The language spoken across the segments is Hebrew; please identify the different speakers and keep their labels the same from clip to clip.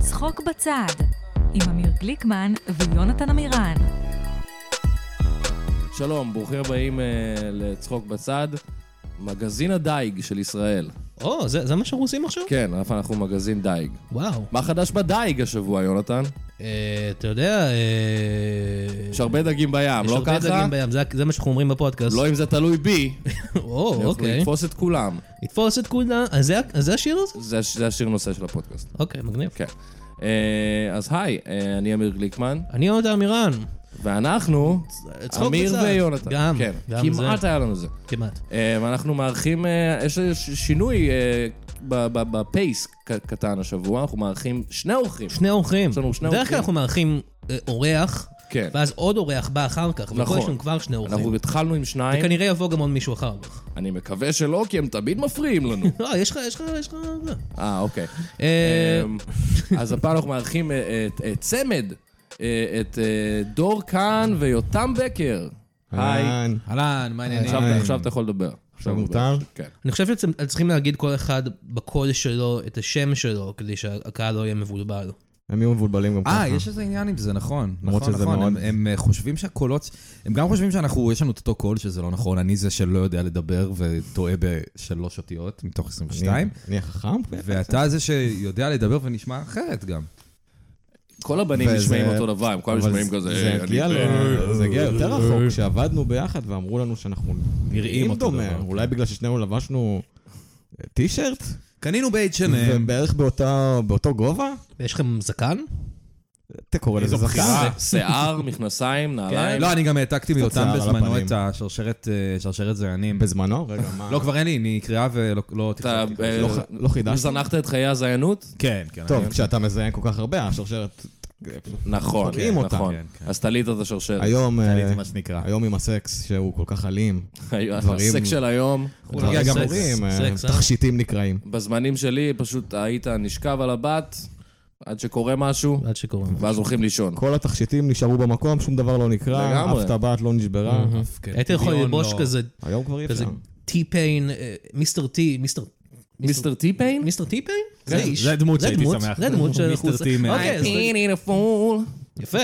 Speaker 1: צחוק בצד, עם אמיר גליקמן ויונתן עמירן.
Speaker 2: שלום, ברוכים הבאים אה, לצחוק בצד, מגזין הדייג של ישראל.
Speaker 3: או, זה, זה מה שאנחנו עושים עכשיו?
Speaker 2: כן, אנחנו מגזין דייג.
Speaker 3: וואו.
Speaker 2: מה חדש בדייג השבוע, יונתן?
Speaker 3: אה, אתה יודע, אה...
Speaker 2: יש הרבה דגים בים,
Speaker 3: יש
Speaker 2: לא
Speaker 3: הרבה
Speaker 2: ככה?
Speaker 3: דגים בים, זה, זה מה שאנחנו אומרים בפודקאסט.
Speaker 2: לא אם זה תלוי בי,
Speaker 3: או,
Speaker 2: אנחנו
Speaker 3: אוקיי.
Speaker 2: נתפוס את כולם.
Speaker 3: נתפוס את כולם. אז זה, אז זה השיר הזה?
Speaker 2: זה הש- זה השיר נושא של הפודקאסט.
Speaker 3: אוקיי, מגניב.
Speaker 2: כן. אה, אז היי, אה, אני אמיר גליקמן,
Speaker 3: אני יונתן עמירן.
Speaker 2: ואנחנו,
Speaker 3: צחוק
Speaker 2: אמיר
Speaker 3: בצד.
Speaker 2: ויונתן.
Speaker 3: גם,
Speaker 2: כן,
Speaker 3: גם
Speaker 2: כמעט
Speaker 3: זה.
Speaker 2: היה לנו זה.
Speaker 3: כמעט.
Speaker 2: אה, ואנחנו מארחים, אה, יש איזה ש- שינוי אה, ב- ב- בפייס ק- קטן השבוע, אנחנו מארחים שני אורחים.
Speaker 3: שני אורחים.
Speaker 2: יש לנו שני
Speaker 3: בדרך
Speaker 2: אורחים.
Speaker 3: כלל אנחנו מארחים אה, אורח,
Speaker 2: כן.
Speaker 3: ואז עוד אורח בא אחר כך, ופה
Speaker 2: נכון.
Speaker 3: יש לנו כבר שני אורחים.
Speaker 2: אנחנו התחלנו עם שניים,
Speaker 3: כנראה יבוא גם עוד מישהו אחר כך.
Speaker 2: אני מקווה שלא, כי הם תמיד מפריעים לנו.
Speaker 3: לא, יש לך, יש לך, יש לך... זה.
Speaker 2: אה, אוקיי.
Speaker 3: אה,
Speaker 2: אמ, אז הפעם אנחנו מארחים אה, את אה, צמד, אה, את אה, דור כאן ויותם בקר. היי.
Speaker 4: אהלן.
Speaker 3: אהלן, מה העניינים?
Speaker 2: עכשיו
Speaker 4: היי.
Speaker 2: עכשיו אתה יכול לדבר. עכשיו
Speaker 4: מותר?
Speaker 2: כן.
Speaker 3: אני חושב שאתם צריכים להגיד כל אחד בקול שלו את השם שלו, כדי שהקהל לא יהיה מבולבל.
Speaker 4: הם יהיו מבולבלים גם ככה.
Speaker 5: אה, יש איזה עניין עם זה, נכון.
Speaker 4: למרות
Speaker 5: נכון,
Speaker 4: שזה
Speaker 5: נכון.
Speaker 4: מאוד-
Speaker 5: הם- הם אה, חושבים שהקולות... הם גם חושבים שאנחנו, יש לנו את אותו קול, שזה לא נכון. אני זה שלא יודע לדבר וטועה בשלוש אותיות מתוך
Speaker 4: אני-
Speaker 5: 22,
Speaker 4: אני החכם?
Speaker 5: ואתה זה שיודע לדבר ונשמע אחרת גם.
Speaker 2: כל הבנים
Speaker 4: וזה-
Speaker 2: נשמעים אותו דבר, הם כולם
Speaker 4: אבל
Speaker 2: נשמעים כזה...
Speaker 4: זה
Speaker 2: אה,
Speaker 4: הגיע
Speaker 2: אני-
Speaker 4: ל- זה הגיע יותר רחוק, כשעבדנו ביחד ואמרו לנו שאנחנו נראים
Speaker 5: אותו
Speaker 4: דומה.
Speaker 5: דבר.
Speaker 4: אולי בגלל ששנינו לבשנו אה, טישרט?
Speaker 5: קנינו ב-H&M.
Speaker 4: ובערך באותה- באותו גובה?
Speaker 3: ויש לכם זקן?
Speaker 4: אתה קורא לזה
Speaker 2: אה, כן.
Speaker 4: זכר?
Speaker 2: שיער, מכנסיים, נעליים.
Speaker 5: לא, אני גם העתקתי מאותם
Speaker 4: קצת שיער על
Speaker 5: בזמנו
Speaker 4: הפנים.
Speaker 5: את השרשרת אה, שרשרת זיינים.
Speaker 4: בזמנו? רגע, מה?
Speaker 5: לא, כבר אין לי, אני קריאה ולא לא
Speaker 2: אתה
Speaker 5: תכננתי.
Speaker 2: אה,
Speaker 4: לא ח- לא חידשת?
Speaker 2: זנחת את חיי הזיינות?
Speaker 5: כן, כן.
Speaker 4: טוב,
Speaker 5: אני-
Speaker 4: כשאתה מזיין כל כך הרבה, השרשרת...
Speaker 2: נכון,
Speaker 4: קוראים אותה.
Speaker 2: נכון.
Speaker 5: כן, כן.
Speaker 2: אז תלית את השרשרת.
Speaker 4: היום... אה,
Speaker 5: עליתי, מה שנקרא.
Speaker 4: היום עם הסקס, שהוא כל כך אלים. דברים-
Speaker 2: הסק של היום.
Speaker 5: הוא נגיע גם
Speaker 3: סקס,
Speaker 5: לזה.
Speaker 4: דברים, אה,
Speaker 3: סקס, אה?
Speaker 4: תכשיטים נקראים.
Speaker 2: בזמנים שלי פשוט היית נשכב על הבת עד שקורה משהו,
Speaker 3: אה, עד שקוראים.
Speaker 2: ואז הולכים לישון.
Speaker 4: כל התכשיטים נשארו במקום, שום דבר לא נקרע,
Speaker 2: לגמרי.
Speaker 4: אף טבעת לא נשברה.
Speaker 2: אוקיי.
Speaker 5: אף, כן.
Speaker 3: היית יכול
Speaker 5: דיון
Speaker 3: ללבוש
Speaker 5: לא-
Speaker 3: כזה
Speaker 4: היום כבר אי
Speaker 3: כזה
Speaker 4: אפשר.
Speaker 3: טי-פיין, אה, מיסטר טי, מיסטר...
Speaker 2: מיסטר טיפיין?
Speaker 3: מיסטר טי-פיין? זה איש.
Speaker 5: זה דמות שהייתי שמח.
Speaker 3: זה דמות שאנחנו...
Speaker 5: מיסטר טי-מן.
Speaker 3: אוקיי, אז- יפה.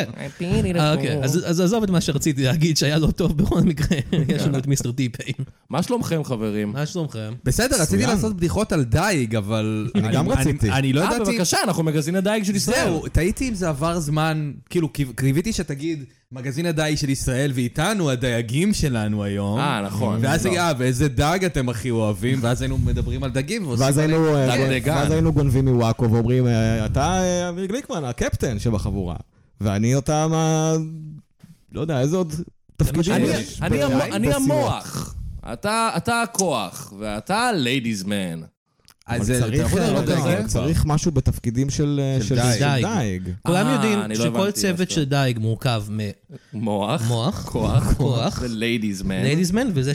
Speaker 3: אה, אוקיי, אז אז עזוב את מה שרציתי להגיד שהיה לא טוב בכל מקרה. יש לנו את מיסטר טי-פיין.
Speaker 2: מה שלומכם חברים?
Speaker 3: מה
Speaker 2: אה,
Speaker 3: שלומכם?
Speaker 5: בסדר, רציתי
Speaker 4: מצוין.
Speaker 5: לעשות בדיחות על דייג, אבל...
Speaker 4: אני גם רציתי.
Speaker 5: אני לא
Speaker 2: אה,
Speaker 5: ידעתי...
Speaker 2: בבקשה, אנחנו מגזין הדייג של ישראל.
Speaker 5: זהו, תהיתי אם זה עבר זמן, כאילו, קיו- קיוויתי שתגיד, מגזין הדייג של ישראל ואיתנו הדייגים שלנו היום.
Speaker 2: אה, נכון.
Speaker 5: ואז
Speaker 2: לא.
Speaker 5: היה, "אה, ואיזה דג אתם הכי אוהבים, ואז היינו מדברים על דגים ועושים...
Speaker 4: ואז היינו, אה,
Speaker 2: דג
Speaker 4: גונ-
Speaker 2: דגן.
Speaker 4: ואז היינו גונבים מוואקו ואומרים, אה, אתה אה, אמיר גליקמן, הקפטן שבחבורה. ואני אותם ה... לא יודע, איזה עוד תפקידים
Speaker 2: אני-
Speaker 4: יש.
Speaker 2: אני המ-
Speaker 4: בסיוע.
Speaker 2: אני המוח. אתה אתה הכוח, ואתה ליידיז מן.
Speaker 5: אז
Speaker 4: אבל
Speaker 5: זה- אתה
Speaker 4: צריך,
Speaker 5: יכול
Speaker 4: אה, לא
Speaker 5: לראות
Speaker 4: יודע,
Speaker 5: דגים?
Speaker 4: צריך משהו בתפקידים של אה, של-
Speaker 5: דייג.
Speaker 4: של
Speaker 3: דייג.
Speaker 4: דייג.
Speaker 3: כולם
Speaker 2: אה,
Speaker 3: יודעים
Speaker 2: אני לא
Speaker 3: שכל
Speaker 2: הבנתי מה
Speaker 3: צוות
Speaker 2: שאתה-
Speaker 3: של דייג מורכב מ...
Speaker 2: מוח.
Speaker 3: מוח.
Speaker 2: כוח.
Speaker 3: כוח.
Speaker 2: וליידיז מן.
Speaker 3: ליידיז מן, וזה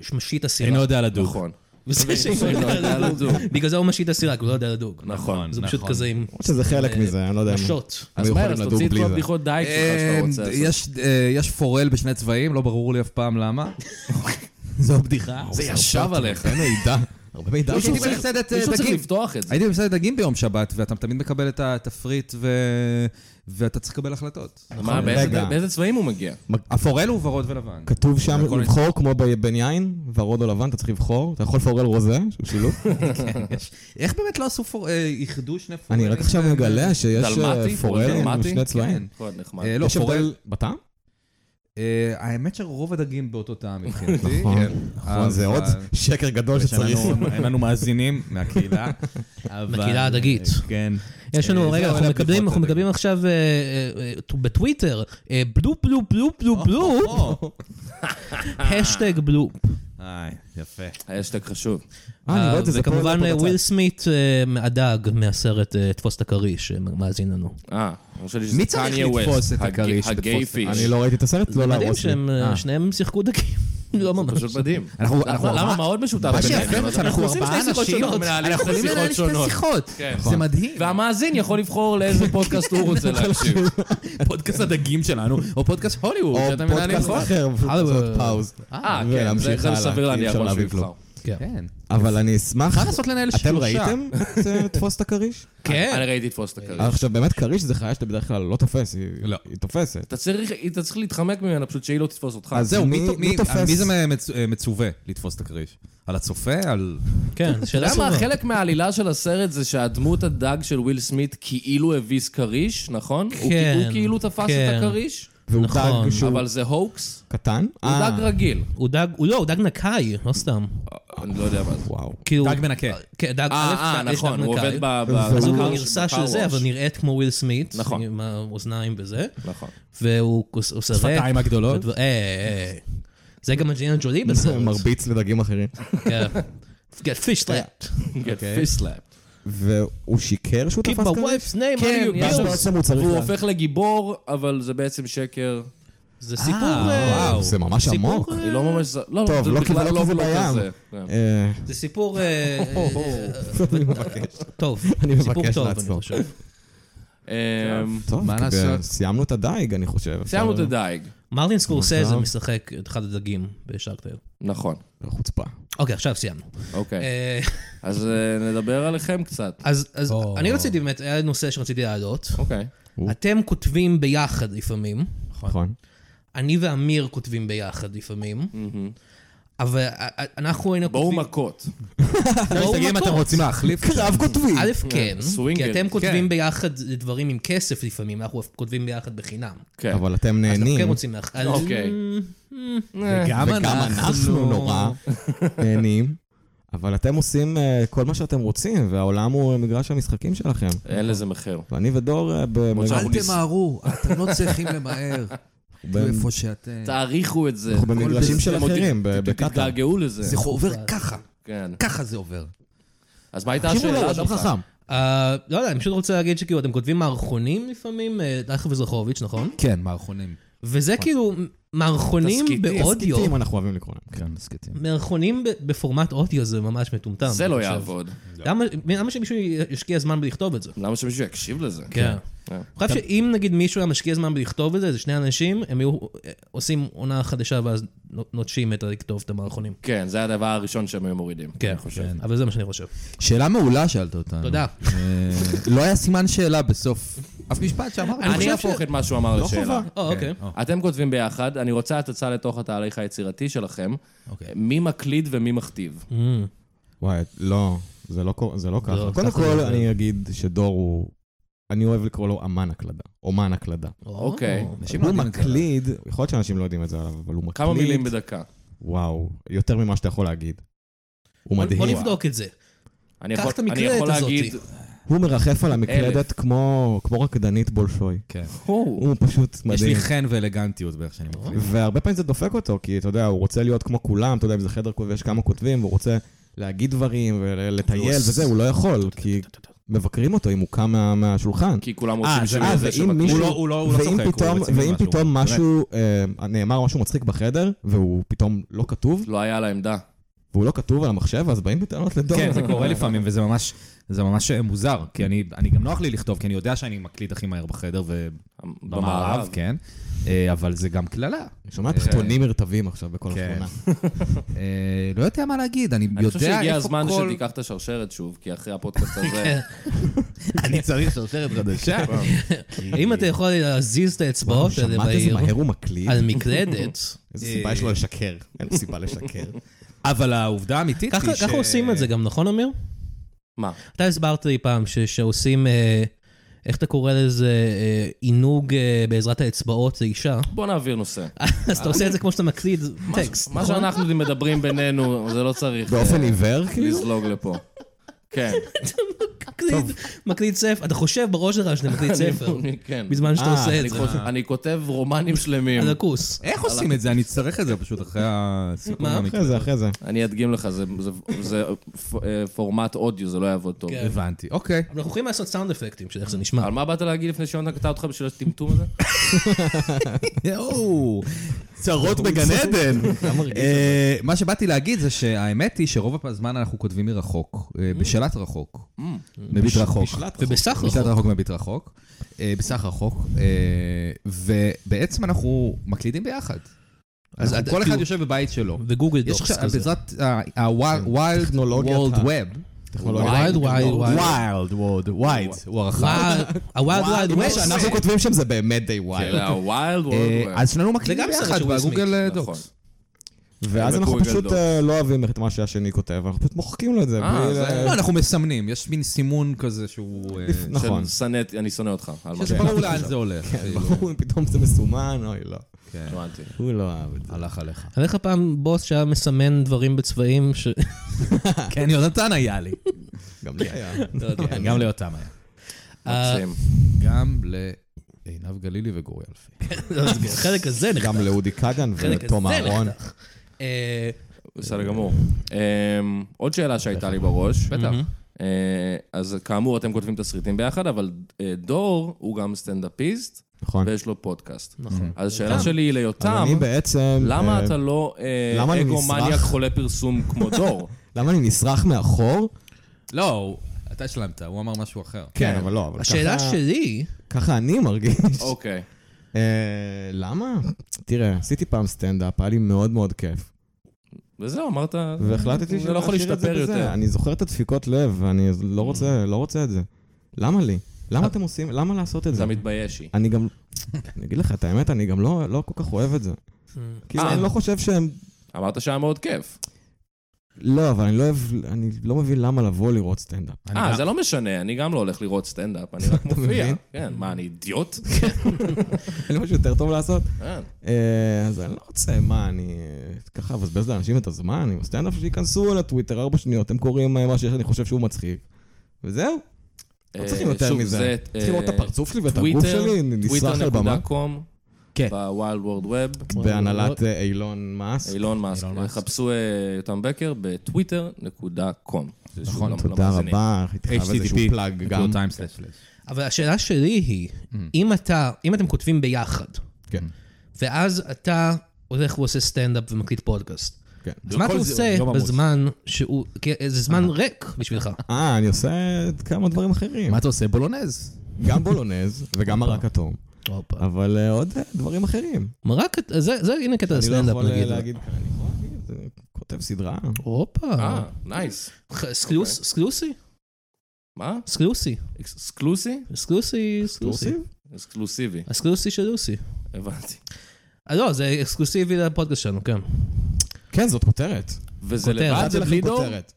Speaker 3: שמשית הסירה.
Speaker 5: אינו לא יודע לדוג.
Speaker 2: נכון.
Speaker 3: וזה
Speaker 2: אינו יודע לדוג.
Speaker 3: בגלל זה הוא משית הסירה, כי הוא לא יודע לדוג.
Speaker 2: נכון.
Speaker 3: זה פשוט כזה עם אה,
Speaker 4: למרות שזה חלק מזה, אני לא יודע. אם-
Speaker 3: משות.
Speaker 4: הם
Speaker 2: אה, אז
Speaker 4: היו
Speaker 2: מהר,
Speaker 4: יכולים
Speaker 2: אז
Speaker 4: לדוג
Speaker 2: תוציא את
Speaker 4: בלי
Speaker 2: כל
Speaker 4: זה.
Speaker 2: הבדיחות דייג שלך שאתה רוצה
Speaker 5: אה,
Speaker 2: לעשות.
Speaker 5: יש, אה, יש פורל בשני צבעים, לא ברור לי אף פעם למה. זו בדיחה.
Speaker 2: זה ישב עליך.
Speaker 4: הרבה מידע. הרבה מידע.
Speaker 2: לא,
Speaker 5: הייתי
Speaker 4: שהוא-
Speaker 5: במסעדת אה,
Speaker 2: מישהו צריך
Speaker 5: דגים.
Speaker 2: לפתוח את זה.
Speaker 5: הייתי במסעדת דגים ביום שבת, ואתה תמיד מקבל את התפריט ו- ואתה צריך לקבל החלטות.
Speaker 2: מה, באיזה-
Speaker 4: רגע.
Speaker 2: באיזה צבעים הוא מגיע?
Speaker 5: הפורל הוא ורוד ולבן.
Speaker 4: כתוב שם
Speaker 5: הכל נמצא.
Speaker 4: לבחור כמו ב- בין יין, ורוד או לבן, אתה צריך לבחור. אתה יכול פורל רוזה, שהוא שילוב.
Speaker 5: איך באמת לא עשו פור... אה, איחדו שני אה, פורלים?
Speaker 4: אני רק עכשיו מגלה שיש
Speaker 2: דלמטי?
Speaker 4: אה, פורל עם
Speaker 2: דלמטי?
Speaker 4: שני צבעים.
Speaker 5: כן.
Speaker 2: מאוד נחמד.
Speaker 5: אה, לא,
Speaker 4: יש
Speaker 5: פורל...
Speaker 4: הבדל בטעם?
Speaker 5: אה, האמת שרוב הדגים באותו טעם מבחינתי.
Speaker 4: נכון.
Speaker 5: כן.
Speaker 4: נכון, זה
Speaker 5: אבל-
Speaker 4: עוד שקר גדול
Speaker 5: אה, יש לנו-
Speaker 4: שצריך.
Speaker 5: אין לנו מאזינים מהקהילה. אבל-
Speaker 3: מהקהילה הדגית.
Speaker 5: כן.
Speaker 3: יש
Speaker 5: אה,
Speaker 3: לנו, רגע,
Speaker 5: זהו,
Speaker 2: לא
Speaker 3: אנחנו
Speaker 5: אלה
Speaker 3: מקבלים,
Speaker 5: הבדיחות
Speaker 3: אנחנו
Speaker 5: הדגים.
Speaker 3: מקבלים עכשיו אה, אה, אה, בטוויטר, אה, בלופ בלופ בלופ
Speaker 2: אה,
Speaker 3: בלופ בלופ,
Speaker 5: או,
Speaker 3: השטג בלופ.
Speaker 5: אה, יפה.
Speaker 2: האשטג חשוב.
Speaker 4: אה, אני רואה את זה, זה פורל
Speaker 3: וכמובן
Speaker 4: פה
Speaker 3: אה,
Speaker 4: בצד.
Speaker 3: וויל סמית אה, מהדג, מהסרט אה, תפוס את הכריש, שמאזין לנו.
Speaker 2: אה, אני חושב שזה
Speaker 5: מי צריך
Speaker 2: קניה
Speaker 5: לתפוס
Speaker 2: ווסט,
Speaker 5: את הכריש שתפוס
Speaker 2: הגיי
Speaker 5: את-
Speaker 2: פיש.
Speaker 4: אני לא ראיתי את הסרט, לא
Speaker 3: מדהים
Speaker 4: להרוס לי.
Speaker 3: שהם, אה, שניהם שיחקו דגים. לא
Speaker 2: זה
Speaker 3: ממש.
Speaker 2: פשוט מדהים.
Speaker 5: אנחנו-
Speaker 2: למה-
Speaker 5: אנחנו-
Speaker 2: למה? מה עוד משותף?
Speaker 5: מה
Speaker 2: ביניהם?
Speaker 5: שיפה,
Speaker 2: אנחנו
Speaker 5: אנחנו
Speaker 2: עושים שתי
Speaker 5: ארבעה
Speaker 2: שיחות
Speaker 5: אנשים,
Speaker 2: שונות, מנהלים
Speaker 5: אנחנו
Speaker 2: שתי
Speaker 5: יכולים לנהל
Speaker 2: שיחות
Speaker 5: שתי
Speaker 2: שונות.
Speaker 5: שיחות.
Speaker 2: כן.
Speaker 5: זה מדהים.
Speaker 2: והמאזין יכול לבחור לאיזה פודקאסט הוא רוצה להקשיב.
Speaker 5: פודקאסט הדגים שלנו, או פודקאסט הוליווד,
Speaker 4: או
Speaker 5: שאתם מנהלים
Speaker 4: פודקאסט אחר, פשוט לעשות פאוז.
Speaker 2: אה, כן, זה-
Speaker 4: ולהמשיך
Speaker 2: זה
Speaker 4: הלאה,
Speaker 2: סביר
Speaker 4: כי אי
Speaker 2: להניח
Speaker 4: אפשר
Speaker 2: מה שהוא
Speaker 4: להביא כלום.
Speaker 2: יבחר.
Speaker 3: כן.
Speaker 5: כן.
Speaker 4: אבל אני אשמח...
Speaker 5: מה לעשות לנהל שלושה?
Speaker 4: אתם ראיתם את אה, תפוס את הכריש?
Speaker 2: אני
Speaker 5: אה,
Speaker 3: כן.
Speaker 2: ראיתי תפוס את הכריש.
Speaker 4: עכשיו, באמת, כריש זה חיה שאתה בדרך כלל לא תופס, היא-
Speaker 5: לא.
Speaker 4: היא תופסת.
Speaker 2: אתה צריך, אתה צריך להתחמק ממנה, פשוט שהיא לא תתפוס אותך.
Speaker 4: אז
Speaker 5: זהו,
Speaker 4: מי-
Speaker 5: מי-
Speaker 4: מי
Speaker 5: מי
Speaker 4: תופס?
Speaker 5: מי זה מצ- אה, מצווה לתפוס את הכריש? על הצופה? על...
Speaker 3: כן, שאלה
Speaker 2: למה
Speaker 3: טובה.
Speaker 2: חלק מהעלילה של הסרט זה שהדמות הדג של וויל סמית כאילו הביס כריש, נכון? הוא
Speaker 3: כן,
Speaker 2: כאילו- הוא כאילו תפס
Speaker 3: כן.
Speaker 2: את הכריש,
Speaker 4: והוא
Speaker 3: נכון.
Speaker 4: דג שהוא
Speaker 2: אבל זה הוקס.
Speaker 4: קטן?
Speaker 2: הוא
Speaker 4: אה,
Speaker 2: דג רגיל.
Speaker 3: הוא דג, הוא לא, הוא דג נקי, לא סתם.
Speaker 2: אני לא יודע מה זה.
Speaker 4: וואו.
Speaker 3: כאילו...
Speaker 5: דג מנקה.
Speaker 3: כן, דג
Speaker 2: אה, אה,
Speaker 3: א', יש דג
Speaker 2: נכון, הוא
Speaker 3: נקי.
Speaker 2: עובד ב... ב-
Speaker 4: אז
Speaker 3: אז הוא
Speaker 2: ב-
Speaker 3: כבר גרסה של זה,
Speaker 2: ב-
Speaker 3: אבל נראית כמו וויל סמית.
Speaker 2: נכון.
Speaker 3: עם האוזניים וזה.
Speaker 2: נכון.
Speaker 3: והוא כוס- עושה רק.
Speaker 5: שפתיים הגדולות?
Speaker 3: ודבר- אה, אה, אה. זה גם אג'ינה ג'ולי בסרט.
Speaker 4: מרביץ לדגים אחרים.
Speaker 3: כן. Get fish slapped.
Speaker 2: Get fist slapped.
Speaker 4: והוא שיקר שהוא
Speaker 3: Keep
Speaker 4: תפס
Speaker 3: my
Speaker 4: כריש?
Speaker 3: wife's name
Speaker 2: כן,
Speaker 3: on your
Speaker 2: יש
Speaker 4: ואז
Speaker 2: לו-
Speaker 3: bills.
Speaker 4: בעצם הוא צריך...
Speaker 2: והוא
Speaker 4: לה-
Speaker 2: הופך לגיבור, אבל זה בעצם שקר.
Speaker 3: זה סיפור...
Speaker 5: אה,
Speaker 3: אה,
Speaker 5: וואו.
Speaker 4: זה ממש
Speaker 3: סיפור, אה,
Speaker 4: עמוק.
Speaker 2: זה לא ממש... זה- לא,
Speaker 4: טוב,
Speaker 2: זה
Speaker 4: לא
Speaker 2: בכלל
Speaker 4: קיבלתי את זה
Speaker 2: לא
Speaker 4: בים.
Speaker 2: כזה. כן.
Speaker 4: אה,
Speaker 3: זה סיפור... אה, טוב.
Speaker 4: אני
Speaker 3: סיפור
Speaker 4: מבקש
Speaker 3: טוב, אני
Speaker 4: לעצור.
Speaker 3: חושב.
Speaker 2: אמ,
Speaker 4: טוב,
Speaker 5: מה
Speaker 4: כי ב-
Speaker 5: לעשות?
Speaker 4: סיימנו את הדייג, אני חושב.
Speaker 2: סיימנו את
Speaker 4: אפשר-
Speaker 2: הדייג.
Speaker 3: מרלין סקורסזה משחק את אחד הדגים בשארקטר.
Speaker 2: נכון.
Speaker 4: חוצפה.
Speaker 3: אוקיי, עכשיו סיימנו.
Speaker 2: אוקיי.
Speaker 3: אה,
Speaker 2: אז אה, נדבר עליכם קצת.
Speaker 3: אז אז
Speaker 5: או.
Speaker 3: אני רציתי באמת, היה נושא שרציתי להעלות.
Speaker 2: אוקיי.
Speaker 3: אתם כותבים ביחד לפעמים.
Speaker 4: נכון.
Speaker 3: אני ואמיר כותבים ביחד לפעמים. אבל אה, אה, אנחנו היינו
Speaker 2: בואו
Speaker 3: כותבים...
Speaker 2: מכות.
Speaker 3: בואו
Speaker 5: תגיד אם אתם
Speaker 3: מכות.
Speaker 5: רוצים להחליף.
Speaker 4: קרב כותבי.
Speaker 3: א', כן, כי
Speaker 2: סווינגרים,
Speaker 3: אתם כותבים
Speaker 5: כן.
Speaker 3: ביחד דברים עם כסף לפעמים, אנחנו כותבים ביחד בחינם.
Speaker 2: כן.
Speaker 4: אבל אתם
Speaker 3: אז אנחנו כן
Speaker 4: נהנים,
Speaker 3: רוצים להח... אז-
Speaker 2: אוקיי. אה.
Speaker 5: גם
Speaker 4: וגם אנחנו נורא נהנים, אבל אתם עושים אה, כל מה שאתם רוצים, והעולם הוא מגרש המשחקים שלכם.
Speaker 2: אין לזה מחיר.
Speaker 4: ואני ודור אה, ב-
Speaker 2: מוצא-
Speaker 4: ב-
Speaker 2: אנחנו
Speaker 6: אל
Speaker 2: ניס-
Speaker 6: תמהרו, אתם לא צריכים למהר. תהיו איפה שאתם.
Speaker 2: תעריכו את זה.
Speaker 4: אנחנו במגרשים
Speaker 6: בזה-
Speaker 4: של
Speaker 2: אתם עוד
Speaker 4: אחרים, ב-
Speaker 2: ת- ת-
Speaker 4: בקטאר.
Speaker 2: תתגעגעו לזה.
Speaker 6: זה עובר ככה,
Speaker 2: כן.
Speaker 6: ככה זה עובר.
Speaker 2: אז מה הייתה
Speaker 5: תקשיבו לו, הוא
Speaker 2: השאלה
Speaker 5: אדם
Speaker 2: שלך?
Speaker 5: חכם.
Speaker 3: אה, לא יודע, אני פשוט רוצה להגיד שכאילו, אתם כותבים מערכונים לפעמים, אה, דייכו וזרחוביץ', נכון?
Speaker 5: כן, מערכונים.
Speaker 3: וזה כאילו מערכונים
Speaker 2: תסכיתים.
Speaker 3: באודיו.
Speaker 4: תסכיתים אנחנו אוהבים לקרוא להם.
Speaker 5: כן, מסכתים.
Speaker 3: מערכונים ב- בפורמט אודיו זה ממש מטומטם.
Speaker 2: זה
Speaker 3: אני
Speaker 2: לא
Speaker 3: חושב.
Speaker 2: יעבוד.
Speaker 3: למה- למה שמישהו ישקיע זמן בלכתוב את זה?
Speaker 2: למה שמישהו יקשיב לזה?
Speaker 3: כן.
Speaker 2: כן.
Speaker 3: אני חושב שאם נגיד מישהו היה משקיע זמן בלכתוב את זה, זה שני אנשים, הם היו אה, עושים עונה חדשה ואז נוטשים את הלכתוב את המערכונים.
Speaker 2: כן, זה הדבר הראשון שהם היו מורידים.
Speaker 3: כן, אבל זה מה שאני חושב.
Speaker 5: שאלה מעולה שאלת אותנו.
Speaker 3: תודה.
Speaker 5: אה, לא היה סימן שאלה בסוף. אף משפט שאמרנו.
Speaker 2: אני
Speaker 3: חושב
Speaker 2: אהפוך את מה שהוא
Speaker 5: לא
Speaker 2: אמר לשאלה.
Speaker 5: כן,
Speaker 3: או, אוקיי.
Speaker 5: אה,
Speaker 2: אתם כותבים ביחד, אני רוצה הצצה לתוך התהליך היצירתי שלכם.
Speaker 5: אוקיי.
Speaker 2: מי מקליד ומי מכתיב.
Speaker 4: וואי, לא, זה לא קו- זה לא ככה. קודם
Speaker 3: ככה זה
Speaker 4: כל,
Speaker 3: עובד.
Speaker 4: אני אגיד שדור הוא... אני אוהב לקרוא לו אמן הקלדה. אומן הקלדה.
Speaker 2: אוקיי.
Speaker 5: אנשים לא
Speaker 4: הוא
Speaker 5: יודעים את זה.
Speaker 4: מקליד, יכול להיות שאנשים לא יודעים את זה עליו, אבל הוא מקליד.
Speaker 2: כמה מילים בדקה.
Speaker 4: וואו, יותר ממה שאתה יכול להגיד. הוא
Speaker 3: בוא-
Speaker 4: מדהים.
Speaker 3: בוא נבדוק את זה.
Speaker 2: אני
Speaker 3: קח
Speaker 2: יכול-
Speaker 3: את המקלדת
Speaker 2: אני יכול
Speaker 3: הזאתי.
Speaker 2: להגיד...
Speaker 4: הוא מרחף על
Speaker 2: אלף.
Speaker 4: המקלדת כמו, כמו רקדנית בולשוי.
Speaker 5: כן.
Speaker 4: הוא פשוט
Speaker 5: יש לי
Speaker 4: מדהים.
Speaker 5: חן ואלגנטיות באיך שאני מקליט.
Speaker 4: והרבה פעמים זה דופק אותו, כי אתה יודע, הוא רוצה להיות כמו כולם, אתה יודע, אם זה חדר כותב, יש כמה כותבים, והוא רוצה להגיד דברים ולטייל וזה, הוא לא יכול, כי מבקרים אותו אם הוא קם מה- מהשולחן.
Speaker 2: כי כולם רוצים
Speaker 5: זה-
Speaker 2: שהוא
Speaker 5: אה,
Speaker 2: יהיה זה
Speaker 4: ואם
Speaker 2: שמקליד.
Speaker 4: מישהו-
Speaker 5: הוא לא- הוא לא הוא לא
Speaker 4: ואם
Speaker 5: צוחק, הוא
Speaker 4: פתאום,
Speaker 5: רציני
Speaker 4: ואם
Speaker 5: במה שהוא
Speaker 4: פתאום
Speaker 5: אומר.
Speaker 4: משהו, אה, נאמר משהו מצחיק בחדר, והוא פתאום לא כתוב,
Speaker 2: לא היה על העמדה.
Speaker 4: והוא לא כתוב על המחשב, אז באים בטענות לדור.
Speaker 5: כן, זה קורה לפעמים, וזה ממש, זה ממש אה, מוזר, כי אני, אני גם נוח לי לכתוב, כי אני יודע שאני מקליט הכי מהר בחדר ובמערב, כן, אה, אבל זה גם קללה.
Speaker 4: אני שומע תחתונים נרטבים עכשיו בכל
Speaker 5: כן.
Speaker 4: התמונה.
Speaker 5: אה, לא יודע מה להגיד, אני
Speaker 2: אני חושב
Speaker 5: יודע
Speaker 2: שהגיע
Speaker 5: איפה
Speaker 2: הזמן
Speaker 5: כל...
Speaker 2: שתיקח את השרשרת שוב, כי אחרי הפודקאסט הזה...
Speaker 3: כן.
Speaker 5: אני צריך שרשרת חדשה.
Speaker 3: אם אתה יכול להזיז את האצבעות האלה
Speaker 4: שמעת איזה
Speaker 3: בעיר
Speaker 4: מהר הוא מקליד?
Speaker 3: על מקלדת,
Speaker 4: איזה סיבה יש לו לשקר. אין לו סיבה לשקר.
Speaker 5: אבל העובדה האמיתית
Speaker 3: ככה
Speaker 5: היא ש...
Speaker 3: ככה עושים את זה גם, נכון, אמיר?
Speaker 2: מה?
Speaker 3: אתה הסברת לי פעם ש- שעושים, אה, איך אתה קורא לזה, אה, עינוג אה, בעזרת האצבעות לאישה,
Speaker 2: בוא נעביר נושא.
Speaker 3: אז אתה עושה את זה כמו שאתה מקליד טקסט. נכון?
Speaker 2: מה שאנחנו מדברים בינינו, זה לא צריך אה,
Speaker 4: באופן עיוור, כאילו?
Speaker 2: לזלוג לפה. כן.
Speaker 3: מקליד- מקליד ספר, אתה חושב בראש שלך שאתה מקליד ספר,
Speaker 2: אני- כן.
Speaker 3: בזמן שאתה
Speaker 4: אה,
Speaker 3: עושה
Speaker 2: אני
Speaker 3: את זה.
Speaker 2: חושב- אני כותב רומנים שלמים.
Speaker 3: על הכוס.
Speaker 5: איך עושים את זה? אני אצטרך את זה פשוט אחרי הסיכום.
Speaker 3: מה?
Speaker 5: המקרה.
Speaker 4: אחרי זה, אחרי זה.
Speaker 2: אני אדגים לך, זה- זה- זה פ- אה, פורמט אודיו, זה לא יעבוד טוב.
Speaker 3: כן.
Speaker 5: הבנתי, אוקיי.
Speaker 3: אבל אנחנו יכולים לעשות סאונד אפקטים של איך זה נשמע.
Speaker 2: על מה באת להגיד לפני שיונתן קטע אותך בשביל הטמטום הזה?
Speaker 5: כן. יואו, צרות בגן עדן. אה, מה שבאתי להגיד זה שהאמת היא שרוב הזמן אנחנו כותבים מרחוק, אה, בשלט רחוק. מביט רחוק.
Speaker 3: ובסך רחוק.
Speaker 5: רחוק. בשלט רחוק מביט רחוק. אה, בסך רחוק. אה, ובעצם אנחנו מקלידים ביחד. אז
Speaker 3: אתה-
Speaker 5: כל
Speaker 3: כאילו-
Speaker 5: אחד יושב בבית שלו.
Speaker 3: וגוגל
Speaker 5: יש
Speaker 3: דוקס
Speaker 5: עכשיו,
Speaker 3: כזה.
Speaker 5: בעזרת ה-Wild
Speaker 4: טכנולוגיית
Speaker 5: World
Speaker 4: ה-
Speaker 5: Web. לא
Speaker 4: טכנולוגיה. אה,
Speaker 3: ווייד ווייד ווייד.
Speaker 5: Wild World Wide, הוא הרחב.
Speaker 3: הווילד ווילד
Speaker 4: מה
Speaker 3: ווסט.
Speaker 4: שאנחנו כותבים שם זה באמת די ווייד.
Speaker 2: הווילד
Speaker 5: אה,
Speaker 2: וורד
Speaker 5: אז שנינו מקליטים
Speaker 3: גם סרט
Speaker 5: ביחד
Speaker 3: של וויל סמית,
Speaker 5: בגוגל אה,
Speaker 2: נכון.
Speaker 5: דוקס.
Speaker 4: ואז אנחנו
Speaker 2: בגוגל
Speaker 4: פשוט
Speaker 2: דוקס.
Speaker 4: אה, לא אוהבים את מה שהשני כותב, אנחנו פשוט מוחקים לו את זה.
Speaker 2: אה,
Speaker 4: בלי
Speaker 2: זה-
Speaker 4: ל-
Speaker 5: לא, אנחנו מסמנים, יש מין סימון כזה שהוא... אה,
Speaker 4: נכון.
Speaker 2: שנאת, אני שונא אותך. על מה
Speaker 5: שזה
Speaker 2: שאתה
Speaker 5: ברור לאן זה הולך. כאילו.
Speaker 2: לא.
Speaker 4: ברור, פתאום זה מסומן, אוי לא.
Speaker 2: הבנתי.
Speaker 4: הוא לא אהב את זה.
Speaker 5: הלך עליך.
Speaker 3: היה לך פעם בוס שהיה מסמן דברים בצבעים ש...
Speaker 5: כן, יונתן היה לי. כן,
Speaker 4: גם לי היה.
Speaker 3: לא אוקיי.
Speaker 5: גם ליותם היה.
Speaker 2: מקסים.
Speaker 5: גם לעינב גלילי וגורי אלפי.
Speaker 3: לא החלק הזה נחתך.
Speaker 4: גם לאודי כגן
Speaker 3: החלק
Speaker 4: ותום
Speaker 3: הזה
Speaker 4: אהרון.
Speaker 3: נחתך. אה,
Speaker 2: בסדר גמור. אמ, עוד שאלה שהייתה לי בראש. בטח. אז כאמור, אתם כותבים תסריטים ביחד, אבל אה, דור הוא גם סטנדאפיסט,
Speaker 4: נכון.
Speaker 2: ויש לו פודקאסט. נכון. אז השאלה שלי היא
Speaker 4: אבל
Speaker 2: ליותם,
Speaker 4: אני בעצם...
Speaker 2: למה
Speaker 4: אה,
Speaker 2: אתה לא אה,
Speaker 4: למה אני
Speaker 2: אגומניאק
Speaker 4: נסרח?
Speaker 2: חולה פרסום כמו דור?
Speaker 4: למה אני נסרח מאחור?
Speaker 2: כן.
Speaker 5: לא, הוא- אתה השלמת, הוא אמר משהו אחר.
Speaker 4: כן, אבל לא. אבל
Speaker 3: השאלה
Speaker 4: ככה-
Speaker 3: שלי,
Speaker 4: ככה אני מרגיש.
Speaker 2: אוקיי.
Speaker 4: אה, למה? תראה, עשיתי פעם סטנדאפ, היה לי מאוד מאוד כיף.
Speaker 2: וזהו, אמרת...
Speaker 4: והחלטתי
Speaker 2: זה לא יכול
Speaker 4: להשאיר את זה
Speaker 2: להשתפר
Speaker 4: בזה.
Speaker 2: יותר. Mm.
Speaker 4: אני זוכר את הדפיקות לב, ואני לא רוצה, לא רוצה את זה. למה לי? למה
Speaker 2: אה.
Speaker 4: אתם עושים, למה לעשות את זה?
Speaker 2: אתה מתבייש היא.
Speaker 4: אני גם, אני אגיד לך את האמת, אני גם לא לא כל כך אוהב את זה. כאילו,
Speaker 2: אה.
Speaker 4: אני לא חושב שהם...
Speaker 2: אמרת שהיה מאוד כיף.
Speaker 4: לא, אבל אני לא אוהב, אני לא מבין למה לבוא לראות סטנדאפ.
Speaker 2: אה, זה לא משנה, אני גם לא הולך לראות סטנדאפ, אני רק מופיע.
Speaker 4: מבין?
Speaker 2: כן, מה, אני אידיוט?
Speaker 4: אין לי משהו יותר טוב לעשות.
Speaker 2: כן.
Speaker 4: אה, אז אני לא רוצה, מה, אני אה, ככה אבזבז לאנשים את הזמן עם הסטנדאפ שייכנסו לטוויטר ארבע שניות, הם קוראים אה, מה שאני חושב שהוא מצחיק. וזהו, לא צריכים
Speaker 2: אה,
Speaker 4: יותר
Speaker 2: שוב,
Speaker 4: מזה.
Speaker 2: זה,
Speaker 4: צריכים לראות את
Speaker 2: אה,
Speaker 4: הפרצוף שלי ואת הגוף שלי, אני נסרח על במה.
Speaker 2: טוויטר.com,
Speaker 5: כן.
Speaker 2: בווילד וורד ווב,
Speaker 4: בהנהלת אה, אילון מאסק.
Speaker 2: אילון מאסק.
Speaker 5: אילון מאסק.
Speaker 2: חפשו אה, יותם בקר בטוויטר.com. זה שוב לא-
Speaker 5: נכון,
Speaker 2: למ-
Speaker 4: תודה
Speaker 2: למאזינים.
Speaker 4: רבה, הייתי חייב איזשהו
Speaker 5: HTTP,
Speaker 4: פלאג גם.
Speaker 5: time slash slash.
Speaker 3: אבל השאלה שלי היא, אם אתה, אם אתם כותבים ביחד,
Speaker 4: כן.
Speaker 3: ואז אתה הולך ועושה סטנדאפ ומקליט פודקאסט,
Speaker 4: כן.
Speaker 3: אז מה אתה
Speaker 5: כל זה
Speaker 3: עושה
Speaker 5: יום עמוס.
Speaker 3: בזמן שהוא, כי זה זמן ריק בשבילך.
Speaker 4: אה, אני עושה כמה דברים אחרים.
Speaker 5: מה אתה עושה? בולונז.
Speaker 4: גם בולונז וגם מרק אטום,
Speaker 3: הופה.
Speaker 4: אבל אה, עוד אה, דברים אחרים.
Speaker 3: מרק, זה, זה הנה קטע
Speaker 4: אני לא
Speaker 3: הסטנדאפ
Speaker 4: יכול אה,
Speaker 3: נגיד.
Speaker 4: להגיד, אני יכול להגיד, אני כותב סדרה.
Speaker 3: הופה.
Speaker 2: אה, נייס.
Speaker 3: ח- סקלוס- סקלוסי?
Speaker 2: מה?
Speaker 3: סקלוסי.
Speaker 2: אקסקלוסי?
Speaker 3: סקלוסי, סקלוסי.
Speaker 4: אקסקלוסיב?
Speaker 2: אקסקלוסיבי,
Speaker 3: הסקלוסי של לוסי.
Speaker 2: הבנתי.
Speaker 3: אה, לא, זה אקסקלוסיבי לפודקאסט שלנו, כן.
Speaker 4: כן, זאת כותרת.
Speaker 2: וזה
Speaker 3: כותרת.
Speaker 2: לבד,
Speaker 4: נתתי
Speaker 2: זה
Speaker 4: לכם
Speaker 2: בלי דור?
Speaker 4: כותרת.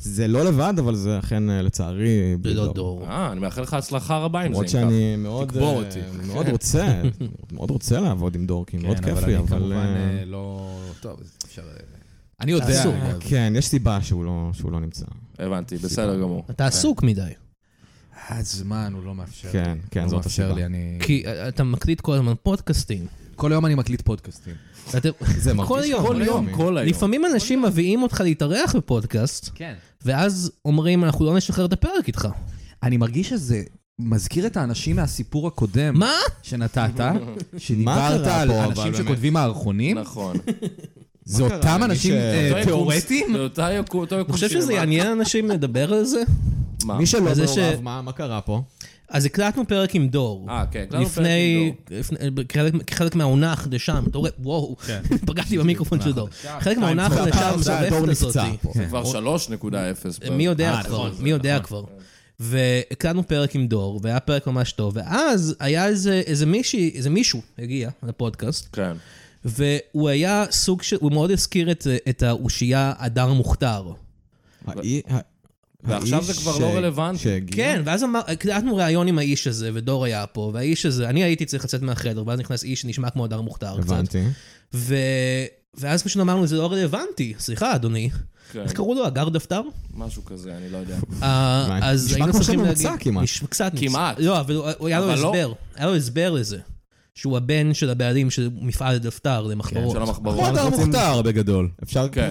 Speaker 4: זה לא לבד, אבל זה אכן, אה, לצערי, בלי
Speaker 3: ללא
Speaker 4: דור.
Speaker 3: לא דור.
Speaker 2: אה, אני מאחל לך הצלחה רבה עם זה.
Speaker 4: למרות
Speaker 2: אם ככה.
Speaker 4: שאני מאוד
Speaker 2: תקבור
Speaker 4: אה,
Speaker 2: אותי.
Speaker 4: מאוד רוצה, מאוד רוצה לעבוד עם דור, כי מאוד
Speaker 5: כן,
Speaker 4: כיף לי,
Speaker 5: אני
Speaker 4: אבל...
Speaker 5: כמובן
Speaker 4: אה,
Speaker 5: אה, לא... טוב, אז אפשר... אה, אני יודע.
Speaker 3: אסור.
Speaker 5: אגב.
Speaker 4: כן, יש סיבה שהוא לא- שהוא לא נמצא.
Speaker 2: הבנתי, בסדר גמור.
Speaker 3: אתה עסוק מדי.
Speaker 5: הזמן הוא לא מאפשר. לי.
Speaker 4: כן, כן,
Speaker 5: הוא
Speaker 4: זאת
Speaker 5: לא מאפשר
Speaker 4: הסיבה.
Speaker 5: לי, אני...
Speaker 3: כי אה, אתה מקליט כל הזמן פודקאסטים.
Speaker 5: כל יום אני מקליט פודקאסטים.
Speaker 3: אתם-
Speaker 4: זה
Speaker 3: כל
Speaker 4: מרגיש
Speaker 3: יום.
Speaker 2: כל יום, כל היום.
Speaker 3: לפעמים אנשים מביאים אותך להתארח בפודקאסט,
Speaker 5: כן.
Speaker 3: ואז אומרים, אנחנו לא נשחרר את הפרק איתך.
Speaker 5: אני מרגיש שזה מזכיר את האנשים מהסיפור הקודם.
Speaker 3: מה?
Speaker 5: שנתת, שדיברת
Speaker 4: קרה
Speaker 5: על
Speaker 4: פה, אבל
Speaker 5: אנשים
Speaker 4: באמת?
Speaker 5: שכותבים מערכונים,
Speaker 2: נכון.
Speaker 5: זה
Speaker 4: מה קרה?
Speaker 5: אותם
Speaker 4: מי
Speaker 5: אנשים
Speaker 4: ש-
Speaker 5: אה,
Speaker 2: אותו יקום-
Speaker 5: תיאורטיים?
Speaker 2: זה אותה יקום- אותו יקום
Speaker 3: אני חושב שזה
Speaker 2: שלמטה.
Speaker 3: יעניין אנשים לדבר על זה.
Speaker 2: מה?
Speaker 4: מי שלא
Speaker 3: וזה ש-
Speaker 4: מעורב, מה מה קרה פה?
Speaker 3: אז הקלטנו פרק עם דור.
Speaker 2: אה, כן, הקלטנו פרק עם
Speaker 3: לפני, לפני- כחלק- כחלק מהעונה החדשה, אתה רואה, וואו,
Speaker 2: כן.
Speaker 3: פגעתי במיקרופון של דור.
Speaker 2: אה,
Speaker 3: חלק מהעונה החדשה המטורפת הזאת. כן.
Speaker 2: זה כבר 3.0.
Speaker 3: מי יודע
Speaker 5: אה,
Speaker 3: כבר,
Speaker 5: נכון,
Speaker 3: מי יודע כבר. והקלטנו פרק עם דור, והיה פרק ממש טוב, ואז היה איזה, איזה מישהי, איזה מישהו הגיע לפודקאסט,
Speaker 2: כן.
Speaker 3: והוא היה סוג של, הוא מאוד הזכיר את, את האושייה הדר מוכתר.
Speaker 4: האי- ה-
Speaker 2: ועכשיו
Speaker 4: האיש
Speaker 2: זה כבר
Speaker 4: ש-
Speaker 2: לא רלוונטי.
Speaker 4: שהגיע-
Speaker 3: כן, ואז אמר- הקלטנו ראיון עם האיש הזה, ודור היה פה, והאיש הזה, אני הייתי צריך לצאת מהחדר, ואז נכנס איש שנשמע כמו הדר מוכתר קצת.
Speaker 4: הבנתי.
Speaker 3: ו... ואז פשוט אמרנו, זה לא רלוונטי, סליחה, אדוני.
Speaker 2: כן,
Speaker 3: איך קראו לו? הגר דפתר?
Speaker 2: משהו כזה, אני לא יודע.
Speaker 3: אה,
Speaker 4: הבנתי.
Speaker 3: אז
Speaker 4: נשמע
Speaker 3: היינו
Speaker 4: כמו שם
Speaker 3: צריכים
Speaker 4: ממוצע
Speaker 3: להגיד...
Speaker 4: כמעט.
Speaker 3: נשמע קצת ממוצע.
Speaker 2: כמעט.
Speaker 3: לא, אבל הוא- הוא היה לו
Speaker 2: אבל לא-
Speaker 3: הסבר. היה לו הסבר לזה. שהוא הבן של הבעלים של מפעל דפתר למחברות.
Speaker 2: כן, של המחברות.
Speaker 5: כמו הדר
Speaker 4: רוצים-
Speaker 5: מוכתר בגדול.
Speaker 4: אפשר...
Speaker 2: כן.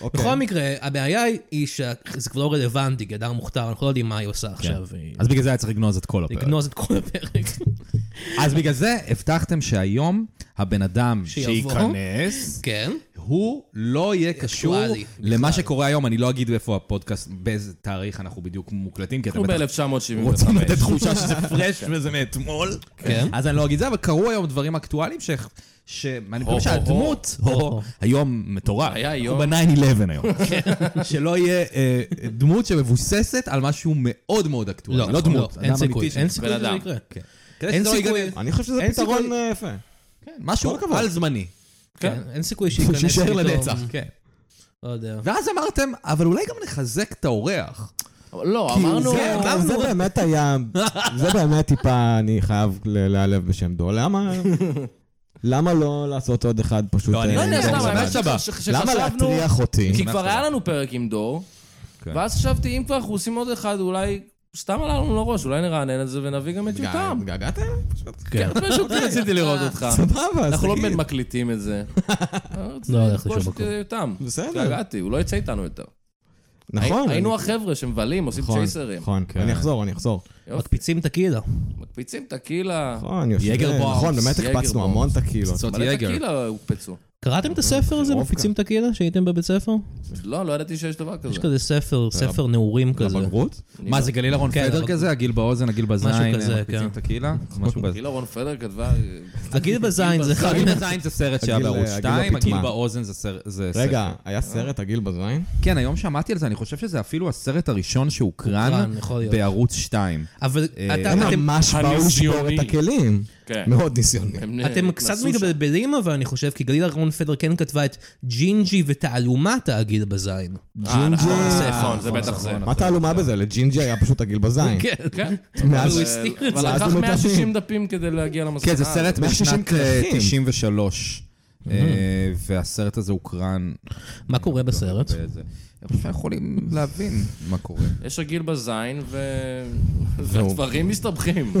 Speaker 4: אוקיי.
Speaker 3: בכל מקרה, הבעיה היא שזה כבר לא רלוונטי, כי הדר מוכתר, אנחנו לא יודעים מה היא
Speaker 4: כן.
Speaker 3: עושה עכשיו. היא-
Speaker 5: אז בגלל זה היה צריך לגנוז את
Speaker 4: אה.
Speaker 5: כל הפרק.
Speaker 3: לגנוז את כל הפרק.
Speaker 5: אז בגלל זה הבטחתם שהיום הבן אדם
Speaker 3: שיבוא.
Speaker 5: שייכנס,
Speaker 3: כן.
Speaker 5: הוא לא יהיה קשור
Speaker 3: אקטואלי,
Speaker 5: למה שקורה היום. אני לא אגיד איפה הפודקאסט, באיזה תאריך אנחנו בדיוק מוקלטים, כי אתם
Speaker 2: אנחנו
Speaker 5: בטח
Speaker 2: ב-1975.
Speaker 5: רוצים לתת תחושה שזה פרש וזה מאתמול.
Speaker 3: כן.
Speaker 5: אז אני לא אגיד זה, אבל קרו היום דברים אקטואליים ש... שאני
Speaker 2: הו,
Speaker 5: חושב שהדמות,
Speaker 3: הו,
Speaker 5: הו,
Speaker 3: הו.
Speaker 5: היום מטורף.
Speaker 2: היה יום. כן.
Speaker 5: הוא ב-9-11 היום. שלא יהיה אה, דמות שמבוססת על משהו מאוד מאוד
Speaker 3: לא,
Speaker 5: אקטואלי. לא דמות,
Speaker 3: אין
Speaker 5: אדם
Speaker 3: סיכוי, לא.
Speaker 5: אמיתי.
Speaker 3: אין
Speaker 5: ש-
Speaker 3: סיכוי
Speaker 2: בן
Speaker 3: שזה
Speaker 2: אדם.
Speaker 3: יקרה.
Speaker 5: כן. כדי
Speaker 3: אין
Speaker 5: שזה לא
Speaker 3: סיכוי.
Speaker 5: ייגנב.
Speaker 4: אני חושב שזה
Speaker 5: אין
Speaker 4: פתרון
Speaker 5: סיכוי.
Speaker 4: אה, יפה.
Speaker 5: כן, משהו
Speaker 4: כל הכבוד.
Speaker 5: על זמני.
Speaker 3: כן, אין סיכוי שייכנס
Speaker 5: שיישאר
Speaker 3: פתאום.
Speaker 5: לנצח. כן.
Speaker 3: לא יודע.
Speaker 5: ואז אמרתם, אבל אולי גם נחזק את האורח.
Speaker 2: אבל לא, אמרנו...
Speaker 4: זה- זה באמת היה, זה באמת טיפה, אני חייב ל- להיעלב בשם דור. למה, למה לא לעשות עוד אחד פשוט?
Speaker 5: לא, אני
Speaker 4: אה,
Speaker 5: לא
Speaker 2: לא
Speaker 5: יודע
Speaker 2: יודע
Speaker 4: דור?
Speaker 5: למה,
Speaker 2: למה,
Speaker 5: האמת
Speaker 2: האמת
Speaker 5: שבה.
Speaker 2: שחשבנו...
Speaker 4: למה להטריח אותי?
Speaker 2: כי כבר היה לנו פרק עם דור,
Speaker 5: כן.
Speaker 2: ואז חשבתי, אם כבר אנחנו עושים עוד אחד, אולי... סתם עלה לנו לראש, אולי נרענן את זה ונביא גם את יותם.
Speaker 4: התגעגעתם?
Speaker 2: כן, פשוט רציתי לראות אותך.
Speaker 4: סבבה, אז
Speaker 2: אנחנו לא
Speaker 4: תגיד.
Speaker 2: באמת מקליטים את זה. אה,
Speaker 3: לא הולך לשום
Speaker 2: פגוש את
Speaker 3: מקום.
Speaker 2: אה, יותם.
Speaker 4: בסדר.
Speaker 2: התגעגעתי, הוא לא יצא איתנו יותר.
Speaker 4: נכון.
Speaker 2: היינו
Speaker 4: אני-
Speaker 2: החבר'ה שמבלים, עושים
Speaker 4: נכון,
Speaker 2: צ'ייסרים.
Speaker 4: נכון, אני אחזור, אני אחזור.
Speaker 3: מקפיצים את הקידה.
Speaker 2: מקפיצים טקילה.
Speaker 4: נכון, אני יושב...
Speaker 5: יגר בומס,
Speaker 4: נכון, באמת
Speaker 2: יגר
Speaker 4: הקפצנו
Speaker 2: בומס.
Speaker 4: המון טקילות.
Speaker 5: פצצות
Speaker 2: מלא
Speaker 5: יגר.
Speaker 2: טקילה הוקפצו.
Speaker 3: קראתם את הספר הזה,
Speaker 4: רובקה.
Speaker 3: מקפיצים את הקידה, שהייתם בבית ספר?
Speaker 2: לא, לא ידעתי שיש דבר כזה.
Speaker 3: יש כזה ספר, ספר נעורים כזה.
Speaker 4: לבגרות?
Speaker 2: אני
Speaker 5: מה
Speaker 2: לא-
Speaker 5: זה גליל אהרון
Speaker 3: כן,
Speaker 5: פדר
Speaker 3: אבל-
Speaker 5: כזה? הגיל באוזן, הגיל בזין,
Speaker 3: משהו כזה,
Speaker 5: מקפיצים
Speaker 3: כן.
Speaker 5: את הקהילה? משהו בזין.
Speaker 2: כאילו רון פדר כתבה...
Speaker 3: הקידה בזין זה אחד
Speaker 5: הגיל
Speaker 3: מה...
Speaker 5: בזין זה סרט שהיה
Speaker 4: הגיל-
Speaker 5: בערוץ
Speaker 4: הגיל
Speaker 5: 2, הגיל
Speaker 4: הפטמה.
Speaker 5: באוזן זה סרט.
Speaker 4: רגע, היה סרט הגיל בזין?
Speaker 5: כן, היום שמעתי על זה, אני חושב שזה אפילו הסרט הראשון שהוקרן
Speaker 3: הוקרן, יכול להיות.
Speaker 5: בערוץ 2.
Speaker 3: אבל אתה-
Speaker 4: הם
Speaker 3: אתם-
Speaker 4: ממש באו לשבור
Speaker 2: הניסיוני.
Speaker 4: את הכלים.
Speaker 2: כן.
Speaker 4: מאוד ניסיוני.
Speaker 2: הם
Speaker 3: אתם
Speaker 2: נ-
Speaker 3: קצת
Speaker 2: נסעו שם.
Speaker 3: מתבלבלים, אבל אני חושב, כי גלילה רון פדר כן כתבה את ג'ינג'י ותעלומת הגיל בזין.
Speaker 2: אה, נכון,
Speaker 4: ג'ינג'י.
Speaker 2: נכון, זה בטח זה.
Speaker 4: מה תעלומה בזה? לג'ינג'י היה פשוט הגיל בזין.
Speaker 3: כן.
Speaker 2: כן.
Speaker 4: מאז-
Speaker 3: הוא הסתיר את
Speaker 2: אבל
Speaker 4: זה, אז
Speaker 2: לקח
Speaker 4: הוא
Speaker 2: 160
Speaker 4: מתאים.
Speaker 2: דפים כדי להגיע למסקנה.
Speaker 5: כן, זה סרט
Speaker 4: אה, 160
Speaker 5: משנת אה,
Speaker 4: כרכים.
Speaker 5: 93, אה, והסרט הזה הוקרן.
Speaker 3: מה קורה בסרט?
Speaker 5: באיזה- אני חושב שיכולים להבין מה קורה.
Speaker 2: יש רגיל בזין, ו... והדברים מסתבכים.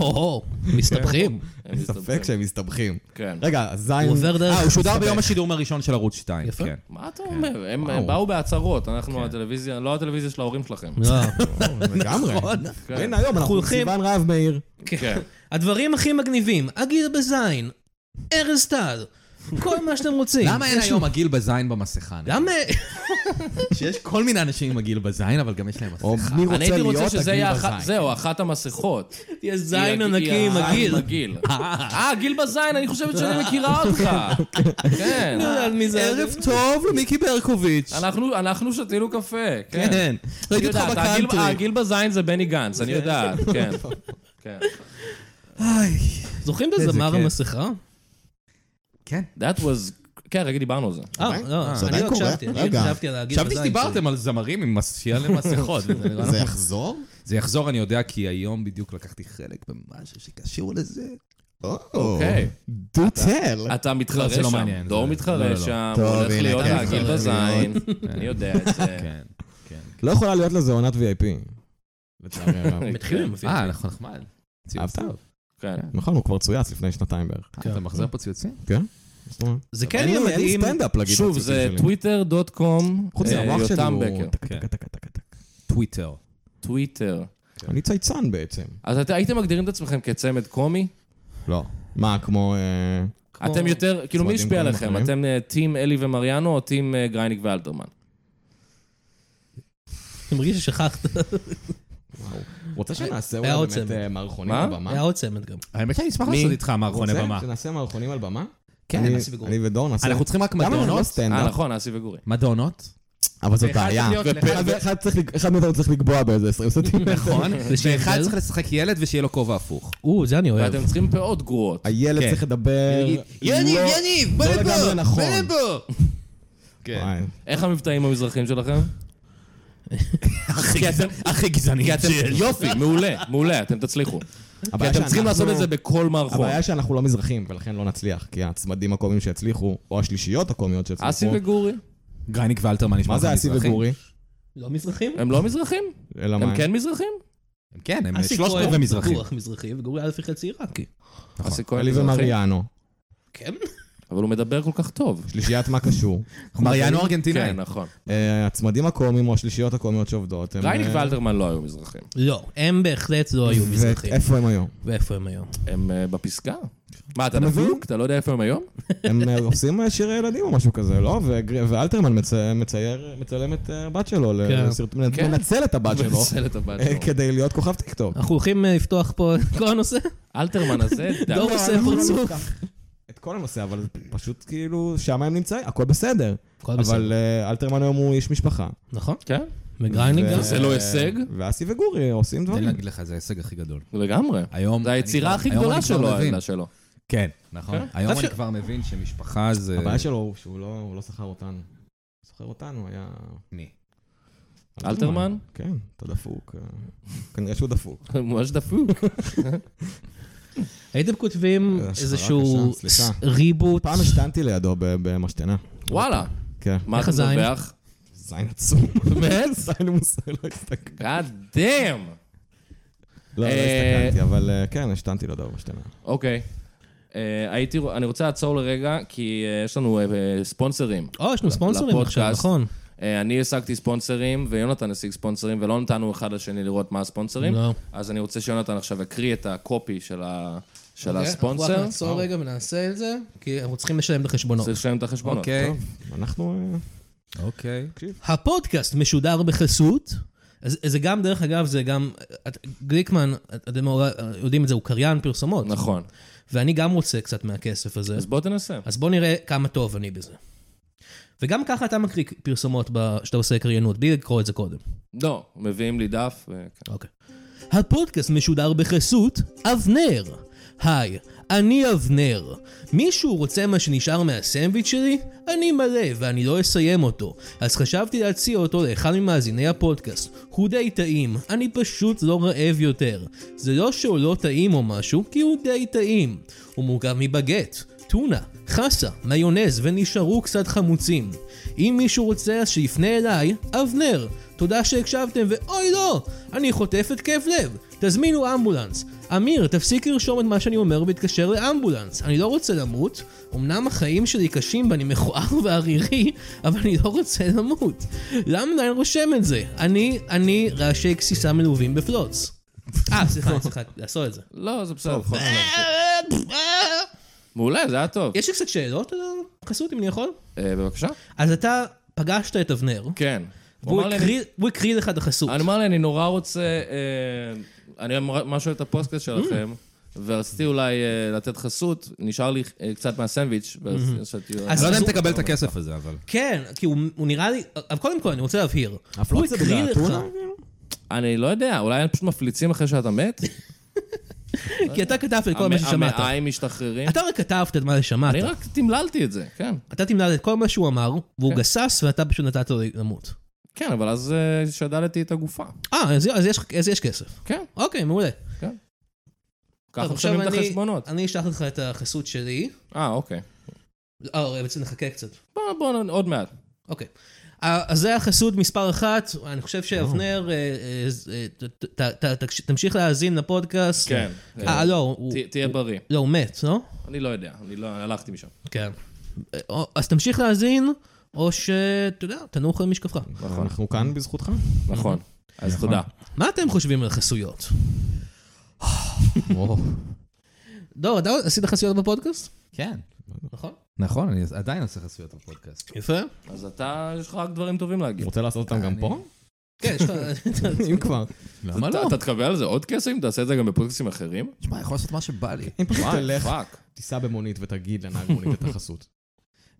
Speaker 3: או, מסתבכים.
Speaker 2: הם מסתבכים.
Speaker 4: ספק שהם מסתבכים.
Speaker 2: כן.
Speaker 4: רגע, זין...
Speaker 3: הוא עובר דרך...
Speaker 5: אה, הוא שודר ביום השידור הראשון של ערוץ 2.
Speaker 3: יפה.
Speaker 5: כן.
Speaker 2: מה אתה אומר? הם הם באו בהצהרות, אנחנו הטלוויזיה, לא הטלוויזיה של ההורים שלכם.
Speaker 3: לא.
Speaker 4: לגמרי.
Speaker 2: כן.
Speaker 4: הנה היום, אנחנו עם
Speaker 3: הולכים-
Speaker 4: סיוון רהב מאיר.
Speaker 2: כן.
Speaker 3: הדברים הכי מגניבים, הגיל בזין, ארז טל, כל מה שאתם רוצים.
Speaker 5: למה אין
Speaker 3: יש-
Speaker 5: היום הגיל בזין במסכה?
Speaker 3: למה...
Speaker 5: שיש כל מיני אנשים עם הגיל בזין, אבל גם יש להם מסכה.
Speaker 4: או מי
Speaker 2: אני
Speaker 4: רוצה
Speaker 2: הייתי רוצה
Speaker 4: להיות
Speaker 2: שזה
Speaker 4: הגיל
Speaker 2: יהיה
Speaker 4: בזין.
Speaker 2: אחת, זהו, אחת המסכות.
Speaker 3: יש זין
Speaker 2: היא-
Speaker 3: ענקי
Speaker 2: היא
Speaker 3: עם הגיל.
Speaker 2: הזין מגעיל. אה, גיל בזין, אני חושבת שאני מכירה אותך. כן.
Speaker 3: על מי זה?
Speaker 5: אה, ערב טוב למיקי ברקוביץ'.
Speaker 2: אנחנו- אנחנו שתינו קפה, כן.
Speaker 5: כן. ראיתי
Speaker 2: אני
Speaker 5: אותך
Speaker 2: יודעת, הגיל-
Speaker 5: בקאנטרי.
Speaker 2: הגיל בזין זה בני גנץ, אני יודעת, כן. כן.
Speaker 3: זוכרים את הזמר
Speaker 5: כיף.
Speaker 3: המסכה?
Speaker 5: כן.
Speaker 2: That was... כן, רגע דיברנו על זה.
Speaker 3: אה, לא,
Speaker 4: זה
Speaker 3: אני
Speaker 4: עדיין
Speaker 3: לא
Speaker 4: קורה?
Speaker 3: הקשבתי, אני
Speaker 4: רגע.
Speaker 3: הקשבתי על הגיל בזין. כאילו.
Speaker 5: חשבתי שדיברתם על זמרים עם מס- שיהיה להם מסכות. וזה נראה
Speaker 4: זה
Speaker 5: לנו-
Speaker 4: יחזור?
Speaker 5: זה יחזור, אני יודע, כי היום בדיוק לקחתי חלק במשהו שקשור לזה.
Speaker 4: אוקיי.
Speaker 2: אוקיי.
Speaker 4: דו טל.
Speaker 2: אתה מתחרה
Speaker 5: לא, זה לא מעניין,
Speaker 2: שם, דור
Speaker 5: זה- לא, לא,
Speaker 2: מתחרה
Speaker 5: לא.
Speaker 2: שם,
Speaker 4: טוב,
Speaker 2: הוא הולך
Speaker 4: הנה,
Speaker 2: להיות
Speaker 4: כן,
Speaker 2: הגיל
Speaker 4: חברים,
Speaker 2: בזין,
Speaker 5: כן.
Speaker 2: אני יודע את זה.
Speaker 5: כן. כן.
Speaker 4: לא יכולה להיות לזה עונת VIP. לצערי הרב.
Speaker 2: כן.
Speaker 3: מתחילים אפילו.
Speaker 5: אה, נכון, נחמד.
Speaker 4: אהבת?
Speaker 2: כן.
Speaker 4: נכון, הוא כבר צויץ לפני שנתיים בערך.
Speaker 5: אה, אתה מחזיר פה ציוצים?
Speaker 3: זה כן
Speaker 4: אין
Speaker 3: יהיה
Speaker 4: לי- אין לי
Speaker 3: מדהים.
Speaker 4: סטנדאפ להגיד.
Speaker 2: שוב,
Speaker 4: לציוצים
Speaker 2: זה
Speaker 4: שלי.
Speaker 2: טוויטר.קום,
Speaker 4: חוץ מהמוח שלי
Speaker 2: אה, יותם
Speaker 4: הוא...
Speaker 2: בקר.
Speaker 4: טק,
Speaker 5: כן.
Speaker 4: טק, טק, טק, טק.
Speaker 5: טוויטר.
Speaker 2: טוויטר.
Speaker 4: אני צייצן בעצם.
Speaker 2: אז אתם- הייתם מגדירים את עצמכם כצמד קומי?
Speaker 4: לא. מה, כמו... אה,
Speaker 3: כמו-
Speaker 2: אתם יותר, כאילו מי
Speaker 4: צמדים
Speaker 2: השפיע
Speaker 4: קומיים
Speaker 2: עליכם?
Speaker 4: אחרים?
Speaker 2: אתם אה, טים אלי ומריאנו או טים אה, גרייניק ואלתרמן?
Speaker 3: אני מרגיש ששכחת.
Speaker 4: רוצה שנעשה
Speaker 3: היה
Speaker 4: אולי
Speaker 3: עוד
Speaker 4: באמת
Speaker 3: צמד.
Speaker 4: אה, מערכונים
Speaker 2: מה?
Speaker 4: על במה?
Speaker 3: היה עוד צמד גם.
Speaker 5: האמת שאני אשמח
Speaker 2: מי?
Speaker 5: לעשות איתך מערכוני
Speaker 4: רוצה כן.
Speaker 5: במה.
Speaker 4: שנעשה מערכונים על במה?
Speaker 5: כן,
Speaker 4: אני-
Speaker 5: נעשה בגרוע.
Speaker 4: אני ודור נעשה...
Speaker 5: אנחנו צריכים רק
Speaker 4: למה אנחנו לא
Speaker 5: מדעונות.
Speaker 2: אה,
Speaker 4: סטנדאפ?
Speaker 2: נכון, אסי וגורי.
Speaker 5: מדעונות?
Speaker 4: אבל זאת
Speaker 5: ואחד
Speaker 4: בעיה.
Speaker 5: צריך להיות-
Speaker 4: אחד- אחד צריך לק- אחד מאיתנו צריך לקבוע באיזה 20 סנטימטר.
Speaker 5: נכון. ואחד
Speaker 3: הבדל?
Speaker 5: צריך לשחק ילד ושיהיה לו כובע הפוך.
Speaker 3: או, זה אני אוהב.
Speaker 2: ואתם צריכים פאות גרועות.
Speaker 4: הילד
Speaker 5: כן.
Speaker 4: צריך לדבר... לא-
Speaker 5: יניב,
Speaker 4: לא לגמרי נכון.
Speaker 5: לפה. כן.
Speaker 4: וואי.
Speaker 2: איך המבטאים המזרחים שלכם?
Speaker 5: כי אתם- הכי גזעני
Speaker 2: כי אתם, יופי, מעולה, מעולה, אתם תצליחו. כי
Speaker 4: הבעיה
Speaker 2: אתם צריכים
Speaker 4: שאנחנו-
Speaker 2: לעשות את זה בכל מערכון.
Speaker 4: הבעיה שאנחנו לא מזרחים, ולכן לא נצליח, כי הצמדים הקומיים שהצליחו, או השלישיות הקומיות שהצליחו...
Speaker 2: אסי וגורי,
Speaker 5: גרייניק ואלתרמן נשמע
Speaker 4: מה זה
Speaker 5: לך
Speaker 4: אסי
Speaker 5: מזרחי?
Speaker 4: וגורי?
Speaker 3: לא מזרחים?
Speaker 2: הם לא מזרחים?
Speaker 4: אלא מה?
Speaker 2: הם כן מזרחים?
Speaker 5: הם כן, הם
Speaker 3: אסי
Speaker 5: שלושת
Speaker 3: כהן
Speaker 5: רבעי מזרחים.
Speaker 3: בטוח מזרחי, וגורי אלפי חצי עיראקי.
Speaker 2: אסי כהן
Speaker 4: נכון. אלי
Speaker 2: מזרחי.
Speaker 4: ומריאנו.
Speaker 3: כן?
Speaker 2: אבל הוא מדבר כל כך טוב.
Speaker 4: שלישיית מה קשור.
Speaker 5: מריאנו ארגנטינאי.
Speaker 2: כן, נכון.
Speaker 4: אה, הצמדים הקומיים או השלישיות הקומיות שעובדות. הם,
Speaker 2: רייניק
Speaker 4: אה,
Speaker 2: ואלתרמן לא היו מזרחים.
Speaker 3: לא, הם בהחלט לא היו מזרחים.
Speaker 4: ואיפה הם היום?
Speaker 3: ואיפה הם היום?
Speaker 2: הם אה, בפסגה. מה, אתה
Speaker 4: כן. אתה מבין?
Speaker 2: דפוק? אתה לא יודע איפה הם היום?
Speaker 4: הם אה, עושים אה, שירי ילדים או משהו כזה, לא? וגר- ואלתרמן מצ- מצייר, מצלם את אה, הבת שלו,
Speaker 3: כן.
Speaker 4: לסרט-
Speaker 2: כן.
Speaker 4: מנצל את הבת שלו,
Speaker 2: מנצל את הבת
Speaker 4: אה,
Speaker 2: שלו.
Speaker 4: כדי להיות כוכב טיקטוק.
Speaker 3: אנחנו הולכים אה, לפתוח פה את כל הנושא?
Speaker 2: אלתרמן הזה, די.
Speaker 3: דור עושה פרצוף.
Speaker 4: לא את כל הנושא, אבל זה פשוט כאילו, שם הם נמצאים, הכל בסדר.
Speaker 3: הכל בסדר.
Speaker 4: אבל אה, אלתרמן היום הוא איש משפחה.
Speaker 3: נכון?
Speaker 2: כן,
Speaker 3: וגריינינג גם?
Speaker 4: אה.
Speaker 2: זה לא הישג?
Speaker 4: ואסי וגורי עושים
Speaker 5: תן לי
Speaker 4: דברים.
Speaker 5: להגיד לך, זה ההישג הכי גדול.
Speaker 2: לגמרי.
Speaker 5: היום...
Speaker 2: זו
Speaker 5: אני
Speaker 2: נכון. היצירה
Speaker 5: כבר-
Speaker 2: הכי
Speaker 5: היום
Speaker 2: גדולה
Speaker 5: אני כבר לא
Speaker 2: שלו, אה,
Speaker 5: מבין.
Speaker 2: העמדה שלו.
Speaker 5: כן, נכון.
Speaker 2: כן.
Speaker 5: היום
Speaker 3: אז
Speaker 5: אני
Speaker 3: ש-
Speaker 5: כבר מבין שמשפחה זה...
Speaker 4: הבעיה שלו הוא שהוא לא הוא לא שכר אותנו. הוא שכר אותנו, היה...
Speaker 5: אני.
Speaker 2: אלתרמן?
Speaker 4: כן, אתה דפוק. אה, כנראה שהוא דפוק.
Speaker 2: הוא ממש דפוק.
Speaker 3: הייתם כותבים
Speaker 4: אה,
Speaker 3: איזשהו
Speaker 4: קשה,
Speaker 3: ס-
Speaker 4: סליחה.
Speaker 3: ריבוט?
Speaker 4: פעם השתנתי לידו ב- במשתנה.
Speaker 2: וואלה.
Speaker 4: כן.
Speaker 2: מה
Speaker 3: איך
Speaker 2: אתה
Speaker 3: הזין?
Speaker 2: מדווח?
Speaker 4: זין עצום.
Speaker 5: כן?
Speaker 2: באמת?
Speaker 4: זין מוסר, לא הסתכלתי.
Speaker 2: God damn.
Speaker 4: לא, לא
Speaker 2: אה,
Speaker 4: הסתכלתי, אבל אה, כן, השתנתי לידו במשתנה.
Speaker 2: אוקיי. אה, הייתי, אני רוצה לעצור לרגע, כי אה, יש לנו אה, אה, ספונסרים.
Speaker 3: או, יש לנו ספונסרים עכשיו,
Speaker 2: לפודקאסט.
Speaker 3: נכון.
Speaker 2: אה, אני השגתי ספונסרים, ויונתן השיג ספונסרים, ולא נתנו אחד לשני לראות מה הספונסרים.
Speaker 3: לא.
Speaker 2: אז אני רוצה שיונתן עכשיו יקריא את הקופי של ה- של
Speaker 3: אוקיי, אנחנו רק
Speaker 2: הספונסר. אה.
Speaker 3: נעצור רגע ונעשה את זה, כי אנחנו צריכים לשלם את החשבונות.
Speaker 2: צריך לשלם את החשבונות.
Speaker 5: אוקיי,
Speaker 4: אנחנו... אה,
Speaker 5: אוקיי.
Speaker 3: הפודקאסט משודר בחסות. אז זה גם, דרך אגב, זה גם, את- גליקמן, את- אתם מעורב- יודעים את זה, הוא קריין פרסומות.
Speaker 2: נכון.
Speaker 5: אה.
Speaker 3: ואני גם רוצה קצת מהכסף הזה.
Speaker 2: אז בוא תנסה.
Speaker 3: אז בוא נראה כמה טוב אני בזה. וגם ככה אתה מקריא פרסומות ב- שאתה עושה קריינות, בלי לקרוא את זה קודם.
Speaker 2: לא, מביאים לי דף. אה, ו-
Speaker 3: אוקיי. הפודקאסט משודר בחסות אבנר. היי, אני אבנר. מישהו רוצה מה שנשאר מהסנדוויץ' שלי? אני מלא ואני לא אסיים אותו. אז חשבתי להציע אותו לאחד ממאזיני הפודקאסט. הוא די טעים, אני פשוט לא רעב יותר. זה לא שהוא לא טעים או משהו, כי הוא די טעים. הוא מורכב מבגט, טונה, חסה, מיונז ונשארו קצת חמוצים. אם מישהו רוצה אז שיפנה אליי, אבנר. תודה שהקשבתם ואוי לא! אני חוטף התקף לב! תזמינו אמבולנס. אמיר, תפסיק לרשום את מה שאני אומר והתקשר לאמבולנס. אני לא רוצה למות. אמנם החיים שלי קשים ואני מכוער וערירי, אבל אני לא רוצה למות. למה אני רושם את זה? אני, אני רעשי גסיסה מלווים בפלוץ. אה, סליחה, סליחה, לעשות את זה.
Speaker 2: לא, זה בסדר. יכול
Speaker 5: אה.
Speaker 2: להיות. מעולה, זה היה טוב.
Speaker 3: אה! יש לי קצת שאלות על החסות, אם אני יכול?
Speaker 2: אה, בבקשה.
Speaker 3: אז אתה פגשת את אבנר,
Speaker 2: כן. הוא
Speaker 3: והוא
Speaker 2: אמר לי,
Speaker 3: הקריא- הוא הקריא לך את החסות.
Speaker 2: אני אמר לי, אני נורא רוצה... אה, אני ממש אוהב את הפוסטקאסט שלכם,
Speaker 3: Mm.
Speaker 2: ורציתי אולי אה, לתת חסות, נשאר לי אה, קצת מהסנדוויץ', ורציתי...
Speaker 3: Mm-hmm. אז-
Speaker 5: אני לא יודע
Speaker 3: אז
Speaker 5: אם
Speaker 3: הוא-
Speaker 5: תקבל את הכסף הזה, אבל...
Speaker 3: כן, כי הוא הוא נראה לי... אבל קודם כל, אני רוצה להבהיר. הוא
Speaker 4: הפלוץ זה
Speaker 3: הקריא
Speaker 4: בגלל
Speaker 3: לך,
Speaker 4: אתונה?
Speaker 2: לא- אני לא יודע, אולי הם פשוט מפליצים אחרי שאתה מת?
Speaker 3: כי אתה כתבת את כל מה
Speaker 2: המ-
Speaker 3: ששמעת.
Speaker 2: המעיים משתחררים?
Speaker 3: אתה רק כתבת את מה ששמעת.
Speaker 2: אני רק תמללתי את זה, כן.
Speaker 3: אתה תמדד את כל מה שהוא אמר, והוא
Speaker 2: כן.
Speaker 3: גסס, ואתה פשוט נתת לו למות.
Speaker 2: כן, אבל אז אה, שדדתי את הגופה.
Speaker 3: אה, אז- אז יש- אז יש כסף.
Speaker 2: כן,
Speaker 3: אוקיי, מעולה.
Speaker 2: ככה
Speaker 3: טוב,
Speaker 2: משלמים את
Speaker 3: עכשיו אני-
Speaker 2: החשבונות.
Speaker 3: אני אשלח לך את החסות שלי.
Speaker 2: אה, אוקיי.
Speaker 3: אה, רגע, בעצם נחכה קצת.
Speaker 2: בוא, בוא, נ- עוד מעט.
Speaker 3: אוקיי. אה, אז זה החסות מספר אחת, אני חושב שאבנר, אה, אה, אה, ת- ת- ת- ת- תמשיך להאזין לפודקאסט.
Speaker 2: כן.
Speaker 3: אה, לא, הוא...
Speaker 2: ת- תהיה בריא.
Speaker 3: לא, הוא מת, לא?
Speaker 2: אני לא יודע, אני לא, הלכתי משם.
Speaker 3: כן. אה, או- אז תמשיך להאזין, או שאתה יודע, תנוח על משקפך.
Speaker 4: אנחנו כאן בזכותך.
Speaker 2: נכון. אז תודה.
Speaker 3: מה אתם חושבים על חסויות? דור, אתה עשית חסויות בפודקאסט?
Speaker 5: כן.
Speaker 3: נכון.
Speaker 5: נכון, אני עדיין עושה חסויות בפודקאסט.
Speaker 3: יפה.
Speaker 2: אז אתה, יש לך רק דברים טובים להגיד.
Speaker 4: רוצה לעשות אותם גם פה?
Speaker 3: כן, יש לך...
Speaker 4: אם כבר.
Speaker 5: למה
Speaker 2: אתה-
Speaker 5: לא?
Speaker 2: אתה תקבל על זה עוד כסף אם תעשה את זה גם בפודקאסטים אחרים?
Speaker 5: תשמע, יכול לעשות מה שבא לי.
Speaker 4: אם פשוט
Speaker 2: וואי,
Speaker 4: תלך,
Speaker 2: פאק.
Speaker 4: תיסע במונית ותגיד לנהג מונית את החסות.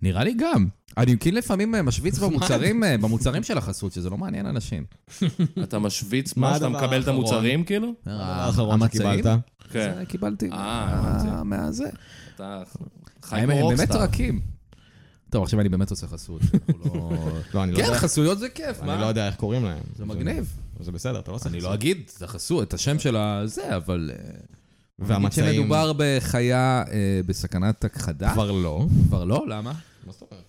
Speaker 5: נראה לי גם. אני כאילו לפעמים אה, משוויץ במוצרים, אה, במוצרים של החסות, שזה לא מעניין אנשים.
Speaker 2: אתה משוויץ
Speaker 4: מה
Speaker 2: מה שאתה
Speaker 4: הדבר
Speaker 2: מקבל את
Speaker 4: האחרון?
Speaker 2: המוצרים, כאילו?
Speaker 3: אה,
Speaker 5: אה,
Speaker 4: האחרון
Speaker 5: המצעים?
Speaker 4: שקיבלת.
Speaker 2: כן.
Speaker 5: זה קיבלתי.
Speaker 2: אה, הבנתי.
Speaker 5: מה- מהזה.
Speaker 2: אתה חי
Speaker 5: הם
Speaker 2: כמו
Speaker 5: הם באמת
Speaker 2: רוקסטאר.
Speaker 5: רכים. טוב, עכשיו אני באמת עושה חסות. אנחנו לא-
Speaker 4: לא, אני לא
Speaker 5: כן,
Speaker 4: יודע.
Speaker 5: חסויות זה כיף,
Speaker 4: אני לא
Speaker 5: מה?
Speaker 4: יודע איך קוראים להם.
Speaker 5: זה מגניב.
Speaker 4: זה בסדר, אתה לא צריך.
Speaker 5: אני לא אגיד את החסות, את השם של הזה, אבל... אה, נגיד
Speaker 4: והמצעים
Speaker 5: שמדובר בחיה אה, בסכנת הכחדה.
Speaker 4: כבר לא.
Speaker 5: כבר לא? למה?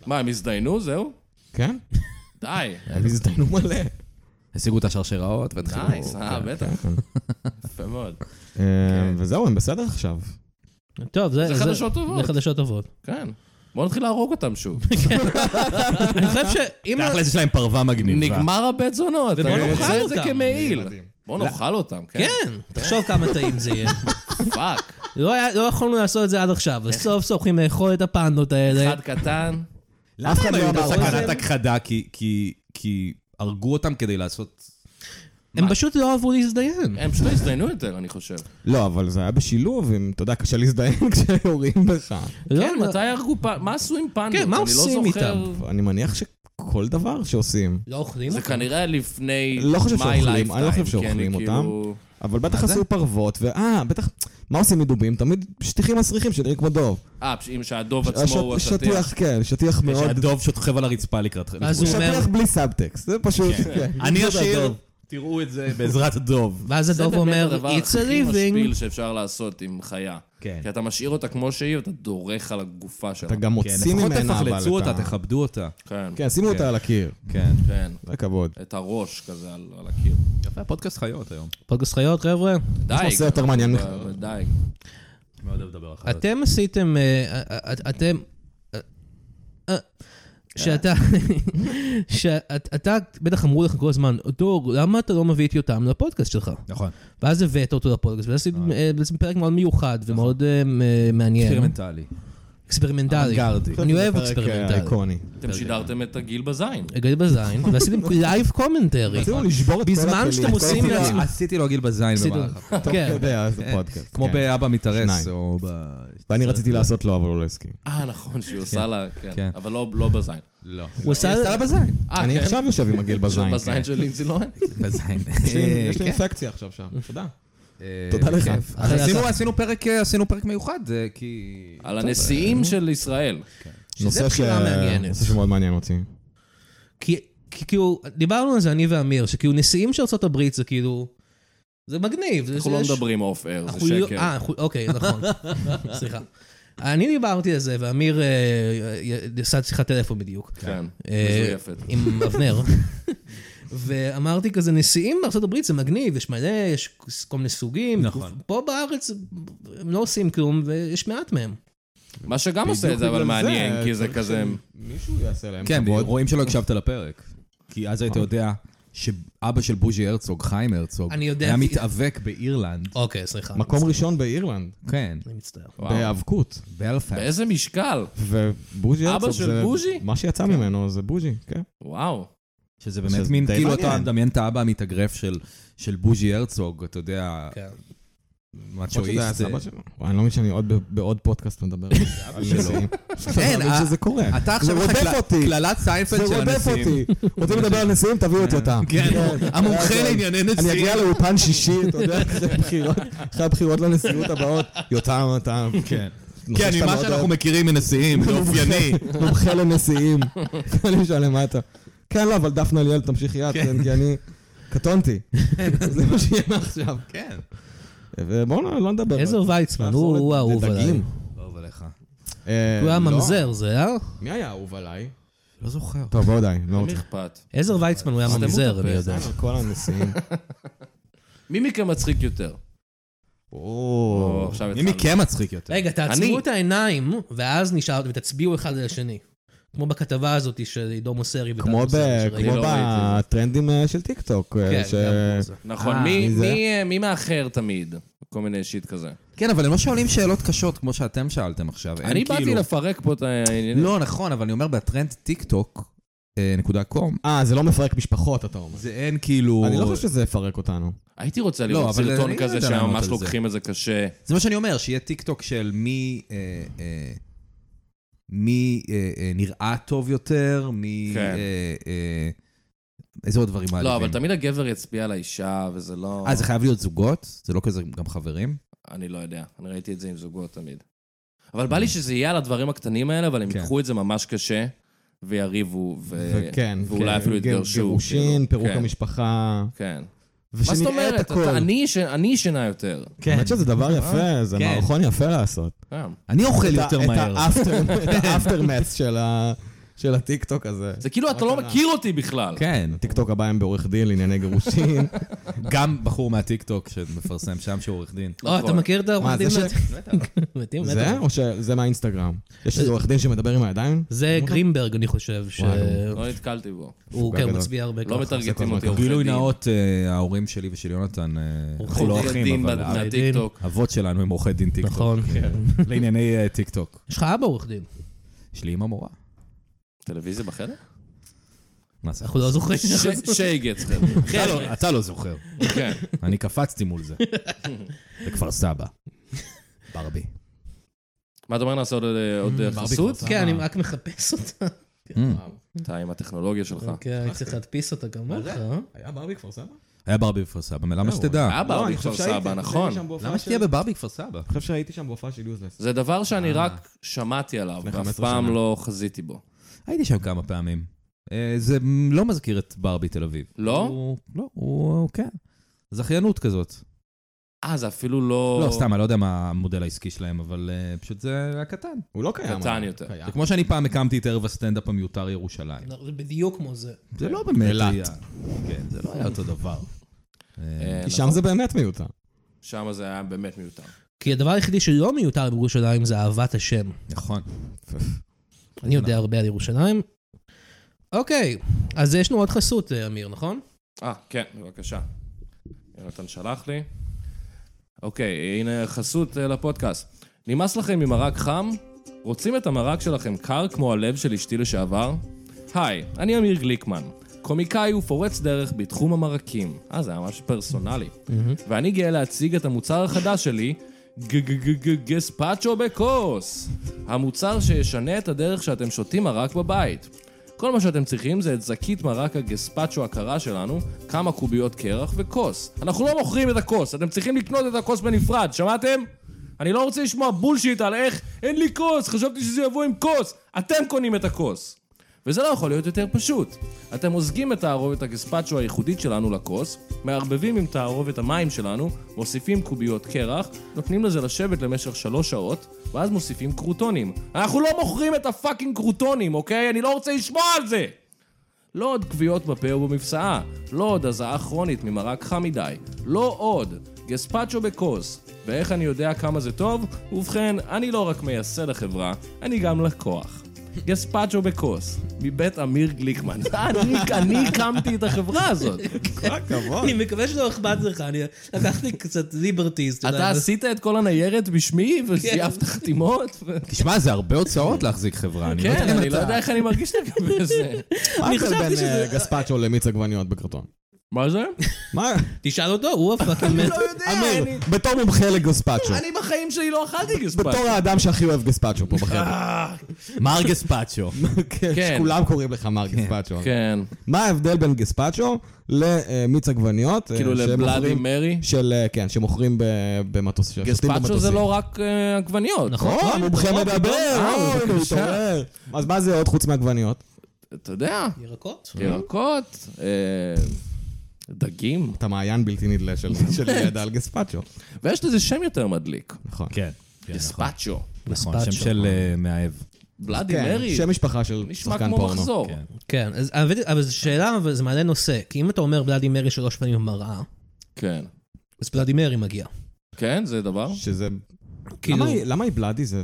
Speaker 2: מה, הם הזדיינו? זהו?
Speaker 4: כן?
Speaker 2: די.
Speaker 4: הם הזדיינו מלא.
Speaker 5: השיגו את השרשראות והתחילו...
Speaker 2: נייס, אה,
Speaker 3: כן.
Speaker 2: בטח.
Speaker 5: כן.
Speaker 2: יפה מאוד.
Speaker 4: כן. אה, וזהו, הם בסדר עכשיו.
Speaker 3: טוב, זה...
Speaker 2: זה חדשות טובות.
Speaker 3: זה חדשות טובות.
Speaker 2: כן. בואו נתחיל להרוג אותם שוב.
Speaker 3: אני
Speaker 2: אה,
Speaker 3: חושב שאם...
Speaker 5: תכל'ס יש להם פרווה מגניבה.
Speaker 2: נגמר הבית זונות.
Speaker 3: ובוא
Speaker 2: אני
Speaker 3: נאכל
Speaker 2: רוצה את זה
Speaker 3: אותם.
Speaker 2: כמעיל. בואו נאכל אותם, כן?
Speaker 3: כן, תחשוב כמה טעים זה יהיה.
Speaker 2: פאק.
Speaker 3: לא היה- לא יכולנו לעשות את זה עד עכשיו, וסוף סוף הולכים לאכול את הפנדות האלה.
Speaker 2: אחד קטן.
Speaker 5: אף אחד לא אמר
Speaker 3: את זה?
Speaker 5: סכנת הכחדה כי- כי- כי הרגו אותם כדי לעשות...
Speaker 3: הם פשוט לא עברו להזדיין.
Speaker 2: הם פשוט לא הזדיינו יותר, אני חושב.
Speaker 4: לא, אבל זה היה בשילוב, עם, אתה יודע, קשה להזדיין כשיורים בך.
Speaker 3: לא,
Speaker 2: כן,
Speaker 3: לא-
Speaker 2: מתי הרגו פ... מה עשו עם פנדות?
Speaker 3: כן, מה
Speaker 2: אני לא
Speaker 3: עושים
Speaker 2: זוכר.
Speaker 3: איתם?
Speaker 4: אני מניח שכל דבר שעושים,
Speaker 3: לא אוכלים
Speaker 2: זה
Speaker 3: אותם.
Speaker 2: כנראה לפני...
Speaker 4: לא חושב
Speaker 2: my
Speaker 4: שאוכלים, אני לא חושב
Speaker 2: lifetime, כי אני
Speaker 4: שאוכלים אותם.
Speaker 2: כאילו-
Speaker 4: אבל בטח עשו פרוות, ואה, בטח, מה עושים מדובים? תמיד שטיחים מסריחים שנראים כמו דוב.
Speaker 2: אה, פש- אם שהדוב עצמו
Speaker 4: השט-
Speaker 2: הוא השטיח.
Speaker 4: שטיח, כן, שטיח מאוד,
Speaker 5: שהדוב שוכב על הרצפה לקראת...
Speaker 3: אז הוא אומר,
Speaker 4: שטיח בלי סאבטקסט, זה פשוט, כן.
Speaker 5: אני
Speaker 4: זה
Speaker 5: אשיר,
Speaker 4: הדוב.
Speaker 5: תראו את זה בעזרת הדוב.
Speaker 3: ואז הדוב אומר,
Speaker 2: הדבר
Speaker 3: it's a
Speaker 2: הכי משפיל
Speaker 3: living.
Speaker 2: שאפשר לעשות עם חיה.
Speaker 5: כן.
Speaker 2: כי אתה משאיר אותה כמו שהיא, ואתה דורך על הגופה שלה.
Speaker 4: אתה גם
Speaker 5: כן,
Speaker 4: מוציא
Speaker 5: לפחות
Speaker 4: ממנה, אבל
Speaker 5: תפחלצו
Speaker 4: את
Speaker 5: אותה,
Speaker 4: ה-
Speaker 5: תכבדו אותה.
Speaker 2: כן,
Speaker 4: כן, שימו אותה על הקיר,
Speaker 5: כן.
Speaker 2: כן.
Speaker 4: זה הכבוד.
Speaker 2: את הראש כזה על על הקיר.
Speaker 5: יפה, פודקאסט חיות היום.
Speaker 3: פודקאסט חיות, חבר'ה?
Speaker 2: דייג.
Speaker 4: נושא יותר מעניין
Speaker 2: אבל-
Speaker 4: מח-
Speaker 2: אבל דייג.
Speaker 5: מאוד אוהב לדבר על חיות.
Speaker 3: אתם עשיתם... אה, אה, אה, אתם... אה, אה, שאתה... שאתה... בטח אמרו לך כל הזמן, דור, למה אתה לא מביא את יותם לפודקאסט שלך?
Speaker 5: נכון.
Speaker 3: ואז הבאת אותו לפודקאסט, ועשיתם אה, בעצם פרק מאוד מיוחד ומאוד אה, מ- מעניין.
Speaker 5: אקספרימנטלי.
Speaker 3: אקספרימנטלי.
Speaker 5: אנגרדי.
Speaker 3: אני אוהב
Speaker 4: פרק, אה,
Speaker 3: אקספרימנטלי.
Speaker 4: איקוני.
Speaker 2: אתם שידרתם את הגיל בזין.
Speaker 3: הגעתי בזין, ועשיתם לייב קומנטרי.
Speaker 4: רצינו לשבור את כל
Speaker 3: בזמן
Speaker 4: הכלים,
Speaker 3: שאתם
Speaker 4: את כל
Speaker 3: עושים
Speaker 4: הכלים.
Speaker 3: לעצמכם-
Speaker 5: עשיתי לו גיל בזין במהלך.
Speaker 4: טוב, אתה
Speaker 3: כן.
Speaker 4: יודע, זה פודקאסט.
Speaker 5: כמו
Speaker 4: כן.
Speaker 5: באבא מתארס,
Speaker 4: שניים.
Speaker 5: או ב...
Speaker 4: ואני רציתי לעשות לו, אבל הוא לא הסכים.
Speaker 2: אה, נכון, שהיא עושה לה, כן.
Speaker 5: כן.
Speaker 2: אבל לא לא בזין.
Speaker 5: לא.
Speaker 3: הוא עשה...
Speaker 5: בזין.
Speaker 2: אה,
Speaker 4: אני
Speaker 2: כן?
Speaker 4: עכשיו יושב עם הגיל בזין. כן.
Speaker 2: בזין של לינזי לוהן?
Speaker 5: בזין.
Speaker 4: יש לי-
Speaker 5: אה,
Speaker 4: יש לי
Speaker 5: כן.
Speaker 4: אינפקציה עכשיו שם, תודה.
Speaker 5: אה,
Speaker 4: תודה לך.
Speaker 5: בכיף. אז
Speaker 3: אחרי
Speaker 5: עשינו-
Speaker 3: אתה-
Speaker 5: עשינו פרק, אה, עשינו פרק מיוחד, אה, כי...
Speaker 2: על הנשיאים של ישראל.
Speaker 4: נושא ש-
Speaker 3: בחירה מעניינת.
Speaker 4: נושא שמאוד מעניין אותי.
Speaker 3: כי כי כאילו, דיברנו על זה, אני ואמיר, שכאילו נשיאים של ארהט"ב זה כאילו... זה מגניב. זה-
Speaker 2: אנחנו לא
Speaker 3: יש-
Speaker 2: מדברים אוף אייר, זה
Speaker 3: אנחנו לא-
Speaker 2: שקר.
Speaker 3: אה, אנחנו- אוקיי, נכון. סליחה. אני דיברתי על זה, ואמיר אה, אה, עשה שיחת טלפון בדיוק.
Speaker 2: כן,
Speaker 3: אה,
Speaker 2: מזויפת.
Speaker 3: עם אבנר. ואמרתי כזה, נשיאים בארה"ב זה מגניב, יש מלא, יש כל מיני סוגים.
Speaker 5: נכון.
Speaker 3: פה בארץ הם לא עושים כלום, ויש מעט מהם.
Speaker 2: מה שגם עושה את זה,
Speaker 4: בדיוק
Speaker 2: אבל
Speaker 4: בגלל
Speaker 2: מעניין, כי זה
Speaker 4: צריך
Speaker 2: כזה...
Speaker 4: שמישהו יעשה להם
Speaker 5: כן,
Speaker 4: כבוד.
Speaker 5: רואים שלא הקשבת לפרק. כי אז היית יודע שאבא של בוז'י הרצוג, חיים הרצוג,
Speaker 3: אני יודע,
Speaker 5: היה
Speaker 3: כי-
Speaker 5: מתאבק באירלנד.
Speaker 3: אוקיי, סליחה.
Speaker 4: מקום ראשון באירלנד,
Speaker 5: כן,
Speaker 3: אני מצטער.
Speaker 2: וואו.
Speaker 4: בהיאבקות.
Speaker 5: באלפאק.
Speaker 2: באיזה משקל?
Speaker 4: ובוז'י
Speaker 2: אבא
Speaker 4: הרצוג
Speaker 2: של
Speaker 4: זה-
Speaker 2: בוז'י?
Speaker 4: מה שיצא ממנו זה בוז'י, כן.
Speaker 2: וואו.
Speaker 5: שזה
Speaker 4: שזה
Speaker 5: באמת מין,
Speaker 4: די
Speaker 5: כאילו
Speaker 4: מעניין.
Speaker 5: אתה מדמיין את האבא המתאגרף של- של בוז'י הרצוג, אתה יודע,
Speaker 3: כן.
Speaker 4: למרות
Speaker 5: מצ'ואיסט.
Speaker 4: שזה היה סבא שלו. וואי, אני לא מבין שאני עוד ב- בעוד פודקאסט מדבר על נשיאים. אין,
Speaker 5: אין, אה,
Speaker 4: שזה קורה.
Speaker 5: אתה עכשיו
Speaker 4: זה
Speaker 5: לך
Speaker 4: רודף
Speaker 5: קל-
Speaker 4: אותי.
Speaker 5: קללת סיינפלד
Speaker 4: זה
Speaker 5: של
Speaker 4: רודף
Speaker 5: הנשיאים. כן,
Speaker 4: אותי. רוצים לדבר על נשיאים, תביאו את יותם.
Speaker 5: המומחה לענייני
Speaker 4: אני
Speaker 5: נשיאים.
Speaker 4: אגיע לאולפן שישי, אתה יודע, אחרי הבחירות- אחרי הבחירות לנשיאות הבאות. יותם, אתה...
Speaker 5: כן.
Speaker 4: נושא
Speaker 5: כן,
Speaker 4: שאתה
Speaker 5: ממה
Speaker 4: מאוד
Speaker 5: שאנחנו
Speaker 4: אוהב.
Speaker 5: מכירים מנשיאים, זה אופייני.
Speaker 4: מומחה לנשיאים. אני שואל למטה. כן, לא, אבל דפנה ליאל, תמשיכי את, כן, כי אני... קטונתי. זה מה שיהיה מעכשיו.
Speaker 5: כן.
Speaker 4: ובואו לא- לא נדבר.
Speaker 3: עזר ויצמן, הוא הוא האהוב עליי.
Speaker 4: דגים.
Speaker 2: לא,
Speaker 5: אהוב עליך.
Speaker 4: אה,
Speaker 3: הוא היה
Speaker 4: לא.
Speaker 3: ממזר, זה היה?
Speaker 4: מי היה אהוב עליי?
Speaker 5: לא זוכר.
Speaker 4: טוב, בואו די, לא
Speaker 2: למי
Speaker 4: רוצה.
Speaker 2: אכפת?
Speaker 3: עזר ויצמן הוא היה
Speaker 2: סתמו את
Speaker 3: ממזר, אני
Speaker 2: הפה.
Speaker 3: יודע.
Speaker 4: על כל הנשיאים.
Speaker 2: מי מכם מצחיק יותר? או,
Speaker 4: או,
Speaker 2: עכשיו
Speaker 5: מי
Speaker 2: התחלנו.
Speaker 5: מכם מצחיק יותר?
Speaker 3: רגע,
Speaker 2: אני.
Speaker 3: תעצמו את העיניים, ואז נשארתם ותצביעו אחד על השני. כמו בכתבה הזאת של עידו מוסרי וטל
Speaker 4: כמו ב-
Speaker 3: מוסרי.
Speaker 4: כמו
Speaker 2: לא ראיתי
Speaker 4: בטרנדים אה, של טיקטוק. אה,
Speaker 3: כן,
Speaker 4: ש-
Speaker 3: גם זה.
Speaker 2: נכון,
Speaker 3: אה,
Speaker 2: מי-
Speaker 4: מי זה?
Speaker 2: מי- מי מאחר תמיד? כל מיני שיט כזה.
Speaker 5: כן, אבל הם לא שואלים שאלות קשות כמו שאתם שאלתם עכשיו. הם
Speaker 2: אני באתי
Speaker 5: כאילו-
Speaker 2: לפרק פה את העניינים.
Speaker 5: לא, נכון, אבל אני אומר, בטרנד טיק טוק, נקודה קום,
Speaker 4: אה, זה לא מפרק משפחות, אתה אומר.
Speaker 5: זה אין כאילו...
Speaker 4: אני לא חושב שזה יפרק אותנו.
Speaker 2: הייתי רוצה
Speaker 5: לא,
Speaker 2: לראות
Speaker 5: אבל אני
Speaker 2: סרטון
Speaker 5: לא
Speaker 2: כזה
Speaker 5: יודע לענות
Speaker 2: שממש
Speaker 5: על זה.
Speaker 2: לוקחים את זה קשה.
Speaker 5: זה מה שאני אומר, שיהיה טיק טוק של מי... אה, אה, מי אה, אה, נראה טוב יותר, מי...
Speaker 2: כן.
Speaker 5: אה, אה, איזה עוד דברים מעליבים.
Speaker 2: לא, אבל תמיד הגבר יצביע על האישה, וזה לא...
Speaker 5: אה, זה חייב להיות זוגות? זה לא כזה גם חברים?
Speaker 2: אני לא יודע, אני ראיתי את זה עם זוגות תמיד. אבל בא לי שזה יהיה על הדברים הקטנים האלה, אבל הם
Speaker 5: כן.
Speaker 2: ייקחו את זה ממש קשה, ויריבו, ו-
Speaker 4: וכן.
Speaker 2: אה, ואולי
Speaker 4: כן,
Speaker 2: אפילו
Speaker 4: גיר-
Speaker 2: יתגרשו.
Speaker 4: גירושין,
Speaker 2: כאילו.
Speaker 4: פירוק
Speaker 2: כן,
Speaker 4: המשפחה.
Speaker 2: כן. מה זאת
Speaker 4: ושנראה
Speaker 2: אומרת?
Speaker 4: את הכל.
Speaker 2: אתה- אני אה, ישן- אני ישנה יותר.
Speaker 4: כן. האמת שזה דבר יפה, זה
Speaker 5: כן.
Speaker 4: מערכון יפה לעשות.
Speaker 2: גם.
Speaker 5: אני אוכל
Speaker 4: את ה-
Speaker 5: יותר
Speaker 4: את
Speaker 5: מהר.
Speaker 4: האפטר- את האפטרמץ של ה... של הטיקטוק הזה.
Speaker 2: זה כאילו אתה לא מכיר אותי בכלל.
Speaker 5: כן.
Speaker 4: הטיקטוק הבא הם בעורך דין לענייני גירושין.
Speaker 5: גם בחור מהטיקטוק שמפרסם שם שהוא עורך
Speaker 2: לא,
Speaker 5: דין.
Speaker 2: נכון.
Speaker 3: או, אה, אתה מכיר את העורך
Speaker 4: מה, זה
Speaker 3: דין?
Speaker 4: ש-
Speaker 3: מתאים, מתאים.
Speaker 4: זה? או שזה מהאינסטגרם? יש איזה עורך דין שמדבר עם הידיים?
Speaker 3: זה גרינברג, אני חושב, שהוא
Speaker 2: לא נתקלתי בו.
Speaker 3: כן
Speaker 4: גדול.
Speaker 3: מצביע הרבה
Speaker 2: לא
Speaker 3: ככה.
Speaker 2: מטרגטים אותי עורכי דין.
Speaker 5: גילוי נאות, אה, ההורים שלי ושל יונתן, אה, אנחנו לא
Speaker 2: עורכי דין
Speaker 5: אחים, אבל
Speaker 2: מה-
Speaker 5: האב-
Speaker 2: מהטיקטוק.
Speaker 5: האבות שלנו הם עורכי דין טיקטוק.
Speaker 3: נכון.
Speaker 4: כן.
Speaker 5: לענייני אה, טיקטוק.
Speaker 3: יש לך אבא עורך דין,
Speaker 5: יש לי אמא מורה.
Speaker 2: טלוויזיה בחדר?
Speaker 5: מה זה?
Speaker 3: אנחנו לא זוכרים.
Speaker 2: ש- שייגץ, חבר'ה.
Speaker 5: אתה לא- אתה לא זוכר.
Speaker 2: כן.
Speaker 5: אני קפצתי מול זה. בכפר סבא. ברבי.
Speaker 2: מה אתה אומר נעשה עוד- אה, עוד חסות?
Speaker 3: כן, אני רק מחפש אותה.
Speaker 4: Mm.
Speaker 2: אתה עם הטכנולוגיה שלך.
Speaker 3: כן, אני צריך להדפיס אותה כמוך. אה?
Speaker 4: היה ברבי כפר סבר?
Speaker 5: היה ברבי בכפר סבא, למה
Speaker 4: לא,
Speaker 5: שתדע?
Speaker 2: אבא, הוא בכפר סבא, נכון.
Speaker 5: למה שתהיה בברבי כפר סבא?
Speaker 4: אני חושב שהייתי שם בהופעה של יוזלס.
Speaker 2: זה דבר שאני רק שמעתי עליו,
Speaker 4: לפני
Speaker 2: ואף
Speaker 4: 15 שנה.
Speaker 2: פעם לא חזיתי בו.
Speaker 5: הייתי שם כמה פעמים. אה, זה לא מזכיר את ברבי תל אביב.
Speaker 2: לא?
Speaker 5: הוא- לא, הוא הוא- כן. זכיינות כזאת.
Speaker 2: אה, זה אפילו לא...
Speaker 5: לא, סתם, אני לא יודע מה המודל העסקי שלהם, אבל אה, פשוט זה היה קטן.
Speaker 4: הוא לא קיים.
Speaker 2: קטן
Speaker 4: אבל.
Speaker 2: יותר.
Speaker 4: קיים.
Speaker 5: זה כמו שאני פעם הקמתי את ערב הסטנדאפ המיותר ירושלים.
Speaker 3: זה בדיוק כמו זה.
Speaker 5: זה לא באמת
Speaker 4: אילת.
Speaker 5: היה. כן, זה לא היה אותו דבר. אה,
Speaker 2: אה,
Speaker 4: כי שם זה באמת מיותר.
Speaker 2: שם זה היה באמת מיותר.
Speaker 3: כי הדבר היחידי שלא מיותר בירושלים זה אהבת השם.
Speaker 5: נכון.
Speaker 3: אני יודע הרבה על ירושלים. אוקיי, אז יש לנו עוד חסות, אה, אמיר, נכון?
Speaker 2: אה, כן, בבקשה. יונתן שלח לי. אוקיי, הנה חסות אה, לפודקאסט. נמאס לכם עם מרק חם? רוצים את המרק שלכם קר כמו הלב של אשתי לשעבר? היי, אני אמיר גליקמן. קומיקאי ופורץ דרך בתחום המרקים. אה, זה היה ממש פרסונלי. ואני גאה להציג את המוצר החדש שלי, גספצ'ו בכוס. המוצר שישנה את הדרך שאתם שותים מרק בבית. כל מה שאתם צריכים זה את זקית מרק הגספצ'ו הקרה שלנו, כמה קוביות קרח וכוס. אנחנו לא מוכרים את הכוס, אתם צריכים לקנות את הכוס בנפרד, שמעתם? אני לא רוצה לשמוע בולשיט על איך אין לי כוס, חשבתי שזה יבוא עם כוס. אתם קונים את הכוס. וזה לא יכול להיות יותר פשוט. אתם מוזגים את תערובת הגספצ'ו הייחודית שלנו לכוס, מערבבים עם תערובת המים שלנו, מוסיפים קוביות קרח, נותנים לזה לשבת למשך שלוש שעות, ואז מוסיפים קרוטונים. אנחנו לא מוכרים את הפאקינג קרוטונים, אוקיי? אני לא רוצה לשמוע על זה! לא עוד כוויות בפה ובמפסעה, לא עוד הזעה כרונית ממרק חם מדי, לא עוד גספצ'ו בכוס. ואיך אני יודע כמה זה טוב? ובכן, אני לא רק מייסד החברה, אני גם לקוח. גספצ'ו בכוס, מבית אמיר גליקמן. אני, אני הקמתי את החברה הזאת.
Speaker 3: אני מקווה שלא אכפת לך, אני לקחתי קצת ליברטיז.
Speaker 2: אתה עשית את כל הניירת בשמי וזייפת חתימות? ו-
Speaker 5: תשמע, זה הרבה הוצאות להחזיק חברה. אני לא יודע
Speaker 2: כן,
Speaker 5: אם
Speaker 2: אני
Speaker 5: אתה-
Speaker 2: לא יודע איך אני מרגיש לגבי זה.
Speaker 4: מה
Speaker 3: אני
Speaker 4: ההבדל
Speaker 3: חשבתי
Speaker 4: בין
Speaker 3: שזה-
Speaker 4: אה, גספצ'ו למיץ עגבניות בקרטון?
Speaker 2: מה זה?
Speaker 4: מה?
Speaker 3: תשאל אותו, הוא הפאקינג מת.
Speaker 4: אמיר, בתור מומחה לגספצ'ו.
Speaker 2: אני בחיים שלי לא אכלתי גספצ'ו.
Speaker 4: בתור האדם שהכי אוהב גספצ'ו פה
Speaker 5: כן.
Speaker 4: בחדר.
Speaker 5: מר גספצ'ו.
Speaker 4: כן,
Speaker 2: כן.
Speaker 4: שכולם קוראים לך מר גספצ'ו.
Speaker 2: כן,
Speaker 4: מה ההבדל בין גספצ'ו למיץ עגבניות?
Speaker 5: כן,
Speaker 4: אה,
Speaker 2: כאילו
Speaker 4: שהם
Speaker 2: לבלאדי
Speaker 4: מוכרים-
Speaker 2: מרי.
Speaker 4: של, אה, כן, שמוכרים ב- במטוס, ששותים במטוסים.
Speaker 2: גספצ'ו זה לא רק אה, אוקיי, עגבניות.
Speaker 4: או, המומחה מדבר, או, הנה, הוא התעורר. אז מה זה עוד חוץ מעגבניות?
Speaker 2: אתה יודע,
Speaker 5: Mm-hmm.
Speaker 3: ירקות?
Speaker 2: ירקות, אה, דגים,
Speaker 4: אתה מעיין בלתי נדלה של של ידע על גספצ'ו.
Speaker 2: ויש לזה שם יותר מדליק.
Speaker 4: נכון.
Speaker 5: כן. כן,
Speaker 2: גספצ'ו.
Speaker 5: נכון,
Speaker 3: גספצ'ו.
Speaker 5: שם של אה, מאהב.
Speaker 2: בלאדי
Speaker 4: כן,
Speaker 2: מרי.
Speaker 4: שם משפחה של
Speaker 2: נשמע
Speaker 4: שחקן
Speaker 2: כמו
Speaker 4: פורנו.
Speaker 2: מחזור.
Speaker 5: כן.
Speaker 3: כן, אז- אבל- אבל זו שאלה, אבל זה מעלה נושא, כי אם אתה אומר ולדימרי שלוש פעמים במראה,
Speaker 2: כן.
Speaker 3: אז ולדימרי מגיע.
Speaker 2: כן, זה דבר.
Speaker 4: שזה...
Speaker 3: כאילו,
Speaker 4: למה היא- למה היא בלאדי? זה...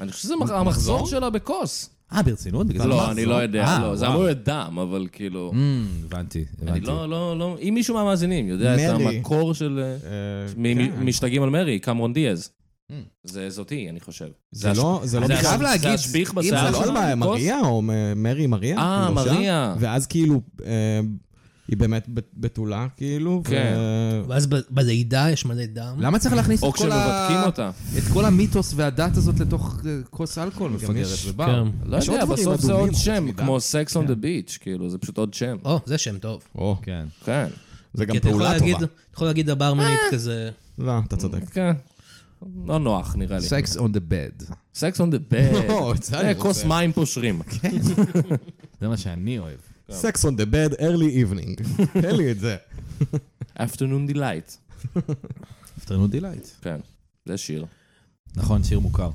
Speaker 2: אני חושב שזה מח- המחזור שלה בכוס.
Speaker 5: אה, ברצינות? בגלל זה
Speaker 2: לא,
Speaker 5: מחזור?
Speaker 2: אני לא יודע,
Speaker 5: אה,
Speaker 2: לא. זה
Speaker 5: וואו.
Speaker 2: אמור להיות דם, אבל כאילו...
Speaker 5: אמ, הבנתי,
Speaker 2: אני
Speaker 5: הבנתי.
Speaker 2: לא, לא, לא... אם מישהו מהמאזינים יודע את
Speaker 4: מרי.
Speaker 2: המקור של... אה,
Speaker 4: אה,
Speaker 2: מ- מ-
Speaker 4: כן.
Speaker 2: משתגעים על מרי, קמרון דיאז. זה זאתי, אני חושב.
Speaker 4: זה לא... זה לא...
Speaker 2: זה
Speaker 4: בכלל-
Speaker 2: הש-
Speaker 5: Mm. חייב להגיד,
Speaker 2: זה השפיך
Speaker 5: אם
Speaker 2: בשיער
Speaker 4: זה
Speaker 2: שלה?
Speaker 4: לא על
Speaker 2: בכוס?
Speaker 4: מריה או מ- מרי מריה?
Speaker 2: אה,
Speaker 4: כאילו, שם?
Speaker 2: מריה.
Speaker 4: ואז כאילו... אה, היא באמת ב- בתולה, כאילו.
Speaker 2: כן.
Speaker 4: ו-
Speaker 3: ואז ב- בלידה יש מלא דם.
Speaker 5: למה צריך להכניס
Speaker 2: או
Speaker 5: את כל ה-
Speaker 2: כשמבדקים אותה.
Speaker 5: את כל המיתוס והדת הזאת לתוך אה, כוס אלכוהול מפגרת
Speaker 4: יש-
Speaker 5: ובר?
Speaker 3: כן.
Speaker 2: לא
Speaker 4: יש עוד
Speaker 2: יודע,
Speaker 4: דברים
Speaker 2: בסוף זה
Speaker 4: אדומים
Speaker 2: עוד
Speaker 4: חוץ
Speaker 2: שם,
Speaker 4: מדם.
Speaker 2: כמו סקס און דה ביץ', כאילו, זה פשוט עוד
Speaker 5: לא.
Speaker 2: שם.
Speaker 3: או, זה שם טוב.
Speaker 4: או,
Speaker 5: כן.
Speaker 2: כן.
Speaker 4: זה גם
Speaker 3: כי אתה יכול
Speaker 4: פעולה
Speaker 3: להגיד,
Speaker 4: טובה.
Speaker 3: אתה יכול להגיד לברמנית
Speaker 2: אה.
Speaker 3: כזה,
Speaker 4: לא, אתה צודק.
Speaker 2: כן. לא נוח, נראה לי.
Speaker 5: Sex on the bed.
Speaker 2: סקס און דה בד.
Speaker 4: לא, את זה אני
Speaker 2: אה, כוס מים פושרים.
Speaker 5: זה מה שאני אוהב.
Speaker 4: Sex on the bed, early evening. תן לי את זה.
Speaker 2: אפטרנון דילייט.
Speaker 5: אפטרנות דילייט.
Speaker 2: כן. זה שיר.
Speaker 5: נכון, שיר מוכר.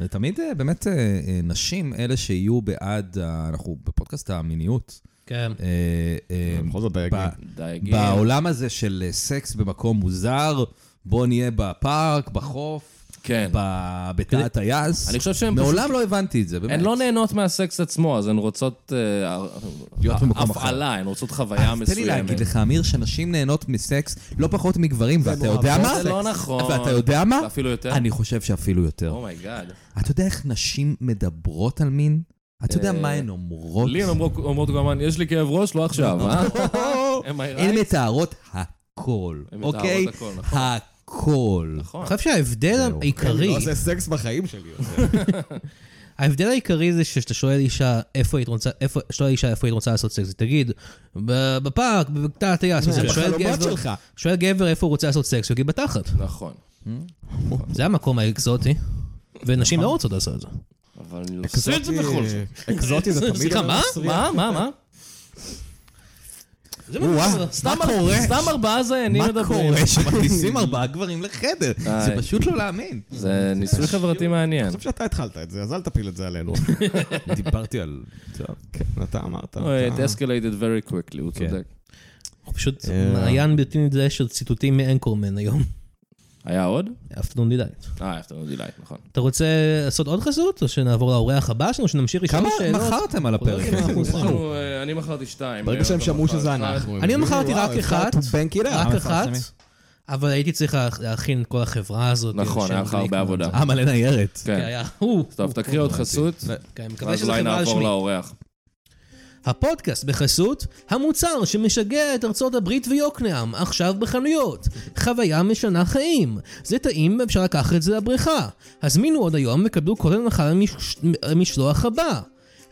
Speaker 5: זה תמיד אה, באמת אה, אה, נשים, אלה שיהיו בעד, ה- אנחנו בפודקאסט המיניות.
Speaker 3: כן.
Speaker 4: נכון.
Speaker 5: אה, אה,
Speaker 2: נכון,
Speaker 4: בכל זאת כן. דייגים.
Speaker 5: ב-
Speaker 2: דייגים.
Speaker 5: בעולם הזה של אה, סקס במקום מוזר, בוא נהיה בפארק, בחוף,
Speaker 2: כן.
Speaker 5: ב- בתא הטייס.
Speaker 2: אני חושב שהן
Speaker 5: מעולם לא הבנתי את זה, באמת.
Speaker 2: הן לא נהנות מהסקס עצמו, אז הן רוצות... אה,
Speaker 5: להיות במקום אחר.
Speaker 2: הפעלה, הן רוצות חוויה
Speaker 5: אז
Speaker 2: מסוימת.
Speaker 5: תן לי להגיד לך, אמיר, שנשים נהנות מסקס לא פחות מגברים, ואתה יודע מה?
Speaker 2: זה לא נכון.
Speaker 5: ואתה יודע מה?
Speaker 2: זה אפילו יותר? Oh
Speaker 5: אני אוקיי. חושב שאפילו יותר.
Speaker 2: אומייגאד.
Speaker 5: אתה יודע איך נשים מדברות על מין? אתה יודע
Speaker 2: אה,
Speaker 5: מה הן אומרות?
Speaker 2: לי הן אומרות- אומרות כל הזמן, יש לי כאב ראש, לא עכשיו, אה?
Speaker 5: נכון.
Speaker 2: Am I
Speaker 5: הן
Speaker 2: right?
Speaker 5: מתארות הכל,
Speaker 2: הן מתארות
Speaker 5: אוקיי?
Speaker 2: הכל, נכון.
Speaker 5: הכל.
Speaker 2: נכון.
Speaker 3: אני חושב שההבדל העיקרי,
Speaker 4: לא עושה סקס בחיים שלי.
Speaker 3: ההבדל העיקרי זה שכשאתה שואל אישה איפה היית רוצה, איפה, שואל אישה איפה היית רוצה לעשות סקס, היא תגיד, "ב- בפארק, בתא הטייס, אז אתה שואל
Speaker 4: בחלומות
Speaker 3: גבר,
Speaker 4: שלך.
Speaker 3: שואל גבר איפה הוא רוצה לעשות סקס, הוא יגיד בתחת.
Speaker 2: נכון.
Speaker 4: נכון.
Speaker 3: זה המקום האקזוטי, ונשים לא רוצות לעשות את זה.
Speaker 2: אבל אני עושה את זה
Speaker 4: אקזוטי-
Speaker 2: בכל זאת.
Speaker 4: אה, אקזוטי זה תמיד...
Speaker 3: סליחה,
Speaker 4: אומר
Speaker 3: מה?
Speaker 4: מסריח.
Speaker 2: מה? מה? מה?
Speaker 3: זה מה
Speaker 2: סתם אר- סתם ארבעה זיינים
Speaker 5: מה
Speaker 2: מדברים.
Speaker 5: קורה שמכניסים ארבעה גברים לחדר? זה
Speaker 2: איי.
Speaker 5: פשוט לא להאמין.
Speaker 2: זה ניסוי חברתי מעניין.
Speaker 4: אני חושב שאתה התחלת את זה, אז אל תפיל את זה עלינו.
Speaker 5: דיברתי על... טוב.
Speaker 4: כן, אתה אמרת.
Speaker 2: Oh, It escalated very quickly, הוא
Speaker 5: כן.
Speaker 2: צודק.
Speaker 3: הוא פשוט
Speaker 4: אה.
Speaker 3: מעיין בלתי נדלה של ציטוטים מאנקורמן היום. לא
Speaker 2: היה עוד?
Speaker 3: אפטרנון דידייט.
Speaker 2: אה, after no delight, נכון.
Speaker 3: אתה רוצה לעשות עוד חסות, או שנעבור לאורח הבא שלנו, שנמשיך לשאול
Speaker 5: כמה
Speaker 3: שאלות?
Speaker 5: מכרתם על
Speaker 3: לא
Speaker 5: הפרק?
Speaker 3: יודעים מה אנחנו
Speaker 2: יש
Speaker 3: עושים.
Speaker 2: לנו, אה, אני מכרתי שתיים. אה,
Speaker 4: ברגע שהם
Speaker 2: אתה
Speaker 4: שמעו
Speaker 2: מכרת
Speaker 4: שזה
Speaker 2: אחד.
Speaker 4: אנחנו. אה,
Speaker 3: אני מכרתי רק אחת,
Speaker 2: לא,
Speaker 3: רק
Speaker 5: אה,
Speaker 3: אחת,
Speaker 5: מפרסמים.
Speaker 3: אבל הייתי צריך לה- להכין את כל החברה הזאת.
Speaker 2: נכון,
Speaker 3: של
Speaker 2: היה לך הרבה
Speaker 3: גליקמן.
Speaker 2: עבודה.
Speaker 5: אה, מלא ניירת.
Speaker 3: כן,
Speaker 2: כן.
Speaker 3: היה, הוא.
Speaker 2: טוב, תקריא עוד חסות,
Speaker 3: כן, מקווה
Speaker 2: ואז
Speaker 3: שזו
Speaker 2: אולי
Speaker 3: חברה
Speaker 2: נעבור
Speaker 3: רשמית.
Speaker 2: לאורח.
Speaker 3: הפודקאסט בחסות המוצר שמשגע את ארצות הברית ויוקנעם, עכשיו בחנויות. חוויה משנה חיים. זה טעים ואפשר לקחת את זה לבריכה. הזמינו עוד היום וקבלו קוד הנחה למש- למשלוח הבא.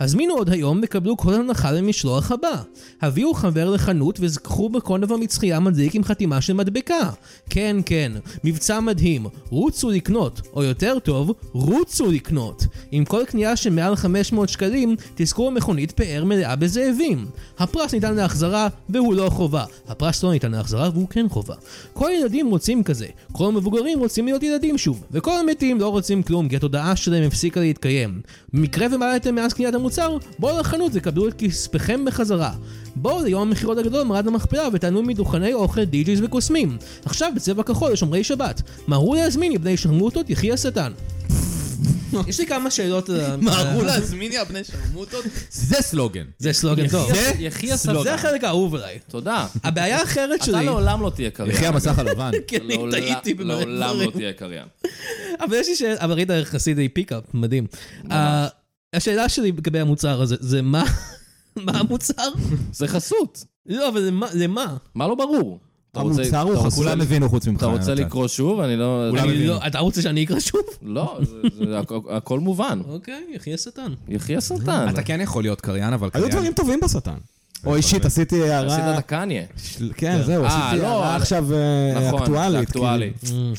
Speaker 3: הזמינו עוד היום וקבלו קוד הנחה למשלוח הבא. הביאו חבר לחנות וזכו בקונב המצחייה מדליק עם חתימה של מדבקה. כן, כן, מבצע מדהים. רוצו לקנות, או יותר טוב, רוצו לקנות. עם כל קנייה של מעל 500 שקלים, תזכו במכונית פאר מלאה בזאבים. הפרס ניתן להחזרה, והוא לא חובה. הפרס לא ניתן להחזרה, והוא כן חובה. כל הילדים רוצים כזה. כל המבוגרים רוצים להיות ילדים שוב. וכל המתים לא רוצים כלום, כי התודעה שלהם הפסיקה להתקיים. במקרה ומעלתם מאז קניית המוצר, בואו לחנות וקבלו את כספכם בחזרה. בואו ליום המכירות הגדול במערד המכפלה ותענו מדוכני אוכל דיג'יז וקוסמים. עכשיו בצבע כחול לשומרי שבת. מהרו להזמין לבני שרמוטות יחי השטן. יש לי כמה שאלות אה, על ה-
Speaker 5: מהרו להזמין יא בני שרמוטות? זה סלוגן.
Speaker 3: זה סלוגן טוב.
Speaker 2: יחי הסבבה.
Speaker 3: זה החלק האהוב עליי.
Speaker 2: תודה.
Speaker 3: הבעיה האחרת
Speaker 2: אתה
Speaker 3: שלי,
Speaker 2: לעולם לא תהיה קריין.
Speaker 5: יחי המסך הלבן.
Speaker 3: כי אני
Speaker 2: לעולם-
Speaker 3: טעיתי במלא
Speaker 2: לעולם
Speaker 3: דברים.
Speaker 2: לא תהיה קריין.
Speaker 3: אבל יש לי שאלה, אבל ראית איך עשית לי פיקאפ, מדהים. אה, השאלה שלי לגבי המוצר הזה, זה מה, מה המוצר?
Speaker 2: זה חסות.
Speaker 3: לא, אבל למה- למה?
Speaker 2: מה לא ברור? אתה רוצה-
Speaker 4: המוצר הוא
Speaker 2: אתה רוצה-
Speaker 5: כולם הבינו חוץ ממך.
Speaker 2: אתה רוצה
Speaker 5: יונתן.
Speaker 2: לקרוא שוב? אני לא...
Speaker 5: אולי-
Speaker 2: אני-
Speaker 3: אני
Speaker 5: מבינים.
Speaker 3: לא, אתה רוצה שאני אקרא שוב?
Speaker 2: לא, זה- זה- הכ- הכל מובן.
Speaker 3: אוקיי, יחי השטן.
Speaker 2: יחי השטן.
Speaker 5: אתה כן יכול להיות קריין, אבל
Speaker 4: היו
Speaker 5: קריין...
Speaker 4: דברים
Speaker 2: כן.
Speaker 4: טובים בשטן. או אישית, עשיתי
Speaker 3: כאילו
Speaker 2: אה,
Speaker 4: הערה...
Speaker 2: עשית את הקניה.
Speaker 4: כן, זהו,
Speaker 2: אה,
Speaker 4: עשיתי
Speaker 2: לא,
Speaker 4: הערה
Speaker 2: אבל-
Speaker 4: עכשיו אה,
Speaker 2: נכון, זה
Speaker 4: אקטואלית.
Speaker 3: כאילו,
Speaker 2: אקטואלי.
Speaker 4: כאילו.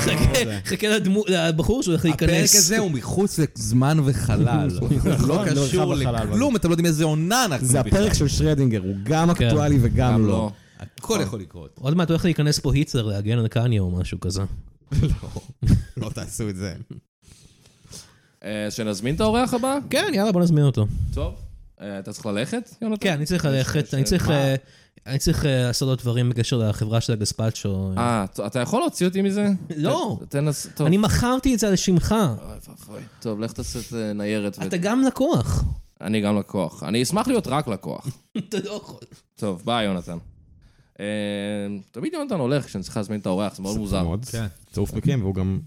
Speaker 3: חכה- חכה לדמו- לבחור שהוא הולך להיכנס.
Speaker 5: הפרק הזה הוא מחוץ לזמן וחלל. הוא לא
Speaker 4: נכון, לא
Speaker 5: קשור
Speaker 4: לחלל, אבל-
Speaker 5: לכלום, אתם לא יודעים איזה עונה אנחנו
Speaker 4: זה
Speaker 5: בכלל.
Speaker 4: הפרק של שרדינגר, הוא גם
Speaker 3: כן.
Speaker 4: אקטואלי וגם
Speaker 2: גם
Speaker 4: לא.
Speaker 2: לא.
Speaker 5: הכל יכול לקרות.
Speaker 3: עוד מעט הולך להיכנס פה היטלר להגן על קניה או משהו כזה.
Speaker 4: לא תעשו את זה.
Speaker 2: אה, שנזמין את האורח הבא?
Speaker 3: כן, יאללה, בוא נזמין אותו.
Speaker 2: טוב. אה, אתה צריך ללכת, יונתן?
Speaker 3: כן, אני צריך
Speaker 2: יש-
Speaker 3: ללכת,
Speaker 2: יש-
Speaker 3: אני צריך...
Speaker 2: מה?
Speaker 3: אה, אני צריך אה, לעשות עוד דברים בקשר לחברה של הגספצ'ו.
Speaker 2: אה, אתה יכול להוציא אותי מזה?
Speaker 3: לא.
Speaker 2: ת- תנס... טוב. אה,
Speaker 3: אני מכרתי את זה על שמך.
Speaker 2: אוי ואבוי. טוב, לך תעשה את אה, ניירת. ו-
Speaker 3: אתה גם לקוח.
Speaker 2: אני גם לקוח. אני אשמח להיות רק לקוח.
Speaker 3: אתה לא יכול.
Speaker 2: טוב, ביי, יונתן. אה, תמיד יונתן הולך כשאני צריך להזמין את האורח, זה מאוד מוזר.
Speaker 5: כן.
Speaker 4: צירוף מקרים, והוא גם...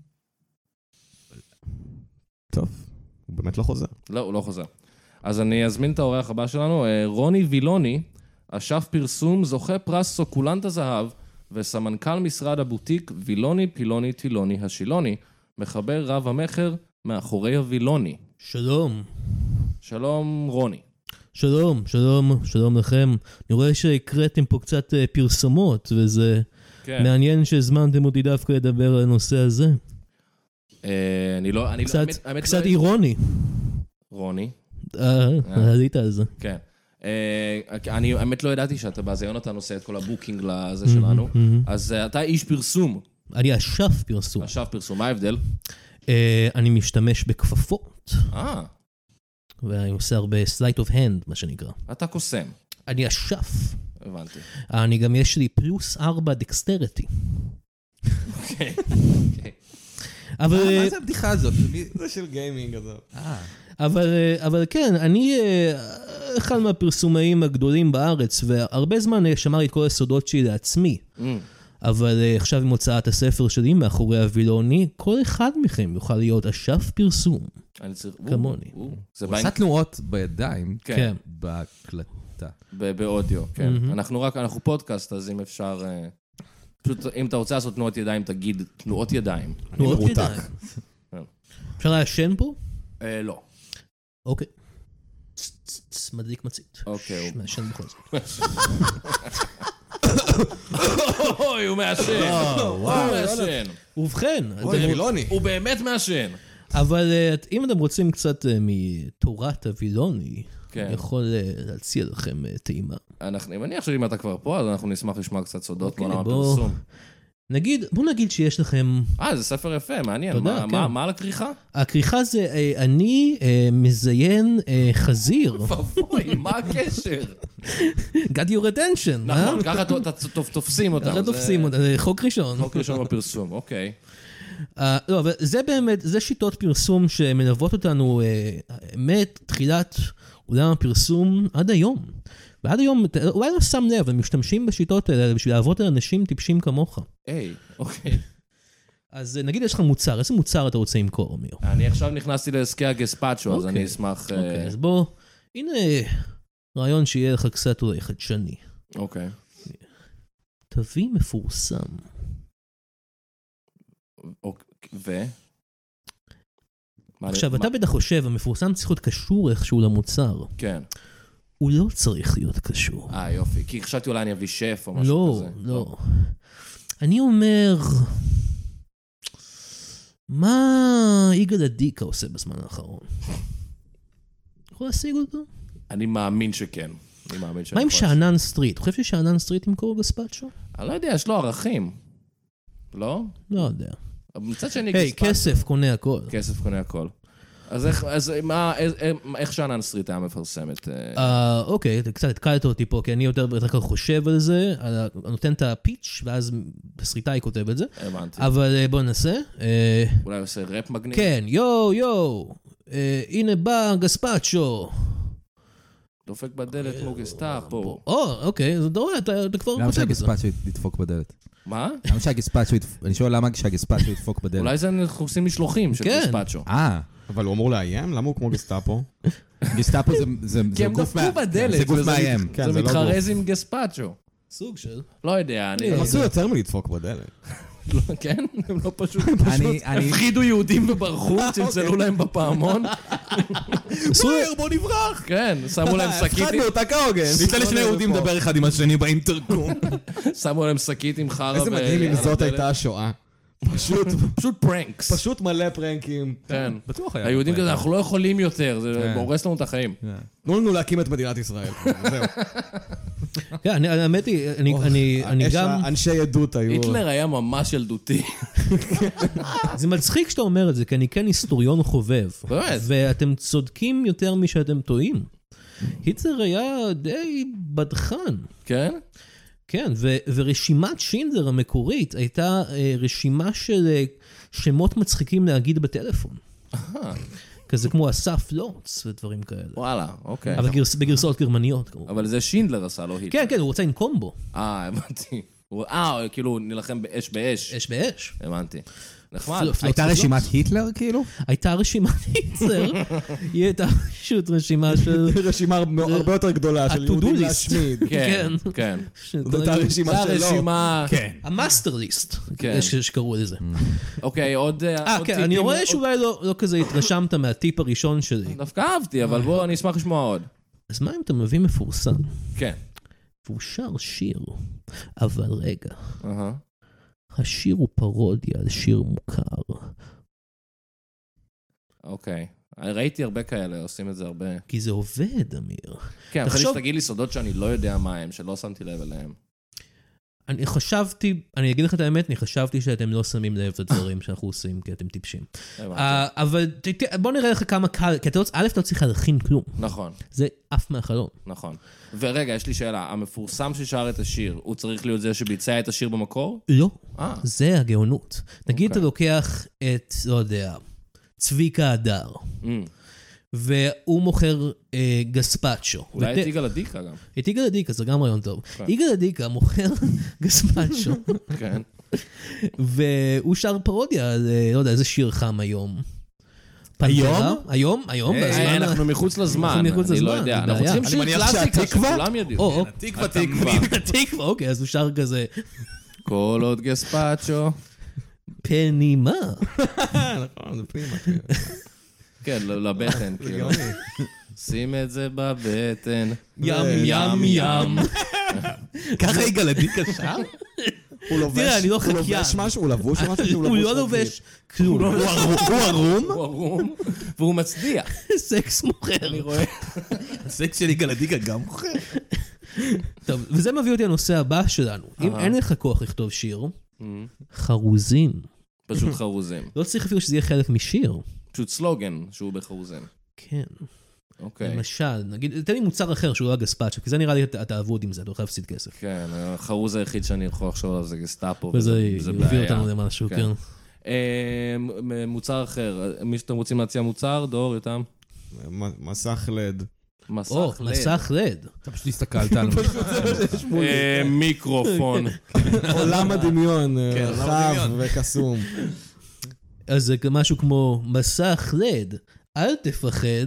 Speaker 4: טוב, הוא באמת לא חוזר.
Speaker 2: לא, הוא לא חוזר. אז אני אזמין את האורח הבא שלנו. אה, רוני וילוני, אשף פרסום, זוכה פרס סוקולנט הזהב, וסמנכ"ל משרד הבוטיק וילוני פילוני טילוני השילוני, מחבר רב המכר מאחורי הווילוני.
Speaker 3: שלום.
Speaker 2: שלום, רוני.
Speaker 3: שלום, שלום, שלום לכם. אני רואה שהקראתם פה קצת אה, פרסומות, וזה
Speaker 2: כן.
Speaker 3: מעניין שהזמנתם אותי דווקא לדבר על הנושא הזה.
Speaker 2: אה, אני לא, אני לא,
Speaker 3: קצת-
Speaker 2: האמת- האמת
Speaker 3: קצת
Speaker 2: לא-
Speaker 3: אירוני.
Speaker 2: רוני,
Speaker 3: אה, עלית על זה.
Speaker 2: כן. אה, אני האמת לא ידעתי שאתה בא, זה יונתן עושה את כל הבוקינג לזה שלנו. אז אה, אתה איש פרסום,
Speaker 3: אני אשף פרסום.
Speaker 2: עכשיו פרסום, מה ההבדל?
Speaker 3: אה, אני משתמש בכפפות,
Speaker 2: אה,
Speaker 3: ואני עושה הרבה slight of hand, מה שנקרא.
Speaker 2: אתה קוסם.
Speaker 3: אני אשף.
Speaker 2: הבנתי.
Speaker 3: אני גם יש לי פלוס ארבע דקסטריטי.
Speaker 2: אוקיי. אה,
Speaker 3: אבל,
Speaker 6: מה זה הבדיחה הזאת? מי-
Speaker 4: זה של גיימינג, עזוב.
Speaker 6: אה,
Speaker 3: אבל, אה, אבל כן, אני אה, אחד מהפרסומאים הגדולים בארץ, והרבה זמן אה, שמר לי את כל הסודות שלי לעצמי.
Speaker 2: אמ,
Speaker 3: אבל אה, עכשיו עם הוצאת הספר שלי מאחורי הווילוני, כל אחד מכם יוכל להיות אשף פרסום.
Speaker 2: אני צריך... או,
Speaker 3: כמוני.
Speaker 2: או, זה
Speaker 6: הוא
Speaker 2: בעין...
Speaker 6: עשה תנועות בידיים
Speaker 2: כן,
Speaker 6: בהקלטה.
Speaker 2: ב- באודיו, כן.
Speaker 3: מהמם.
Speaker 2: אנחנו רק, אנחנו פודקאסט, אז אם אפשר... אה, פשוט, אם אתה רוצה לעשות תנועות ידיים, תגיד תנועות ידיים.
Speaker 3: תנועות
Speaker 4: מרותק.
Speaker 3: ידיים.
Speaker 2: כן.
Speaker 3: אוקיי. אפשר לעשן פה?
Speaker 2: אה, לא.
Speaker 3: אוקיי. צ, צ, צ, מדליק מצית.
Speaker 2: אוקיי,
Speaker 3: ש-
Speaker 2: הוא-
Speaker 3: מעשן בכל זאת.
Speaker 2: אוי, הוא מעשן.
Speaker 3: אה,
Speaker 2: הוא
Speaker 3: לא
Speaker 2: מעשן.
Speaker 3: ובכן,
Speaker 5: אוקיי.
Speaker 3: אתם-
Speaker 4: וילוני.
Speaker 2: הוא באמת מעשן.
Speaker 3: אבל אה, אם אתם רוצים קצת אה, מתורת הווילוני,
Speaker 2: כן.
Speaker 3: אני יכול אה, להציע לכם אה, טעימה.
Speaker 2: אנחנו- אני מניח שאם אתה כבר פה, אז אנחנו נשמח לשמוע קצת סודות
Speaker 3: אוקיי,
Speaker 2: מעולם
Speaker 3: בוא.
Speaker 2: הפרסום.
Speaker 3: נגיד, בואו נגיד שיש לכם...
Speaker 2: אה, זה ספר יפה, מעניין.
Speaker 3: תודה,
Speaker 2: מה-
Speaker 3: כן.
Speaker 2: מה- מה על הכריכה?
Speaker 3: הכריכה זה אה, אני אה, מזיין אה, חזיר.
Speaker 2: אוי, מה הקשר?
Speaker 3: got your attention, אה?
Speaker 2: נכון, ככה ת- ת- ת- תופסים אותם.
Speaker 3: ככה
Speaker 2: זה
Speaker 3: לא תופסים אותה, זה חוק ראשון.
Speaker 2: חוק ראשון בפרסום, אוקיי.
Speaker 3: אה, לא, אבל זה באמת, זה שיטות פרסום שמלוות אותנו, אה, האמת, תחילת עולם הפרסום עד היום. ועד היום, אתה אולי לא שם לב, הם משתמשים בשיטות האלה בשביל לעבוד על אנשים טיפשים כמוך.
Speaker 2: היי, אוקיי.
Speaker 3: אז אה, נגיד יש לך מוצר, איזה מוצר אתה רוצה למכור, אמיר?
Speaker 2: אני עכשיו נכנסתי לעסקי הגספצ'ו, אז אני אשמח... אה,
Speaker 3: אוקיי, אז בוא, הנה רעיון שיהיה לך קצת אולי חדשני.
Speaker 2: אוקיי.
Speaker 3: תביא מפורסם.
Speaker 2: אוק- ו? מה-
Speaker 3: עכשיו,
Speaker 2: מה-
Speaker 3: אתה בטח חושב, המפורסם צריך להיות קשור איכשהו למוצר.
Speaker 2: כן.
Speaker 3: הוא לא צריך להיות קשור.
Speaker 2: אה, יופי. כי חשבתי אולי אני אביא שף או משהו
Speaker 3: לא,
Speaker 2: כזה.
Speaker 3: לא. אני אומר, מה יגאל עדיקה עושה בזמן האחרון? יכול להשיג אותו?
Speaker 2: אני מאמין שכן. אני מאמין שאני
Speaker 3: מה עם
Speaker 2: כן, יכול לעשות.
Speaker 3: שאנן סטריט? אתה חושב ששאנן סטריט ימכור גספצ'ו?
Speaker 2: אני לא יודע, יש לו ערכים. לא?
Speaker 3: לא יודע.
Speaker 2: אבל מצד שני,
Speaker 3: היי,
Speaker 2: גספצ'ו-
Speaker 3: כסף קונה כן. הכל.
Speaker 2: כסף קונה הכל. אז איך, אז מה, איך- איך שאנן סטריט היה מפרסמת? אה,
Speaker 3: אה, אוקיי, אתה קצת התקלת אותי פה, כי אני יותר בדרך כלל חושב על זה, על ה- נותן את הפיץ', ואז הסריטאי כותב את זה.
Speaker 2: הבנתי.
Speaker 3: אבל אה, בוא ננסה. אה,
Speaker 2: אולי הוא עושה ראפ מגניב?
Speaker 3: כן, יואו, יואו, אה, הנה בא גספצ'ו.
Speaker 2: דופק בדלת
Speaker 3: אה,
Speaker 2: מוגסטה פה.
Speaker 3: או, אוקיי, אז אתה רואה, אתה אתה כבר
Speaker 5: למה
Speaker 3: חושב על זה.
Speaker 5: שהגספצ'ו ידפוק בדלת?
Speaker 2: מה?
Speaker 5: למה שהגספצ'ו ידפוק... אני שואל למה שהגספצ'ו ידפוק בדלת.
Speaker 2: אולי זה אנחנו עושים משלוחים של
Speaker 3: כן.
Speaker 2: גספצ'ו.
Speaker 5: אה,
Speaker 4: אבל הוא אמור לאיים? למה הוא כמו גסטאפו?
Speaker 5: גסטאפו זה- זה זה
Speaker 2: כי הם
Speaker 5: גוף
Speaker 2: דפקו
Speaker 5: מה-
Speaker 2: בדלת,
Speaker 5: זה גוף
Speaker 2: וזה-
Speaker 5: מאיים.
Speaker 4: כן,
Speaker 2: זה
Speaker 4: זה לא
Speaker 2: מתחרז עם גספצ'ו.
Speaker 3: סוג של.
Speaker 2: לא יודע, אני...
Speaker 4: הם עשו יותר מלדפוק בדלת.
Speaker 2: כן? הם לא פשוט...
Speaker 5: אני- אני...
Speaker 2: הפחידו יהודים וברחו,
Speaker 4: אוקיי.
Speaker 2: צלצלו להם בפעמון.
Speaker 4: מהר, בוא נברח!
Speaker 2: כן, שמו להם שקית...
Speaker 4: הפחדנו אותה כהוגן.
Speaker 5: ניתן לשני יהודים לדבר אחד עם השני באינטרקום.
Speaker 2: שמו להם שקית עם חרא.
Speaker 4: איזה
Speaker 2: ו-
Speaker 4: מדהים אם
Speaker 3: אה,
Speaker 2: על
Speaker 4: זאת
Speaker 2: הדלת.
Speaker 4: הייתה השואה. פשוט,
Speaker 2: פשוט פרנקס.
Speaker 4: פשוט מלא פרנקים.
Speaker 2: כן.
Speaker 5: בטוח
Speaker 2: היהודים כזה, אנחנו לא יכולים יותר,
Speaker 4: כן.
Speaker 2: זה הורס לנו את החיים.
Speaker 4: תנו לנו להקים את מדינת ישראל. זהו.
Speaker 3: כן, אני- האמת היא, אני- אני- אני
Speaker 4: יש
Speaker 3: גם...
Speaker 4: לה- אנשי עדות היו...
Speaker 2: היטלר היה ממש ילדותי.
Speaker 3: זה מצחיק שאתה אומר את זה, כי אני כן היסטוריון חובב.
Speaker 2: באמת?
Speaker 3: ואתם צודקים יותר משאתם טועים. היטלר היה די בדחן.
Speaker 2: כן?
Speaker 3: כן, ו- ורשימת שינדלר המקורית הייתה אה, רשימה של אה, שמות מצחיקים להגיד בטלפון. כזה כמו אסף לוץ ודברים כאלה.
Speaker 2: וואלה, אוקיי.
Speaker 3: אבל גרס- בגרסאות גרמניות כמובן.
Speaker 2: אבל זה שינדלר עשה, לא היטלר.
Speaker 3: כן, כן, הוא רוצה לנקום בו,
Speaker 2: אה, הבנתי. הוא- אה, כאילו, נילחם באש באש.
Speaker 3: אש באש.
Speaker 2: הבנתי. נחמד.
Speaker 3: פלופ,
Speaker 5: הייתה
Speaker 3: פלופ,
Speaker 5: רשימת
Speaker 4: לא.
Speaker 3: פלופ.
Speaker 5: היטלר כאילו?
Speaker 3: הייתה רשימת היצר, היא הייתה פשוט רשימה של...
Speaker 4: רשימה הרבה- הרבה יותר גדולה של
Speaker 3: ה-to-do
Speaker 4: יהודים
Speaker 3: list.
Speaker 4: להשמיד.
Speaker 2: כן, כן.
Speaker 4: זאת הייתה הרשימה
Speaker 2: זה
Speaker 4: שלו.
Speaker 2: הרשימה...
Speaker 5: כן.
Speaker 3: המאסטר ליסט,
Speaker 2: כן.
Speaker 3: יש שקראו לזה.
Speaker 2: אוקיי, עוד...
Speaker 3: אה,
Speaker 2: עוד
Speaker 3: כן,
Speaker 2: טיפים?
Speaker 3: אני רואה
Speaker 2: עוד-
Speaker 3: שאולי לא לא כזה התרשמת מהטיפ הראשון שלי.
Speaker 2: דווקא אהבתי,
Speaker 3: אה.
Speaker 2: אבל בוא, אני אשמח לשמוע עוד.
Speaker 3: אז מה אם אתה מביא מפורסם?
Speaker 2: כן.
Speaker 3: והוא שר שיר, אבל רגע,
Speaker 2: אהה.
Speaker 3: השיר הוא פרודיה על שיר מוכר,
Speaker 2: אוקיי. אני ראיתי הרבה כאלה, עושים את זה הרבה.
Speaker 3: כי זה עובד, אמיר.
Speaker 2: כן, אבל
Speaker 3: תחשוב-
Speaker 2: חשבתי שתגיד לי סודות שאני לא יודע מה הם, שלא שמתי לב אליהם.
Speaker 3: אני חשבתי, אני אגיד לך את האמת, אני חשבתי שאתם לא שמים לב לדברים שאנחנו עושים, כי אתם טיפשים.
Speaker 2: הבנתי.
Speaker 3: אה, אבל ת- ת- בוא נראה לך כמה קל, כי אתה לא, א', אתה לא צריך להלחין כלום.
Speaker 2: נכון,
Speaker 3: זה עף מהחלום.
Speaker 2: נכון. ורגע, יש לי שאלה. המפורסם ששר את השיר, הוא צריך להיות זה שביצע את השיר במקור?
Speaker 3: לא.
Speaker 2: אה.
Speaker 3: זה הגאונות. נגיד אתה
Speaker 2: אוקיי.
Speaker 3: לוקח את, לא יודע, צביקה הדר,
Speaker 2: אמ,
Speaker 3: והוא מוכר אה, גספצ'ו. ות-
Speaker 2: אולי את יגאל עדיקה גם.
Speaker 3: את יגאל עדיקה, זה גם רעיון טוב. יגאל עדיקה מוכר גספצ'ו,
Speaker 2: כן.
Speaker 3: והוא שר פרודיה על, אה, לא יודע, איזה שיר חם היום. פנתרה? היום? היום?
Speaker 2: היי,
Speaker 3: בזמן ה-
Speaker 2: אה, אנחנו מחוץ לזמן,
Speaker 3: אנחנו מחוץ
Speaker 2: אני לא
Speaker 3: לזמן,
Speaker 2: יודע.
Speaker 3: אין
Speaker 2: אנחנו
Speaker 3: בעיה.
Speaker 2: צריכים
Speaker 3: אני
Speaker 2: שיר
Speaker 5: מניח
Speaker 2: קלאסיקה
Speaker 5: שהתקווה-
Speaker 2: שכולם יודעו.
Speaker 3: או, או,
Speaker 5: תקווה, תקווה.
Speaker 3: התקווה, אוקיי, אז הוא שר כזה,
Speaker 2: כל עוד גספצ'ו.
Speaker 3: פנימה.
Speaker 4: נכון, זה פנימה.
Speaker 2: כן, ל- לבטן, כאילו. שים את זה בבטן.
Speaker 3: ים, ים, ים.
Speaker 5: ככה יגאל עדיקה שר?
Speaker 4: הוא לובש,
Speaker 3: תראה, אני לא
Speaker 4: הוא לובש
Speaker 3: חקיין.
Speaker 4: משהו, הוא לבוש משהו, שהוא
Speaker 3: הוא לא
Speaker 4: לבוש
Speaker 3: לובש כלום.
Speaker 5: הוא ערום?
Speaker 2: הוא ערום, והוא מצדיע.
Speaker 3: סקס מוכר.
Speaker 5: הסקס של יגאל עדיקה גם מוכר.
Speaker 3: טוב, וזה מביא אותי לנושא הבא שלנו. אם אין לך כוח לכתוב שיר, חרוזים.
Speaker 2: פשוט חרוזים.
Speaker 3: לא צריך אפילו שזה יהיה חלק משיר.
Speaker 2: פשוט סלוגן שהוא בחרוזים.
Speaker 3: כן.
Speaker 2: אוקיי.
Speaker 3: למשל, נגיד, תן לי מוצר אחר שהוא לא הגספצ'ו, כי זה נראה לי, אתה אתה אבוד עם זה, אתה הולך להפסיד כסף.
Speaker 2: כן, החרוז היחיד שאני יכול לחשוב עליו זה גסטאפו,
Speaker 3: וזה
Speaker 2: אוקיי, זה
Speaker 3: יביא אותנו למשהו,
Speaker 2: כן.
Speaker 3: כן.
Speaker 2: אה, מ- מוצר אחר, מי שאתם רוצים להציע מוצר, דור, יותם?
Speaker 4: מ- מסך לד.
Speaker 2: מסך
Speaker 3: או,
Speaker 2: לד.
Speaker 3: מסך לד.
Speaker 5: אתה פשוט הסתכלת על
Speaker 2: אה, מיקרופון.
Speaker 3: כן,
Speaker 4: עולם הדמיון, רחב וקסום.
Speaker 3: אז זה משהו כמו מסך לד, אל תפחד.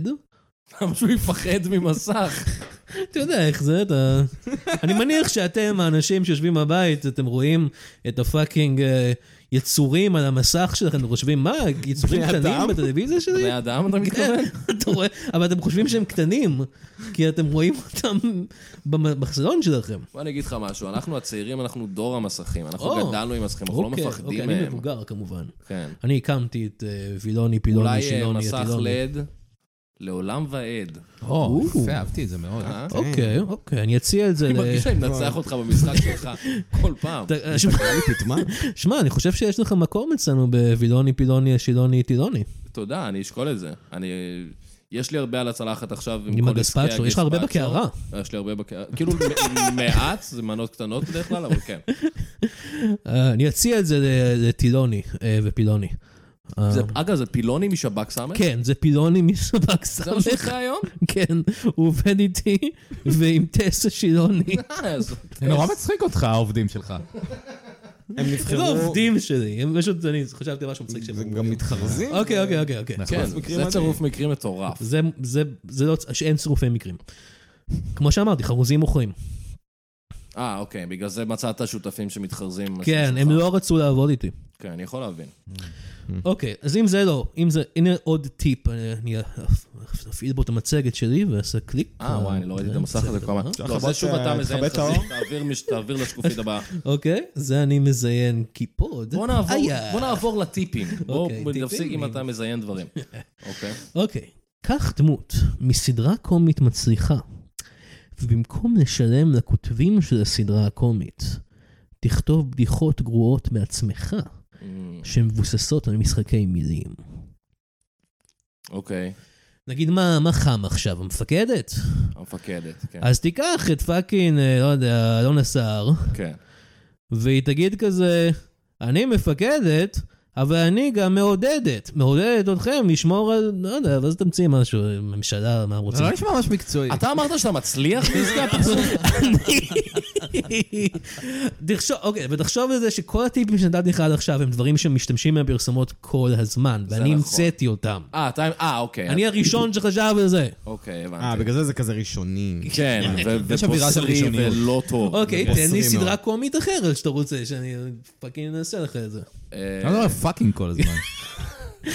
Speaker 2: למה שהוא יפחד ממסך?
Speaker 3: אתה יודע איך זה, אתה... אני מניח שאתם, האנשים שיושבים בבית, אתם רואים את הפאקינג אה, יצורים על המסך שלכם, וחושבים, מה, יצורים
Speaker 4: בני
Speaker 3: קטנים
Speaker 4: אדם?
Speaker 3: בטלוויזיה שלי?
Speaker 2: בני אדם אתה מתכוון?
Speaker 3: כן, אתה רואה, אבל אתם חושבים שהם קטנים, כי אתם רואים אותם במ- בחזון שלכם.
Speaker 2: בוא אני אגיד לך משהו, אנחנו הצעירים, אנחנו דור המסכים. אנחנו
Speaker 3: או.
Speaker 2: גדלנו עם מסכים, אנחנו לא
Speaker 3: אוקיי, אוקיי,
Speaker 2: מפחדים
Speaker 3: אני
Speaker 2: מהם.
Speaker 3: מבוגר כמובן.
Speaker 2: כן.
Speaker 3: אני הקמתי את אה, וילוני, פילוני,
Speaker 2: אולי אה,
Speaker 3: שילוני,
Speaker 2: מסך
Speaker 3: עטילוני.
Speaker 2: לד, לעולם ועד.
Speaker 3: אה,
Speaker 5: או, יפה, אהבתי את זה מאוד.
Speaker 2: אה?
Speaker 3: אוקיי, אוקיי, אני אציע את זה
Speaker 2: אני
Speaker 3: ל...
Speaker 2: מרגיש שאני
Speaker 3: אה.
Speaker 2: מנצח אותך במשחק שלך כל פעם.
Speaker 4: אה,
Speaker 3: אתה- אה, שמע, שמע, אני חושב שיש לך מקום אצלנו בווילוני, פילוני, השילוני, טילוני.
Speaker 2: תודה, אני אשקול את זה. אני... יש לי הרבה על הצלחת עכשיו עם,
Speaker 3: עם
Speaker 2: כל עסקי
Speaker 3: הגספצ'ו, יש לך הרבה
Speaker 2: הגספצ'ו.
Speaker 3: בקערה.
Speaker 2: יש לי הרבה בקערה. כאילו מ- מעט, זה מנות קטנות בדרך כלל, אבל כן.
Speaker 3: אה, אני אציע את זה ל- לטילוני אה, ופילוני.
Speaker 2: כן.
Speaker 3: אה,
Speaker 2: זה, אגב, זה פילוני משב"כ סמך?
Speaker 3: כן, זה פילוני משב"כ
Speaker 2: זה מה
Speaker 3: סמך.
Speaker 2: שלך היום?
Speaker 3: כן, הוא עובד איתי ועם טסה שילוני.
Speaker 2: אה, אז-
Speaker 5: זה נורא מצחיק אותך, העובדים שלך.
Speaker 4: הם
Speaker 3: הם לא
Speaker 4: נבחרו,
Speaker 3: עובדים שלי, הם פשוט, אני חשבתי משהו מצחיק
Speaker 4: זה
Speaker 3: שהם...
Speaker 4: גם מתחרזים.
Speaker 3: אוקיי, אוקיי, אוקיי, אוקיי.
Speaker 2: כן,
Speaker 4: מקרים
Speaker 2: זה צירוף מקרים מטורף.
Speaker 3: זה, זה, זה לא, שאין צירופי מקרים. כמו שאמרתי, חרוזים מוכרים.
Speaker 2: אה, אוקיי, בגלל זה מצאת שותפים שמתחרזים. עם השם
Speaker 3: כן,
Speaker 2: שלך.
Speaker 3: הם לא רצו לעבוד איתי.
Speaker 2: כן, אני יכול להבין.
Speaker 3: אוקיי, אז אם זה לא, אם זה, הנה עוד טיפ, אני אני אפעיל בו את המצגת שלי ואעשה קליק.
Speaker 2: אה, וואי, אני לא ראיתי את המסך הזה כבר.
Speaker 3: אה?
Speaker 2: לא, זה שוב אתה מזיין
Speaker 4: תכבה את האור.
Speaker 2: חזית, תעביר מש- תעביר לשקופית הבאה.
Speaker 3: אוקיי, זה אני מזיין קיפוד.
Speaker 2: בוא נעבור-
Speaker 3: איה.
Speaker 2: בוא נעבור לטיפים. בוא
Speaker 3: אוקיי,
Speaker 2: נפסיק
Speaker 3: טיפים.
Speaker 2: אם אתה מזיין דברים. אוקיי.
Speaker 3: אוקיי, קח דמות מסדרה קומית מצליחה, ובמקום לשלם לכותבים של הסדרה הקומית, תכתוב בדיחות גרועות מעצמך,
Speaker 2: Mm,
Speaker 3: שמבוססות על משחקי מילים.
Speaker 2: אוקיי,
Speaker 3: נגיד, מה, מה חם עכשיו, המפקדת?
Speaker 2: המפקדת, כן.
Speaker 3: אז תיקח את פאקינג, אה, לא יודע, אלונה סער,
Speaker 2: כן.
Speaker 3: והיא תגיד כזה, אני מפקדת, אבל אני גם מעודדת, מעודדת אתכם לשמור על, לא יודע, ואז תמציא משהו, ממשלה, מה הם רוצים?
Speaker 5: נשמע ממש מקצועי.
Speaker 2: אתה אמרת שאתה מצליח בעסקה
Speaker 3: תחשוב, אוקיי, ותחשוב על זה שכל הטיפים שנתתי לך עד עכשיו הם דברים שמשתמשים בהם בפרסומות כל הזמן, ואני
Speaker 2: נכון.
Speaker 3: המצאתי אותם.
Speaker 2: אה, אתה... אה, אוקיי.
Speaker 3: אני הראשון שחשב על זה.
Speaker 2: אוקיי,
Speaker 4: אה,
Speaker 2: הבנתי.
Speaker 4: בגלל זה זה כזה ראשוני.
Speaker 2: כן, ו-
Speaker 5: יש אווירה של
Speaker 2: ובוסרי
Speaker 5: ראשוניות.
Speaker 2: ולא טוב.
Speaker 3: אוקיי,
Speaker 4: זה
Speaker 3: תן לי
Speaker 4: בוסרי
Speaker 3: סדרה
Speaker 4: מאוד.
Speaker 3: קומית אחרת שאתה רוצה, שאני פאקינג אעשה לך את זה.
Speaker 2: אה,
Speaker 5: אני
Speaker 3: לא
Speaker 5: אומר פאקינג כל הזמן.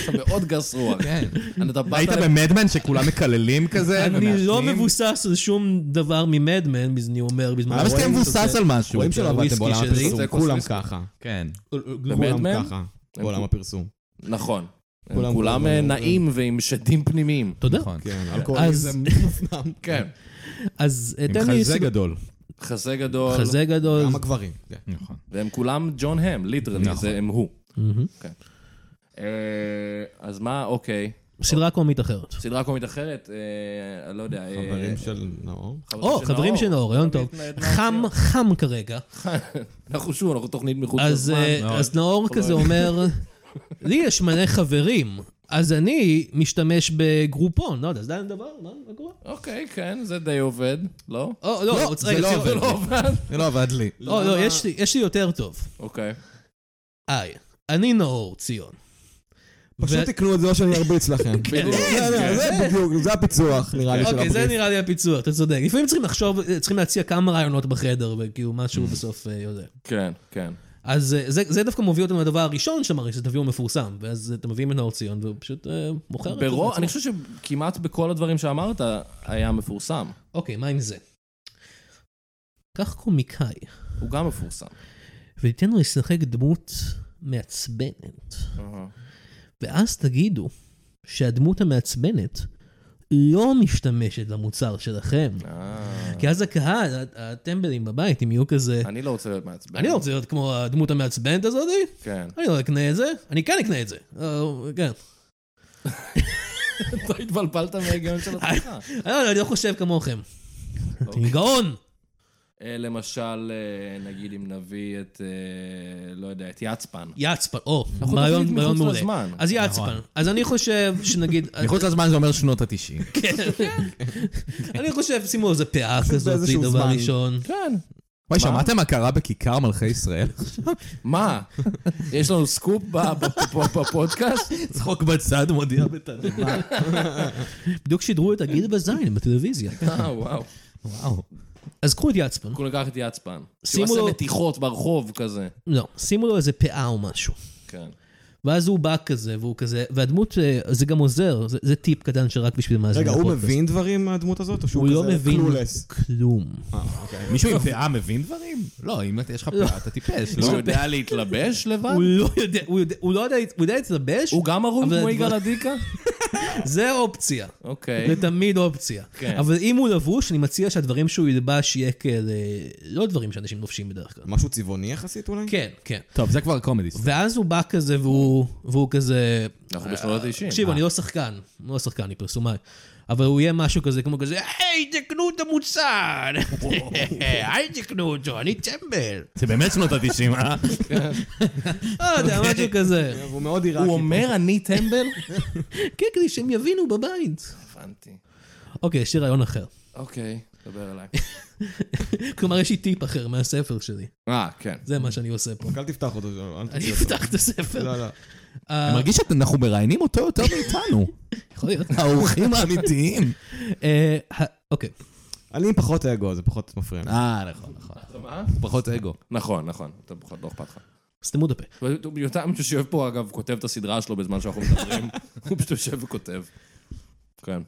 Speaker 2: אתה מאוד גס רוח.
Speaker 5: כן.
Speaker 2: אתה באת
Speaker 5: היית
Speaker 2: לפה-
Speaker 5: במדמן שכולם מקללים כזה?
Speaker 3: אני לא
Speaker 5: ומעשנים?
Speaker 3: מבוסס על שום דבר ממדמן, אני אומר בזמן...
Speaker 5: למה שתהיה מבוסס על משהו?
Speaker 4: רואים שלא
Speaker 5: אבל
Speaker 4: עבדתם
Speaker 5: אתם
Speaker 4: בעולם
Speaker 5: בעולם הפרסום.
Speaker 4: הפרסום,
Speaker 2: זה
Speaker 4: כולם
Speaker 2: קוסמיסט.
Speaker 4: ככה.
Speaker 5: כן.
Speaker 4: כולם
Speaker 2: במדמן?
Speaker 4: ככה, בעולם הפרסום.
Speaker 2: נכון.
Speaker 4: כולם-
Speaker 2: כולם אה, נעים ועם שדים פנימיים.
Speaker 3: תודה.
Speaker 5: נכון.
Speaker 4: כן,
Speaker 3: אז-
Speaker 4: אלכוהוליזם מופנם.
Speaker 2: כן.
Speaker 3: אז אה,
Speaker 5: עם
Speaker 3: תן לי...
Speaker 5: חזה
Speaker 3: סדרה-
Speaker 5: גדול.
Speaker 2: חזה גדול,
Speaker 3: חזה גדול.
Speaker 4: גם הגברים. כן.
Speaker 5: נכון.
Speaker 2: והם כולם ג'ון הם, ליטרלי,
Speaker 5: נכון.
Speaker 2: זה הם הוא. כן.
Speaker 3: מהמם.
Speaker 2: אה, אז מה, אוקיי.
Speaker 3: סדרה קומית אחרת.
Speaker 2: סדרה קומית אחרת, אה, אני לא יודע. אה,
Speaker 4: חברים של נאור.
Speaker 3: או, חברים של נאור, רעיון טוב.
Speaker 2: תמיד נהדר
Speaker 3: חם,
Speaker 2: להיות.
Speaker 3: חם כרגע.
Speaker 2: אנחנו שוב, אנחנו תוכנית מחוץ
Speaker 3: אז,
Speaker 2: לזמן.
Speaker 3: אה, אז נאור כזה אומר, לי יש מלא חברים, אז אני משתמש בגרופון, לא יודע, זה עדיין דבר? מה מה קורה?
Speaker 2: אוקיי, כן, זה די עובד, לא?
Speaker 3: או, לא, רוצה-
Speaker 4: זה
Speaker 3: רגע,
Speaker 4: לא
Speaker 3: רגע,
Speaker 4: עובד.
Speaker 3: לא.
Speaker 4: זה לא עבד לי.
Speaker 3: או, לא, יש לי- יש לי יותר טוב.
Speaker 2: אוקיי.
Speaker 3: כן, היי, אני נאור ציון.
Speaker 4: פשוט
Speaker 3: ו-
Speaker 4: תקנו את זה או שאני ארביץ לכם.
Speaker 5: כן.
Speaker 2: בדיוק. כן,
Speaker 4: לא, לא,
Speaker 3: כן,
Speaker 4: זה בדיוק, זה הפיצוח, נראה לי, של
Speaker 3: אוקיי, זה
Speaker 4: הבריף.
Speaker 3: נראה לי הפיצוח, אתה צודק. לפעמים צריכים לחשוב, אה, צריכים להציע כמה רעיונות בחדר, וכאילו משהו בסוף אה, יודע.
Speaker 2: כן, כן.
Speaker 3: אז אה, זה זה דביא מביא אותנו לדבר הראשון שאמרתי, שזה תביאו מפורסם, ואז אה, אתם מביאים את נאור ציון, והוא פשוט אה, מוכר את זה.
Speaker 2: ברוב,
Speaker 3: בעצמו.
Speaker 2: אני חושב שכמעט בכל הדברים שאמרת היה מפורסם.
Speaker 3: אוקיי, מה עם זה? קח קומיקאי,
Speaker 2: הוא גם מפורסם.
Speaker 3: ותיתן לו לשחק דמות מעצבנת,
Speaker 2: אהה.
Speaker 3: ואז תגידו שהדמות המעצבנת לא משתמשת למוצר שלכם.
Speaker 2: אה,
Speaker 3: כי אז הקהל, ה- הטמבלים בבית, אם יהיו כזה...
Speaker 2: אני לא רוצה להיות מעצבן.
Speaker 3: כן. אני לא רוצה להיות כמו הדמות המעצבנת הזאתי,
Speaker 2: כן.
Speaker 3: אני לא אקנה את זה, אני כן אקנה את זה. אה, כן.
Speaker 2: אתה התבלבלת מההיגיון של עצמך.
Speaker 3: אני לא- אני לא חושב כמוכם. אתם גאון!
Speaker 2: אה, למשל, אה, נגיד אם נביא את, אה, לא יודע, את יצפן.
Speaker 3: יצפן, או,
Speaker 2: אנחנו
Speaker 3: רעיון
Speaker 2: תוכנית
Speaker 3: רעיון
Speaker 2: מחוץ
Speaker 3: מעולה.
Speaker 2: לזמן.
Speaker 3: אז יצפן. אז אני חושב שנגיד... כן.
Speaker 5: מחוץ לזמן זה אומר שנות התשעים.
Speaker 3: אני חושב, שימו איזה פאה כזאת,
Speaker 4: באיזשהו
Speaker 3: דבר
Speaker 4: זמן.
Speaker 3: ראשון.
Speaker 2: כן.
Speaker 5: וואי, שמעתם מה קרה בכיכר מלכי ישראל?
Speaker 2: מה? יש לנו סקופ ב- ב- ב- בפודקאסט?
Speaker 5: צחוק בצד, מודיע בתנומה.
Speaker 3: בדיוק שידרו את הגיל בזין בטלוויזיה.
Speaker 2: אה, וואו.
Speaker 5: וואו.
Speaker 3: אז קחו את יצפן.
Speaker 2: אנחנו ניקח את יצפן. שהוא
Speaker 3: שימו
Speaker 2: עושה
Speaker 3: לו-
Speaker 2: מתיחות ברחוב כזה.
Speaker 3: לא, שימו לו איזה פאה או משהו.
Speaker 2: כן.
Speaker 3: ואז הוא בא כזה, והוא כזה, והדמות, אה, זה גם עוזר, זה- זה טיפ קטן שרק בשביל מאזיני
Speaker 4: רגע, הוא
Speaker 3: הפודקאסט.
Speaker 4: מבין דברים מהדמות הזאת, או שהוא
Speaker 3: הוא לא
Speaker 4: כזה אה?
Speaker 3: מבין
Speaker 4: קלולס?
Speaker 3: כלום.
Speaker 4: אוקיי.
Speaker 5: מישהו עם פאה מבין דברים? לא, אם אתה- יש לך פאה, אתה טיפש,
Speaker 2: הוא
Speaker 5: לא?
Speaker 2: יודע להתלבש לבד?
Speaker 3: הוא לא יודע, הוא יודע- הוא לא יודע, הוא יודע להתלבש,
Speaker 2: הוא גם ערום
Speaker 3: אבל
Speaker 2: כמו
Speaker 3: הדבר-
Speaker 2: יגאל עדיקה?
Speaker 3: זה אופציה.
Speaker 2: אוקיי.
Speaker 3: זה תמיד אופציה.
Speaker 2: כן.
Speaker 3: אבל אם הוא לבוש, אני מציע שהדברים שהוא ילבש יהיה כאלה, לא דברים שאנשים לובשים בדרך כלל.
Speaker 4: משהו צבעוני יחסית אולי?
Speaker 3: כן, כן.
Speaker 5: טוב, זה כבר קומדי.
Speaker 3: ואז הוא בא כזה, והוא והוא כזה...
Speaker 2: אנחנו בשנות אה, ה-90.
Speaker 3: תקשיב, אני לא שחקן, אני לא שחקן, אני פרסומאי. אבל הוא יהיה משהו כזה, כמו כזה, היי, תקנו את המוצר! היי, תקנו אותו, אני טמבל!
Speaker 5: זה באמת שנות התשעים, אה?
Speaker 3: לא יודע, משהו כזה.
Speaker 4: הוא מאוד עיראקי.
Speaker 2: הוא אומר אני טמבל?
Speaker 3: כן, כדי שהם יבינו בבית.
Speaker 2: הבנתי.
Speaker 3: אוקיי, יש לי רעיון אחר.
Speaker 2: אוקיי, דבר אליי.
Speaker 3: כלומר, יש לי טיפ אחר מהספר שלי.
Speaker 2: אה, כן.
Speaker 3: זה מה שאני עושה פה.
Speaker 4: רק אל תפתח אותו, לא, אל
Speaker 3: אני
Speaker 4: תוציא אותו.
Speaker 3: אפתח את הספר.
Speaker 4: לא, לא.
Speaker 5: אני מרגיש שאנחנו מראיינים אותו יותר מאיתנו.
Speaker 3: יכול להיות.
Speaker 5: האורחים האמיתיים.
Speaker 3: אה, ה- אוקיי.
Speaker 4: אני עם פחות אגו, זה פחות מפריע. לי.
Speaker 5: אה, נכון, נכון.
Speaker 2: מה?
Speaker 5: פחות אגו.
Speaker 2: נכון, נכון. אתה פחות, לא אכפת לך.
Speaker 3: סתמו את הפה.
Speaker 2: יותם שיושב פה, אגב, כותב את הסדרה שלו בזמן שאנחנו מדברים. הוא פשוט יושב וכותב. כן.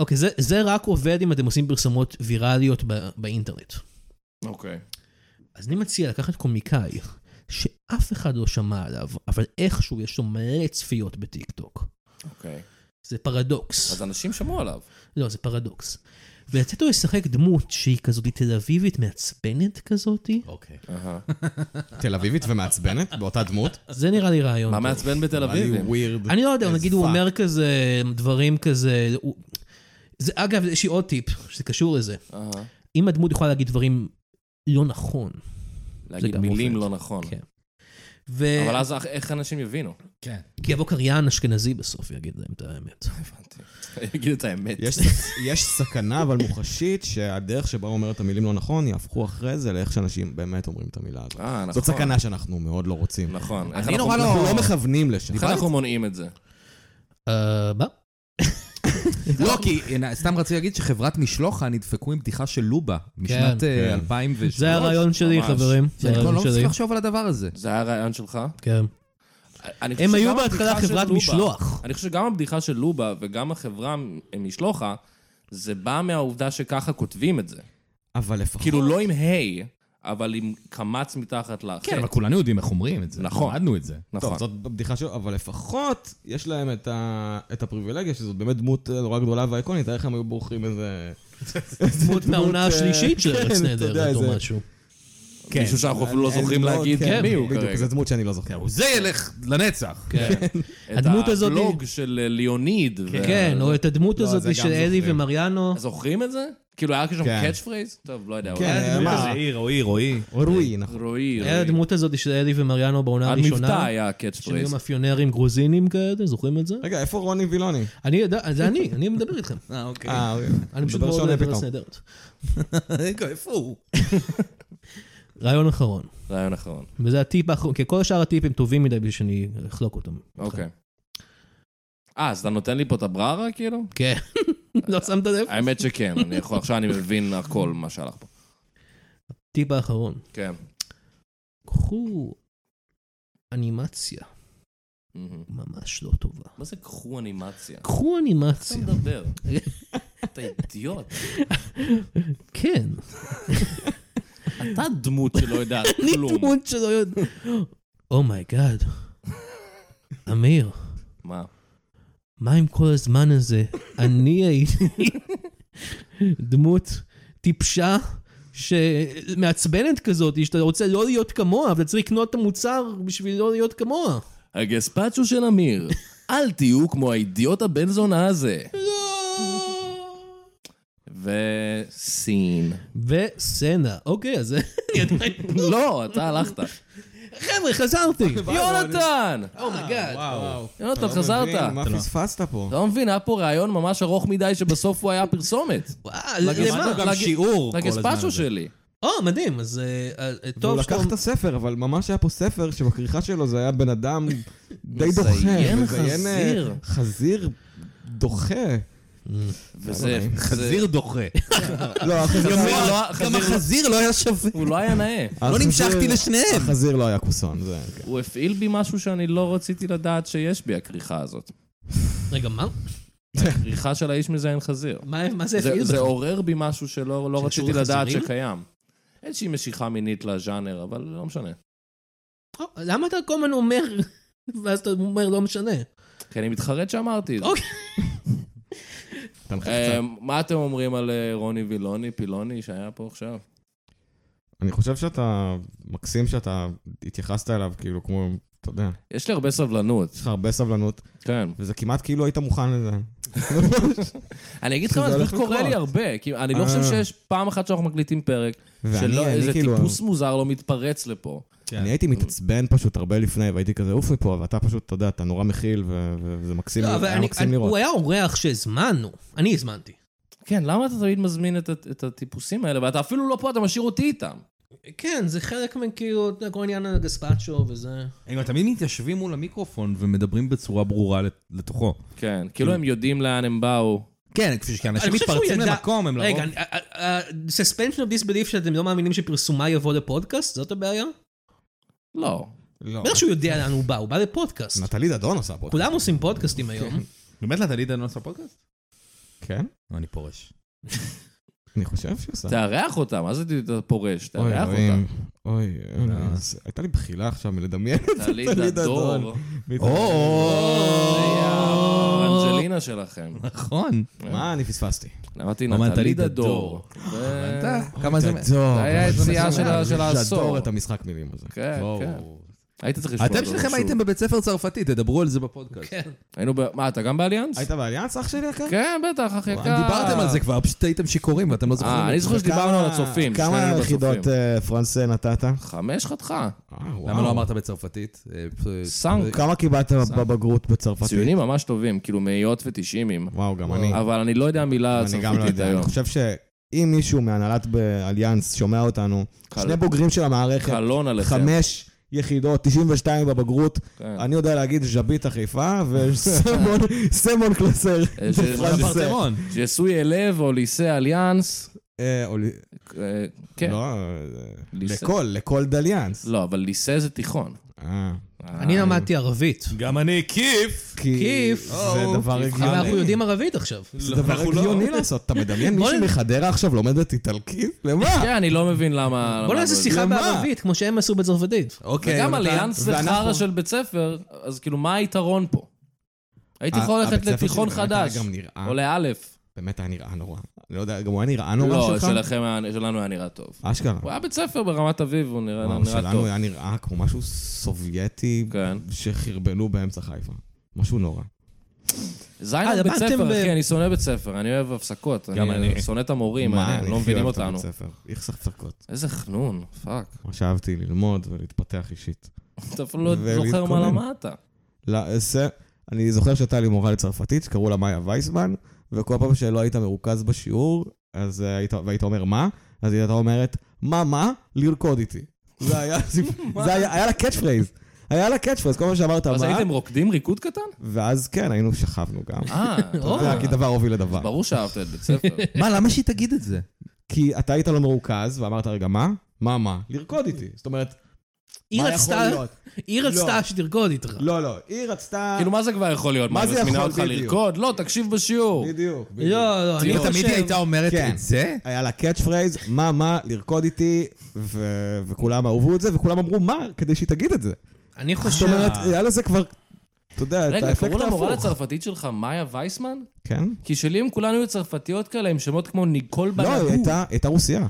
Speaker 3: אוקיי, זה- זה רק עובד אם אתם עושים פרסומות ויראליות ב- באינטרנט.
Speaker 2: אוקיי.
Speaker 3: אז אני מציע לקחת קומיקאי שאף אחד לא שמע עליו, אבל איכשהו יש לו מלא צפיות בטיקטוק.
Speaker 2: אוקיי.
Speaker 3: זה פרדוקס.
Speaker 2: אז אנשים שמעו עליו.
Speaker 3: לא, זה פרדוקס. ולתת לו לשחק דמות שהיא כזאת תל אביבית מעצבנת כזאתי,
Speaker 5: אוקיי.
Speaker 2: אהה.
Speaker 4: תל אביבית ומעצבנת, באותה דמות.
Speaker 3: זה נראה לי רעיון.
Speaker 2: מה
Speaker 3: טוב.
Speaker 2: מעצבן בתל אביב?
Speaker 4: אני ווירד.
Speaker 3: אני לא יודע,
Speaker 4: as
Speaker 3: נגיד הוא
Speaker 4: fuck.
Speaker 3: אומר כזה דברים כזה... הוא- זה, אגב, יש לי עוד טיפ שזה קשור לזה.
Speaker 2: אהה.
Speaker 3: אם הדמות יכולה להגיד דברים לא נכון,
Speaker 2: להגיד
Speaker 3: גם
Speaker 2: מילים
Speaker 3: עובד.
Speaker 2: לא נכון.
Speaker 3: כן. ו...
Speaker 2: אבל אז אח- איך אנשים יבינו?
Speaker 5: כן.
Speaker 3: כי יבוא קריין אשכנזי בסוף ויגיד להם את האמת.
Speaker 2: הבנתי. יגידו את האמת.
Speaker 4: יש ס- יש סכנה, אבל מוחשית, שהדרך שבה הוא אומר את המילים לא נכון, יהפכו אחרי זה לאיך שאנשים באמת אומרים את המילה הזאת.
Speaker 2: אה, נכון.
Speaker 4: זאת סכנה שאנחנו מאוד לא רוצים.
Speaker 2: נכון. איך
Speaker 5: אני
Speaker 2: אנחנו-
Speaker 5: נורא לא-
Speaker 4: אנחנו לא מכוונים לשם.
Speaker 2: איך אנחנו מונעים את זה?
Speaker 3: אה, מה?
Speaker 5: לא, כי הנה, סתם רציתי להגיד שחברת משלוחה נדפקו עם בדיחה של לובה משנת אה,
Speaker 4: כן.
Speaker 5: 2003.
Speaker 3: זה הרעיון שלי,
Speaker 2: ממש.
Speaker 3: חברים. זה
Speaker 5: שאני כבר
Speaker 3: הרעיון
Speaker 5: לא
Speaker 3: שלי.
Speaker 5: מצליח לחשוב על הדבר הזה.
Speaker 2: זה היה הרעיון שלך?
Speaker 3: כן.
Speaker 2: אני חושב
Speaker 3: הם היו
Speaker 2: שגם
Speaker 3: בהתחלה
Speaker 2: הבדיחה של
Speaker 3: חברת
Speaker 2: לובה-
Speaker 3: משלוח.
Speaker 2: אני חושב שגם הבדיחה של לובה וגם החברה משלוחה, זה בא מהעובדה שככה כותבים את זה.
Speaker 4: אבל לפחות...
Speaker 2: כאילו לא עם היי, אבל עם קמץ מתחת לחטא.
Speaker 5: כן, אבל כולנו יודעים איך אומרים את זה.
Speaker 2: נכון.
Speaker 5: למדנו את זה.
Speaker 2: נכון.
Speaker 4: טוב, זאת בדיחה שלו, אבל לפחות יש להם את, ה... את הפריבילגיה שזאת באמת דמות אה, נורא גדולה ואיקונית, איך הם היו בורחים איזה
Speaker 3: דמות מהעונה
Speaker 4: דמות, אה,
Speaker 3: השלישית של
Speaker 4: כן,
Speaker 3: ארץ
Speaker 4: אתה
Speaker 3: נהדרת
Speaker 4: יודע,
Speaker 3: או
Speaker 4: זה-
Speaker 3: משהו.
Speaker 5: כן.
Speaker 2: מישהו שאנחנו אפילו לא
Speaker 4: אין
Speaker 2: זוכרים
Speaker 4: דמות,
Speaker 2: להגיד
Speaker 4: כן,
Speaker 2: מי הוא
Speaker 4: בדיוק,
Speaker 2: כרגע.
Speaker 4: זו דמות שאני לא זוכר.
Speaker 5: זה ילך לנצח.
Speaker 3: כן.
Speaker 2: את
Speaker 3: הדמות הזאת-
Speaker 2: הבלוג של אה, ליאוניד. וה-
Speaker 3: כן, או את הדמות
Speaker 5: לא,
Speaker 3: הזאת
Speaker 5: זה
Speaker 3: של
Speaker 5: גם
Speaker 3: אלי
Speaker 5: זוכרים.
Speaker 3: ומריאנו.
Speaker 2: זוכרים את זה? כאילו, היה שם
Speaker 5: כן.
Speaker 2: קאץ' פרייז? טוב, לא יודע.
Speaker 4: כן,
Speaker 2: אולי.
Speaker 4: אה, מה?
Speaker 5: עיר, רועי, רועי.
Speaker 4: רועי, נכון.
Speaker 2: רועי,
Speaker 3: היה
Speaker 2: רועי.
Speaker 3: הדמות הזאת של אלי ומריאנו בעונה
Speaker 2: עד
Speaker 3: הראשונה.
Speaker 2: מבטא היה קאץ'
Speaker 3: שהם היו
Speaker 2: פרייז.
Speaker 3: מאפיונרים גרוזינים כאלה, זוכרים את זה?
Speaker 4: רגע, איפה רוני וילוני?
Speaker 3: אני יודע, זה אני, אני מדבר איתכם.
Speaker 6: אה, אוקיי.
Speaker 4: אה, אוקיי.
Speaker 3: אוקיי. אני פשוט
Speaker 4: מדבר
Speaker 3: מאוד
Speaker 4: שונה
Speaker 3: אוהב
Speaker 4: פתאום.
Speaker 3: ארץ נהדרת.
Speaker 5: אה,
Speaker 6: רגע, איפה הוא?
Speaker 3: רעיון אחרון,
Speaker 2: רעיון אחרון.
Speaker 3: וזה הטיפ האחרון, כי כל שאר הטיפים טובים מדי בשביל שאני אחלוק אותם.
Speaker 2: אוקיי. אה, אז אתה נותן לי פה את הבררה, כאילו?
Speaker 3: כן. לא שמת לב?
Speaker 2: האמת שכן, אני יכול, עכשיו אני מבין הכל מה שהלך פה.
Speaker 3: הטיפ האחרון,
Speaker 2: כן.
Speaker 3: קחו אנימציה
Speaker 2: מהמם.
Speaker 3: ממש לא טובה.
Speaker 2: מה זה קחו אנימציה?
Speaker 3: קחו
Speaker 2: אתה
Speaker 3: אנימציה,
Speaker 2: מדבר. אתה אידיוט.
Speaker 3: כן.
Speaker 2: אתה דמות שלא יודעת
Speaker 3: אני
Speaker 2: כלום.
Speaker 3: דמות שלא יודע. אומייגאד. אמיר,
Speaker 2: מה?
Speaker 3: מה עם כל הזמן הזה? אני הייתי דמות טיפשה. שמעצבנת כזאת, שאתה רוצה לא להיות כמוה, אבל אתה צריך לקנות את המוצר בשביל לא להיות כמוה.
Speaker 2: הגספצ'ו של אמיר. אל תהיו כמו האידיוט הבן זונה הזה. וסין.
Speaker 3: וסצנה. אוקיי, אז זה... אני עדיין-
Speaker 2: לא, אתה הלכת.
Speaker 3: חבר'ה, חזרתי! Oh
Speaker 2: יונתן!
Speaker 3: אומייגאד.
Speaker 4: וואו.
Speaker 2: יונתן,
Speaker 4: אתה לא מבין,
Speaker 2: חזרת.
Speaker 4: מה פספסת פה?
Speaker 2: אתה לא מבין, היה פה ראיון ממש ארוך מדי שבסוף הוא היה פרסומת.
Speaker 3: למה?
Speaker 5: גם שיעור כל הזמן
Speaker 2: לגספצ'ו
Speaker 5: הזה. לא,
Speaker 2: שלי.
Speaker 3: או, מדהים, אז אה, אה,
Speaker 4: הוא
Speaker 3: טוב שאתה...
Speaker 4: לקח את הספר, אבל ממש היה פה ספר שבכריכה שלו זה היה בן אדם די
Speaker 2: מזיין
Speaker 4: דוחה. מזיין, אה,
Speaker 2: חזיר.
Speaker 4: חזיר דוחה.
Speaker 2: וזה... זה-
Speaker 4: נעים.
Speaker 5: לא, חזיר דוחה.
Speaker 4: לא, החזיר
Speaker 2: גם
Speaker 4: היה-
Speaker 2: לא-
Speaker 6: גם
Speaker 2: חזיר-
Speaker 6: החזיר לא היה שווה.
Speaker 2: הוא לא היה נאה.
Speaker 5: אה,
Speaker 4: החזיר-
Speaker 6: נמשכתי לשניהם.
Speaker 4: החזיר לא היה כוסון, זה... כן.
Speaker 2: הוא הפעיל בי משהו שאני לא רציתי לדעת שיש בי, הכריכה הזאת.
Speaker 3: רגע, מה?
Speaker 2: הכריכה של האיש מזיין חזיר.
Speaker 3: מה מה זה
Speaker 2: זה-
Speaker 3: הפעיל
Speaker 2: זה
Speaker 3: בכלל?
Speaker 2: עורר בי משהו שלא לא
Speaker 3: שקשור
Speaker 2: רציתי לדעת
Speaker 3: לחזירים?
Speaker 2: שקיים. איזושהי משיכה מינית לז'אנר, אבל לא משנה.
Speaker 3: או, למה אתה כל הזמן אומר, ואז אתה אומר לא משנה?
Speaker 2: כי אני מתחרט שאמרתי את זה.
Speaker 3: אוקיי.
Speaker 4: תנחה
Speaker 2: אה,
Speaker 3: אמ-
Speaker 4: קצת.
Speaker 2: מה אתם אומרים על אה, רוני וילוני, פילוני, שהיה פה עכשיו?
Speaker 4: אני חושב שאתה... מקסים שאתה התייחסת אליו, כאילו, כמו... אתה יודע,
Speaker 2: יש לי הרבה סבלנות.
Speaker 4: יש לך הרבה סבלנות,
Speaker 2: כן.
Speaker 4: וזה כמעט כאילו היית מוכן לזה.
Speaker 2: אני אגיד לך,
Speaker 4: שזה
Speaker 2: מה, זה
Speaker 4: הולך
Speaker 2: פשוט קורה
Speaker 4: לקרות.
Speaker 2: לי הרבה. כי אני לא
Speaker 4: אה.
Speaker 2: חושב שיש פעם אחת שאנחנו מקליטים פרק,
Speaker 4: ואני
Speaker 2: שלא
Speaker 4: אני
Speaker 2: איזה
Speaker 4: כאילו...
Speaker 2: טיפוס מוזר לא מתפרץ לפה.
Speaker 4: אני הייתי מתעצבן פשוט הרבה לפני, והייתי כזה עוף מפה, ואתה פשוט, אתה יודע, אתה נורא מכיל, ו- ו- וזה מקסים,
Speaker 3: לא, אבל
Speaker 4: היה
Speaker 3: אני-
Speaker 4: מקסים
Speaker 3: אני- הוא
Speaker 4: לראות.
Speaker 3: היה אורח שהזמנו, אני הזמנתי.
Speaker 2: כן, למה אתה תמיד מזמין את, את הטיפוסים האלה? ואתה אפילו לא פה, אתה משאיר אותי איתם.
Speaker 3: כן, זה חלק מכאילו, אתה יודע, כל עניין הגספצ'ו וזה.
Speaker 5: אה, הם תמיד מתיישבים מול המיקרופון ומדברים בצורה ברורה לתוכו.
Speaker 2: כן, כאילו הם יודעים לאן הם באו.
Speaker 5: כן, כפי שאנשים
Speaker 3: אני חושב שהוא
Speaker 5: מתפרצים
Speaker 3: ידע-
Speaker 5: למקום,
Speaker 4: לא.
Speaker 5: הם לרוב...
Speaker 3: רגע, ה-suspension of disbelief שאתם לא מאמינים שפרסומה יבוא לפודקאסט, זאת הבעיה?
Speaker 4: אוקיי.
Speaker 2: לא.
Speaker 4: לא.
Speaker 3: בטח שהוא יודע לאן הוא בא, הוא בא לפודקאסט.
Speaker 4: נטלי דדון עושה פה.
Speaker 3: כולם עושים פודקאסטים היום.
Speaker 5: באמת נתן לי דן עושה פודקאסט?
Speaker 4: כן?
Speaker 5: אני פורש.
Speaker 4: אני חושב שהיא עושה.
Speaker 2: תארח אותם, מה זה אתה פורש?
Speaker 4: אוי,
Speaker 2: תארח
Speaker 4: אלוהים.
Speaker 2: אותם.
Speaker 4: אוי,
Speaker 2: אה.
Speaker 4: אלוהים. אז הייתה לי בחילה עכשיו מלדמיין את זה.
Speaker 2: טלית הדור.
Speaker 4: בדיוק.
Speaker 2: זה
Speaker 5: או,
Speaker 2: האנג'לינה שלכם.
Speaker 5: נכון.
Speaker 2: אוקיי.
Speaker 4: מה אני פספסתי?
Speaker 2: אמרתי
Speaker 5: אמרת
Speaker 2: לה, טלית
Speaker 5: לי
Speaker 2: הדור. זה-
Speaker 5: אה, כמה זה...
Speaker 4: דדור.
Speaker 2: זה היה היציאה של ה-
Speaker 4: אוקיי, אני
Speaker 2: של
Speaker 4: שדור
Speaker 2: העשור.
Speaker 4: את המשחק מילים הזה.
Speaker 2: כן,
Speaker 5: אה,
Speaker 4: וואו.
Speaker 2: כן. היית צריך לשמוע
Speaker 5: אתם
Speaker 2: אותו
Speaker 5: שניכם
Speaker 2: שוב.
Speaker 5: הייתם בבית ספר צרפתי, תדברו על זה בפודקאסט.
Speaker 3: כן.
Speaker 2: היינו ב... מה, אתה גם באליאנס?
Speaker 4: היית באליאנס אח שלי יקר?
Speaker 2: כן, בטח, אחי יקר.
Speaker 5: דיברתם על זה כבר, פשוט הייתם שיכורים ואתם לא זוכרים.
Speaker 2: אה, אני זוכר שדיברנו על הצופים.
Speaker 4: כמה
Speaker 2: שנינו
Speaker 4: יחידות
Speaker 2: בצופים.
Speaker 4: אה, פרנס אה, נתת?
Speaker 2: חמש חתיכה.
Speaker 5: למה לא אמרת בצרפתית? אה, פ-
Speaker 2: סאנק.
Speaker 4: כמה קיבלת בבגרות בצרפתית?
Speaker 2: ציונים ממש טובים, כאילו מאיות ותשעימים.
Speaker 4: וואו, גם אני.
Speaker 2: אבל אני לא יודע מילה
Speaker 4: אני גם לא
Speaker 2: צרפתית
Speaker 4: יודע. אני
Speaker 2: היום.
Speaker 4: חושב שאם מישהו מהנהלת באליאנס שומע אותנו,
Speaker 2: קל-
Speaker 4: שני בוגרים של המערכת,
Speaker 2: קלון עליכם.
Speaker 4: חמש יחידות, 92 בבגרות,
Speaker 2: כן.
Speaker 4: אני יודע להגיד ז'ביטה חיפה וסמון סמון קלסר.
Speaker 2: אה, ש-
Speaker 4: בפרנסה.
Speaker 2: ש- ז'סוי אלב או ליסה אליאנס.
Speaker 4: אה, או ל-
Speaker 2: אה, כן.
Speaker 4: לא, אה,
Speaker 2: ליסה.
Speaker 4: לכל, לכל דליאנס.
Speaker 2: לא, אבל ליסה זה תיכון.
Speaker 4: אה,
Speaker 3: אני למדתי ערבית.
Speaker 5: גם אני כיף.
Speaker 3: כיף.
Speaker 4: זה דבר
Speaker 3: אבל
Speaker 4: הגיוני.
Speaker 3: אנחנו יודעים ערבית עכשיו.
Speaker 4: זה דבר
Speaker 2: לא-
Speaker 4: הגיוני לעשות, אתה מדמיין
Speaker 3: בוא
Speaker 4: מישהו
Speaker 3: נ-
Speaker 4: מחדרה עכשיו לומדת איטלקית? למה?
Speaker 2: כן, אני לא מבין למה... לא-
Speaker 3: בוא
Speaker 2: למה-
Speaker 3: נעשה שיחה
Speaker 4: למה?
Speaker 3: בערבית, כמו שהם עשו בצרפתית.
Speaker 5: אוקיי.
Speaker 2: וגם
Speaker 5: יונתן.
Speaker 2: אליאנס זה
Speaker 4: כן, ואנחנו-
Speaker 2: חרא של בית סבר, אז כאילו, מה היתרון פה? הייתי יכול
Speaker 4: ה-
Speaker 2: ללכת
Speaker 4: אה, הבית ספר
Speaker 2: לתיכון
Speaker 4: שלי באמת היה
Speaker 2: חדש,
Speaker 4: גם נראה.
Speaker 2: או לאלף.
Speaker 4: באמת היה נראה נורא. אני לא יודע, גם הוא היה נראה נורא
Speaker 2: לא,
Speaker 4: שלך?
Speaker 2: שלכם, היה- שלנו היה נראה טוב.
Speaker 4: אשכרה.
Speaker 2: הוא היה בית ספר ברמת אביב, הוא נראה
Speaker 4: וואו,
Speaker 2: נראה
Speaker 4: שלנו
Speaker 2: טוב.
Speaker 4: היה נראה כמו משהו סובייטי
Speaker 2: כן.
Speaker 4: שחרבנו באמצע חיפה. משהו נורא.
Speaker 2: זין
Speaker 3: אה,
Speaker 2: על בית
Speaker 3: למדתם
Speaker 2: ספר,
Speaker 3: ב-
Speaker 2: אחי, אני שונא בית ספר, אני אוהב הפסקות.
Speaker 5: גם אני.
Speaker 2: שונא את המורים,
Speaker 4: כן. מה,
Speaker 2: אני- הם
Speaker 4: אני
Speaker 2: לא
Speaker 4: הכי
Speaker 2: מבינים
Speaker 4: אוהב את
Speaker 2: אותנו.
Speaker 4: הבית ספר. איכסך צחקות.
Speaker 2: איזה חנון, פאק.
Speaker 4: ממש אהבתי ללמוד ולהתפתח אישית.
Speaker 2: אתה אפילו לא זוכר
Speaker 4: ולהתכונן.
Speaker 2: מה למדת.
Speaker 4: לא, זה- אני זוכר שהייתה לי מורה לצרפתית שקראו לה מאיה וייסמן, וכל פעם שלא היית מרוכז בשיעור, אז אה, היית- והיית אומר מה, אז היא הייתה אומרת, מה, מה? לרקוד איתי. זה היה, זה היה, היה לה קאץ' פרייז. היה לה קאץ' פרייז, כל פעם שאמרת
Speaker 2: אז
Speaker 4: מה,
Speaker 2: הייתם רוקדים ריקוד קטן?
Speaker 4: ואז כן, היינו שכבנו גם.
Speaker 2: אה,
Speaker 4: אתה יודע, כי דבר הוביל לדבר.
Speaker 2: ברור שאהבת את בית ספר.
Speaker 5: מה, למה שהיא תגיד את זה?
Speaker 4: כי אתה היית לא מרוכז, ואמרת, רגע, מה? מה, מה? לרקוד איתי. זאת אומרת,
Speaker 3: היא
Speaker 4: מה יכול
Speaker 3: רצתה,
Speaker 4: להיות?
Speaker 3: היא
Speaker 4: לא.
Speaker 3: רצתה שתרקוד איתך.
Speaker 4: לא, לא, היא רצתה...
Speaker 2: כאילו, מה זה כבר יכול להיות?
Speaker 4: מה
Speaker 2: מה,
Speaker 4: זה
Speaker 2: היא מזמינה
Speaker 4: יכול
Speaker 2: אותך
Speaker 4: בדיוק?
Speaker 2: לרקוד? לא, תקשיב בשיעור.
Speaker 4: בדיוק, בדיוק.
Speaker 3: לא, לא, אני
Speaker 5: היא
Speaker 3: חושב...
Speaker 5: תמיד היא הייתה אומרת
Speaker 4: כן.
Speaker 5: את זה?
Speaker 4: היה לה קאץ' פרייז, מה, מה, לרקוד איתי, ו- וכולם אהבו את זה, וכולם אמרו, מה, כדי שהיא תגיד את זה.
Speaker 3: אני
Speaker 4: אה. זאת
Speaker 3: חושב...
Speaker 4: אומרת, היה לזה כבר, אתה יודע, את
Speaker 2: רגע,
Speaker 4: האפקט
Speaker 2: קראו למורה
Speaker 4: ההפוך.
Speaker 2: לצרפתית שלך מאיה וייסמן?
Speaker 4: כן?
Speaker 2: כי שלי הם כולנו היו צרפתיות כאלה עם שמות כמו ניקול
Speaker 4: לא,
Speaker 2: בנאבו.
Speaker 4: היא הייתה- הייתה רוסייה.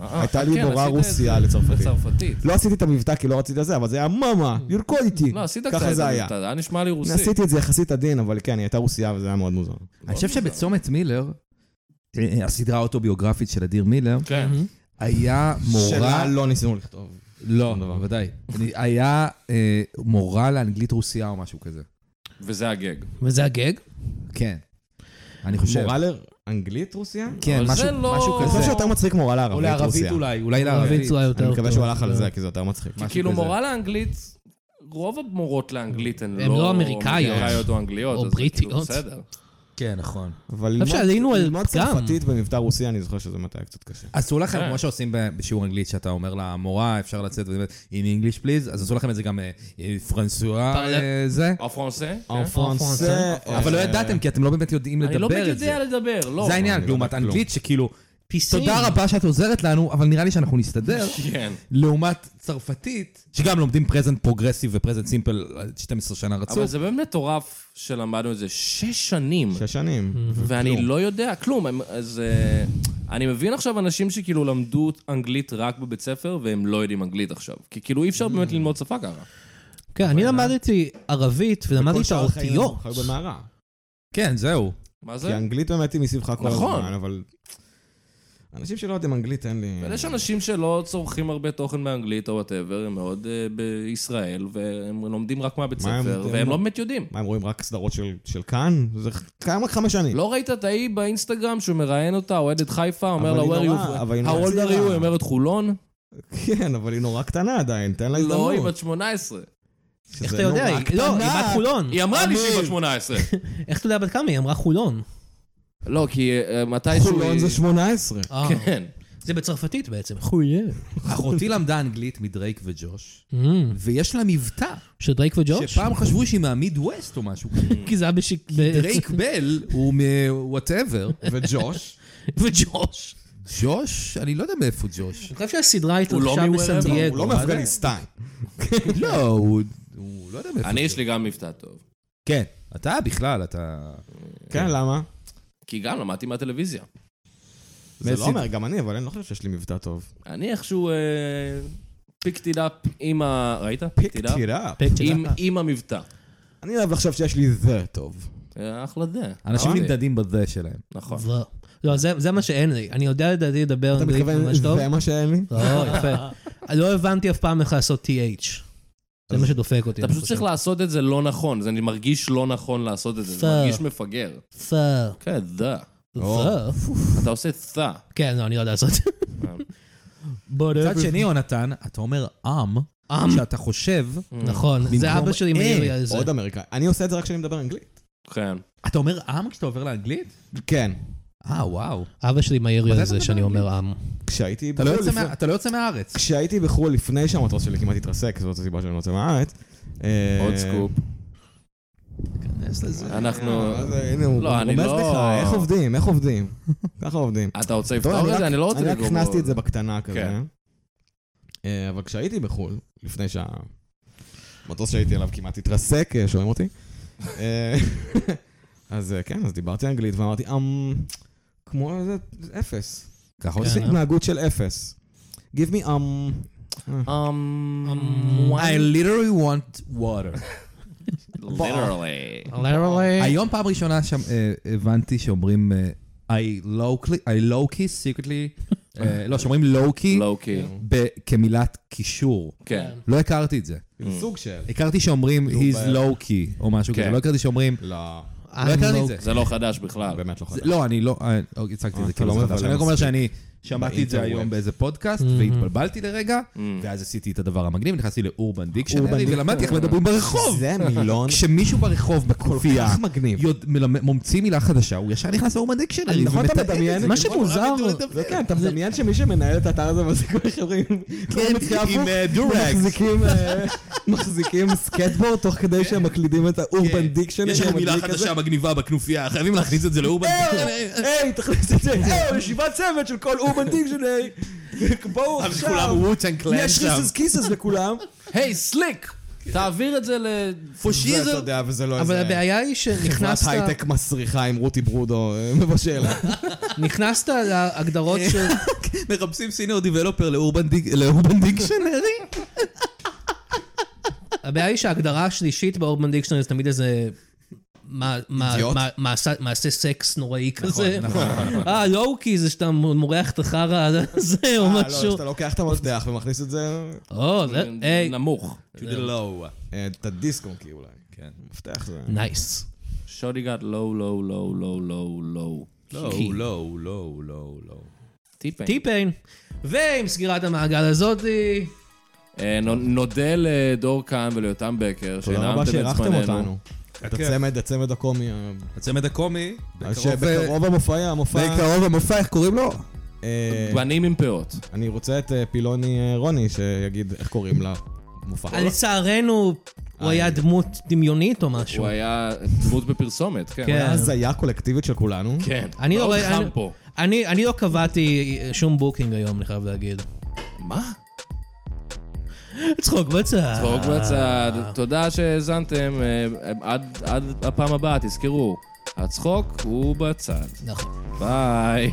Speaker 2: אה,
Speaker 4: הייתה
Speaker 2: אה,
Speaker 4: לי
Speaker 2: כן,
Speaker 4: מורה
Speaker 2: עשית את
Speaker 4: רוסייה
Speaker 2: זה.
Speaker 4: לצרפתית.
Speaker 2: לצרפתית.
Speaker 4: לא עשיתי את המבטא כי לא רציתי את זה, אבל זה היה מאמה, לרקוד איתי.
Speaker 2: לא, עשית קצת
Speaker 4: ככה
Speaker 2: את
Speaker 4: זה היה.
Speaker 2: המבטא, זה היה נשמע לי רוסי.
Speaker 4: עשיתי את זה יחסית עדין, אבל כן, היא הייתה רוסייה וזה היה מאוד מוזר.
Speaker 5: אני חושב שבצומת מילר, אה, הסדרה האוטוביוגרפית של אדיר מילר,
Speaker 2: כן.
Speaker 5: היה מורה...
Speaker 4: שלה לא ניסינו לכתוב.
Speaker 5: לא,
Speaker 4: שום דבר.
Speaker 5: בוודאי. אני- היה אה, מורה לאנגלית רוסייה או משהו כזה.
Speaker 2: וזה הגג.
Speaker 3: וזה הגג?
Speaker 5: כן. אני חושב.
Speaker 4: מורה לאנגלית רוסייה?
Speaker 5: כן,
Speaker 2: אבל
Speaker 5: משהו
Speaker 2: זה לא-
Speaker 5: משהו
Speaker 4: אני
Speaker 5: כזה.
Speaker 4: חושב שיותר מצחיק מורה
Speaker 5: או
Speaker 4: לערבית
Speaker 5: לערבית
Speaker 4: רוסיה.
Speaker 5: אולי, אולי
Speaker 3: ערבית
Speaker 5: לערבית.
Speaker 3: צורה יותר טוב.
Speaker 4: לא, אני מקווה שהוא הלך על זה, כי זה יותר מצחיק.
Speaker 5: משהו
Speaker 2: כן. כאילו,
Speaker 5: כזה.
Speaker 2: מורה לאנגלית, רוב המורות לאנגלית הן לא...
Speaker 3: הן לא אמריקאיות.
Speaker 2: אמריקאיות או אנגליות.
Speaker 3: או
Speaker 2: אז זה כאילו
Speaker 3: בריטיות.
Speaker 2: בסדר.
Speaker 5: כן, נכון.
Speaker 4: אבל
Speaker 3: חושב שעלינו על
Speaker 4: ללמוד
Speaker 3: גם.
Speaker 4: צרפתית במבטא רוסי, אני זוכר שזה מתי היה קצת קשה.
Speaker 5: עשו לכם,
Speaker 2: כן.
Speaker 5: כמו שעושים ב- בשיעור אנגלית, שאתה אומר למורה, אפשר לצאת, וזה, in English please, אז עשו לכם את זה גם אה, אה, פרנסואה,
Speaker 3: פרלה.
Speaker 5: אה, זה.
Speaker 2: או פרנסה?
Speaker 4: אה,
Speaker 2: כן.
Speaker 4: אוקיי.
Speaker 3: פרנסה.
Speaker 5: אבל לא ידעתם, כי אתם לא באמת יודעים
Speaker 2: אה, אני לא
Speaker 5: לדבר את זה.
Speaker 2: יודע לדבר, לא.
Speaker 5: זה העניין,
Speaker 4: אני לא
Speaker 5: לעומת
Speaker 4: יודע כלום.
Speaker 5: אנגלית, שכאילו,
Speaker 3: פיסים.
Speaker 5: תודה רבה שאת עוזרת לנו, אבל נראה לי שאנחנו נסתדר.
Speaker 2: כן.
Speaker 5: לעומת צרפתית, שגם לומדים פרזנט פרוגרסיב ופרזנט סימפל 12 אה, שנה
Speaker 2: אבל
Speaker 5: רצוף.
Speaker 2: זה באמת מטורף שלמדנו את זה שש שנים,
Speaker 4: שש שנים.
Speaker 2: ואני לא יודע כלום. הם- אז אה, אני מבין עכשיו אנשים שכאילו למדו אנגלית רק בבית ספר, והם לא יודעים אנגלית עכשיו. כי כאילו אי אפשר באמת ללמוד שפה ככה.
Speaker 3: כן, אני למדתי ערבית ולמדתי
Speaker 4: כל
Speaker 3: את
Speaker 4: שאר החיים
Speaker 3: האותיות.
Speaker 4: הם חיו במערה.
Speaker 5: כן, זהו.
Speaker 2: מה
Speaker 4: כי
Speaker 2: זה?
Speaker 4: האנגלית באמת היא מסביבך כל
Speaker 2: נכון.
Speaker 4: הזמן, אבל... אנשים שלא יודעים אנגלית, אין לי...
Speaker 2: אבל יש אנשים שלא צורכים הרבה תוכן באנגלית או וואטאבר, הם מאוד אה, בישראל, והם לומדים רק מהבית
Speaker 4: מה הם-
Speaker 2: ספר,
Speaker 4: הם
Speaker 2: והם
Speaker 4: לא-
Speaker 2: לא באמת יודעים.
Speaker 4: מה, הם רואים רק סדרות של- של כאן? זה קיים רק חמש שנים.
Speaker 2: לא ראית את ההיא באינסטגרם שהוא מראיין אותה, אוהדת חיפה, אומר
Speaker 4: אבל
Speaker 2: לה,
Speaker 4: היא
Speaker 2: where
Speaker 4: נורא-
Speaker 2: you...
Speaker 4: אבל היא
Speaker 2: How
Speaker 4: נורא
Speaker 2: old are you?
Speaker 4: צעירה.
Speaker 2: היא אומרת חולון?
Speaker 4: כן, אבל היא נורא קטנה עדיין, תן לה
Speaker 2: לא, היא
Speaker 4: הזדמנות.
Speaker 2: בת 18.
Speaker 4: שזה
Speaker 3: איך אתה יודע?
Speaker 4: נורא
Speaker 3: היא-
Speaker 4: קטנה.
Speaker 3: לא, היא בת חולון.
Speaker 2: היא אמרה לי שהיא בת 18.
Speaker 3: איך אתה יודע בת כמה? היא אמרה חולון.
Speaker 2: לא, כי אה, מתישהו...
Speaker 4: חולון
Speaker 2: היא-
Speaker 4: זה 18.
Speaker 3: אה,
Speaker 2: כן.
Speaker 3: זה בצרפתית בעצם. חולון.
Speaker 5: אחותי למדה אנגלית מדרייק וג'וש, ויש לה מבטא,
Speaker 3: של דרייק Mm. וג'וש?
Speaker 5: שפעם חשבו שהיא מהמיד ווסט או משהו כזה.
Speaker 3: כי זה היה בשיק...
Speaker 5: דרייק בל הוא מוואטאבר. וג'וש?
Speaker 3: וג'וש.
Speaker 5: ג'וש? אני לא יודע מאיפה ג'וש.
Speaker 3: אני חושב שהסדרה
Speaker 2: הוא לא
Speaker 3: התרחשה
Speaker 2: מוורבה,
Speaker 3: בסן
Speaker 4: הוא לא
Speaker 3: דייגו.
Speaker 4: מאפגניסטן.
Speaker 5: לא, הוא... הוא לא יודע מאיפה.
Speaker 2: אני, יש לי גם מבטא טוב.
Speaker 5: כן. אתה בכלל, אתה...
Speaker 4: כן, למה?
Speaker 2: כי גם למדתי מהטלוויזיה.
Speaker 4: זה
Speaker 5: מסי-
Speaker 4: לא אומר, גם אני, אבל אני לא חושב שיש לי מבטא טוב.
Speaker 2: אני איכשהו אה, פיקט איט אפ עם ה... ראית?
Speaker 4: פיק
Speaker 2: Picked it up?
Speaker 4: it up.
Speaker 3: פק של
Speaker 2: עם-
Speaker 3: דקה.
Speaker 2: עם המבטא.
Speaker 4: אני אוהב לחשוב שיש לי זה טוב.
Speaker 2: אה, אחלה דה.
Speaker 5: אנשים
Speaker 2: אמרתי.
Speaker 5: נמדדים בזה שלהם.
Speaker 2: נכון.
Speaker 3: לא. לא, זה זה מה שאין לי. אני יודע לדעתי לדבר
Speaker 4: אתה
Speaker 3: אנגלית
Speaker 4: מתכוון,
Speaker 3: ממש טוב.
Speaker 4: זה מה שאין לי?
Speaker 3: לא, יפה. לא הבנתי אף פעם איך לעשות TH. זה מה שדופק אותי.
Speaker 2: אתה
Speaker 3: אני
Speaker 2: פשוט צריך
Speaker 3: חושב.
Speaker 2: לעשות את זה לא נכון, זה אני מרגיש לא נכון לעשות את זה, זה
Speaker 3: פאר.
Speaker 2: מרגיש מפגר.
Speaker 3: פר.
Speaker 2: כן, דה.
Speaker 3: פר.
Speaker 2: אתה עושה תה.
Speaker 3: כן, לא, אני לא יודע לעשות. בוא נראה.
Speaker 5: מצד שני, יונתן, אתה אומר עם,
Speaker 3: עם.
Speaker 5: שאתה חושב,
Speaker 3: נכון, זה
Speaker 5: במקום
Speaker 3: אבא שלי
Speaker 5: אה,
Speaker 3: מעיר לי על זה.
Speaker 4: עוד אמריקאי. אני עושה את זה רק כשאני מדבר אנגלית.
Speaker 2: כן.
Speaker 5: אתה אומר עם כשאתה עובר לאנגלית?
Speaker 4: כן.
Speaker 5: אה, וואו.
Speaker 3: אבא שלי מעיר לי
Speaker 5: מתי
Speaker 3: על
Speaker 5: אתה
Speaker 3: זה
Speaker 5: מדבר
Speaker 3: שאני אומר עם.
Speaker 4: כשהייתי
Speaker 5: אתה לא
Speaker 4: בחו"ל
Speaker 5: יוצא
Speaker 4: לפני-
Speaker 5: מה- אתה לא יוצא מהארץ.
Speaker 4: כשהייתי בחו"ל לפני שהמטוס שלי כמעט התרסק, זאת הסיבה שאני לא יוצא מהארץ. אה,
Speaker 2: עוד סקופ. אנחנו...
Speaker 4: אז אה, הנה, הוא
Speaker 2: לא, אני
Speaker 4: רומז
Speaker 2: לא-
Speaker 4: לך, איך עובדים, איך עובדים. ככה עובדים.
Speaker 2: אתה רוצה
Speaker 4: טוב,
Speaker 2: לפתור את
Speaker 4: רק-
Speaker 2: זה? אני לא רוצה
Speaker 4: אני רק
Speaker 2: לגרום לו-
Speaker 4: הכנסתי את זה בקטנה כזה.
Speaker 2: כן.
Speaker 4: אה, אבל כשהייתי בחו"ל, לפני שהמטוס שהייתי עליו כמעט התרסק, אה, שומעים אותי? אה, אז אה, כן, אז דיברתי אנגלית ואמרתי, אמ... כמו איזה אפס.
Speaker 5: ככה
Speaker 4: איזה
Speaker 5: עושים.
Speaker 3: אה?
Speaker 4: נכון? התנהגות של אפס. give me אמ...
Speaker 2: אמ,
Speaker 6: I literally want water.
Speaker 2: literally.
Speaker 5: היום פעם ראשונה שם, אה, הבנתי שאומרים אה, I lowkey, I lowkey secretly, אה, לא, שאומרים
Speaker 4: אמ,
Speaker 5: lowkey
Speaker 2: לואו-קי.
Speaker 5: ב- כמילת קישור.
Speaker 2: כן.
Speaker 5: לא הכרתי את זה.
Speaker 4: סוג של.
Speaker 5: הכרתי שאומרים he's lowkey או משהו
Speaker 2: כן.
Speaker 5: כזה, לא הכרתי שאומרים,
Speaker 4: לא,
Speaker 5: לא הכרתי את זה.
Speaker 2: זה לא חדש בכלל.
Speaker 4: באמת לא
Speaker 5: זה-
Speaker 4: חדש.
Speaker 5: לא, אני לא, אה, לא, הצגתי את זה
Speaker 4: אתה לא
Speaker 5: כאילו זה חדש.
Speaker 4: מבלה
Speaker 5: אני רק אומר
Speaker 4: מספיק.
Speaker 5: שאני שמעתי את זה היום באיזה פודקאסט,
Speaker 4: Mm-hmm.
Speaker 5: והתבלבלתי לרגע, ואז עשיתי את הדבר המגניב, נכנסתי לאורבן דיקשנרי, ולמדתי איך מדברים ברחוב.
Speaker 4: זה מילון
Speaker 5: כשמישהו ברחוב בכופייה,
Speaker 4: כך מגניב.
Speaker 5: יודע- מלמד- ממציא מילה חדשה, הוא ישר נכנס לאורבן דיקשנרי,
Speaker 4: נכון, אתה
Speaker 5: ומתעד את
Speaker 4: מדמיין?
Speaker 5: זה. לא
Speaker 4: מה
Speaker 5: כמו
Speaker 4: שמוזר-
Speaker 5: רבי דורי דוד.
Speaker 4: זה כן, אתה מדמיין שמי שמנהל את האתר הזה מחזיק כל החברים.
Speaker 5: כן, עם אה, דורג.
Speaker 4: מחזיקים, אה, מחזיקים סקטבורד תוך כדי שהם מקלידים את האורבן דיקשנרי.
Speaker 5: כן. יש לנו מילה
Speaker 4: המדליק הזה.
Speaker 5: חדשה אה, מגניבה בכנופיה, חייבים להכניס את זה לאורבן
Speaker 4: אה,
Speaker 5: דיקשנרי.
Speaker 4: היי, תכניס את זה, היי, ישיבת צוות של כל אורבן דיקשנרי. בואו
Speaker 5: אז
Speaker 4: עכשיו,
Speaker 5: כולם ווטסן קלאן
Speaker 4: יש
Speaker 5: שם.
Speaker 4: ריסס קיסס לכולם.
Speaker 2: היי, סליק! תעביר את זה
Speaker 4: אתה
Speaker 2: לפושיזם.
Speaker 4: יודע, וזה לא
Speaker 3: אבל
Speaker 4: איזה...
Speaker 3: הבעיה היא
Speaker 4: חברת
Speaker 3: שנכנסת
Speaker 4: הייטק מסריחה עם רותי ברודו אה, מבשל.
Speaker 3: נכנסת להגדרות של...
Speaker 5: מחפשים סיניור דיבלופר לאורבן דיק- לאורבן דיקשנרי?
Speaker 3: הבעיה היא שההגדרה השלישית באורבן דיקשנרי זה תמיד איזה... מה- מה-
Speaker 5: אידיוט.
Speaker 3: מה- מעשה- מעשה סקס נוראי
Speaker 2: נכון,
Speaker 3: כזה. אה, לואו-קי זה שאתה מורח את החרא הזה או
Speaker 4: אה, לא,
Speaker 3: משהו.
Speaker 4: שאתה לוקח את המפתח ומכניס את זה...
Speaker 3: או, זה... היי,
Speaker 2: נמוך.
Speaker 5: לא,
Speaker 4: אה, את הדיסק-און-קי אולי.
Speaker 5: כן.
Speaker 4: מפתח זה...
Speaker 3: נייס.
Speaker 2: שודי גאט לואו, לואו, לואו, לואו, לואו, לואו.
Speaker 5: לא,
Speaker 3: כי-
Speaker 5: לא, לא, לא, לא.
Speaker 2: טיפ
Speaker 3: טיפיין. ועם סגירת המעגל הזאתי...
Speaker 2: אה, נו- נודה לדור כהן וליותם בקר,
Speaker 4: תודה רבה
Speaker 2: שהנעמתם את
Speaker 4: שאירחתם
Speaker 2: זמננו.
Speaker 4: אותנו. את הצמד, הצמד הקומי. ה-
Speaker 5: הצמד הקומי,
Speaker 4: שבקרוב המופע, המופע...
Speaker 5: בקרוב המופע, איך קוראים לו?
Speaker 4: אה,
Speaker 2: בנים עם פאות.
Speaker 4: אני רוצה את אה, פילוני אה, רוני שיגיד איך קוראים למופע.
Speaker 3: לצערנו, הוא היה דמות דמיונית או משהו.
Speaker 2: הוא היה דמות בפרסומת, כן.
Speaker 3: כן.
Speaker 4: הזיה קולקטיבית של כולנו.
Speaker 2: כן.
Speaker 3: אני לא
Speaker 2: מאוד
Speaker 3: רואה-
Speaker 2: חם
Speaker 3: אני-
Speaker 2: פה.
Speaker 3: אני אני לא קבעתי שום בוקינג היום, אני חייב להגיד.
Speaker 2: מה?
Speaker 3: צחוק בצד.
Speaker 2: צחוק בצד. תודה שהאזנתם. אה, עד- עד הפעם הבאה, תזכרו, הצחוק הוא בצד.
Speaker 3: נכון.
Speaker 2: ביי.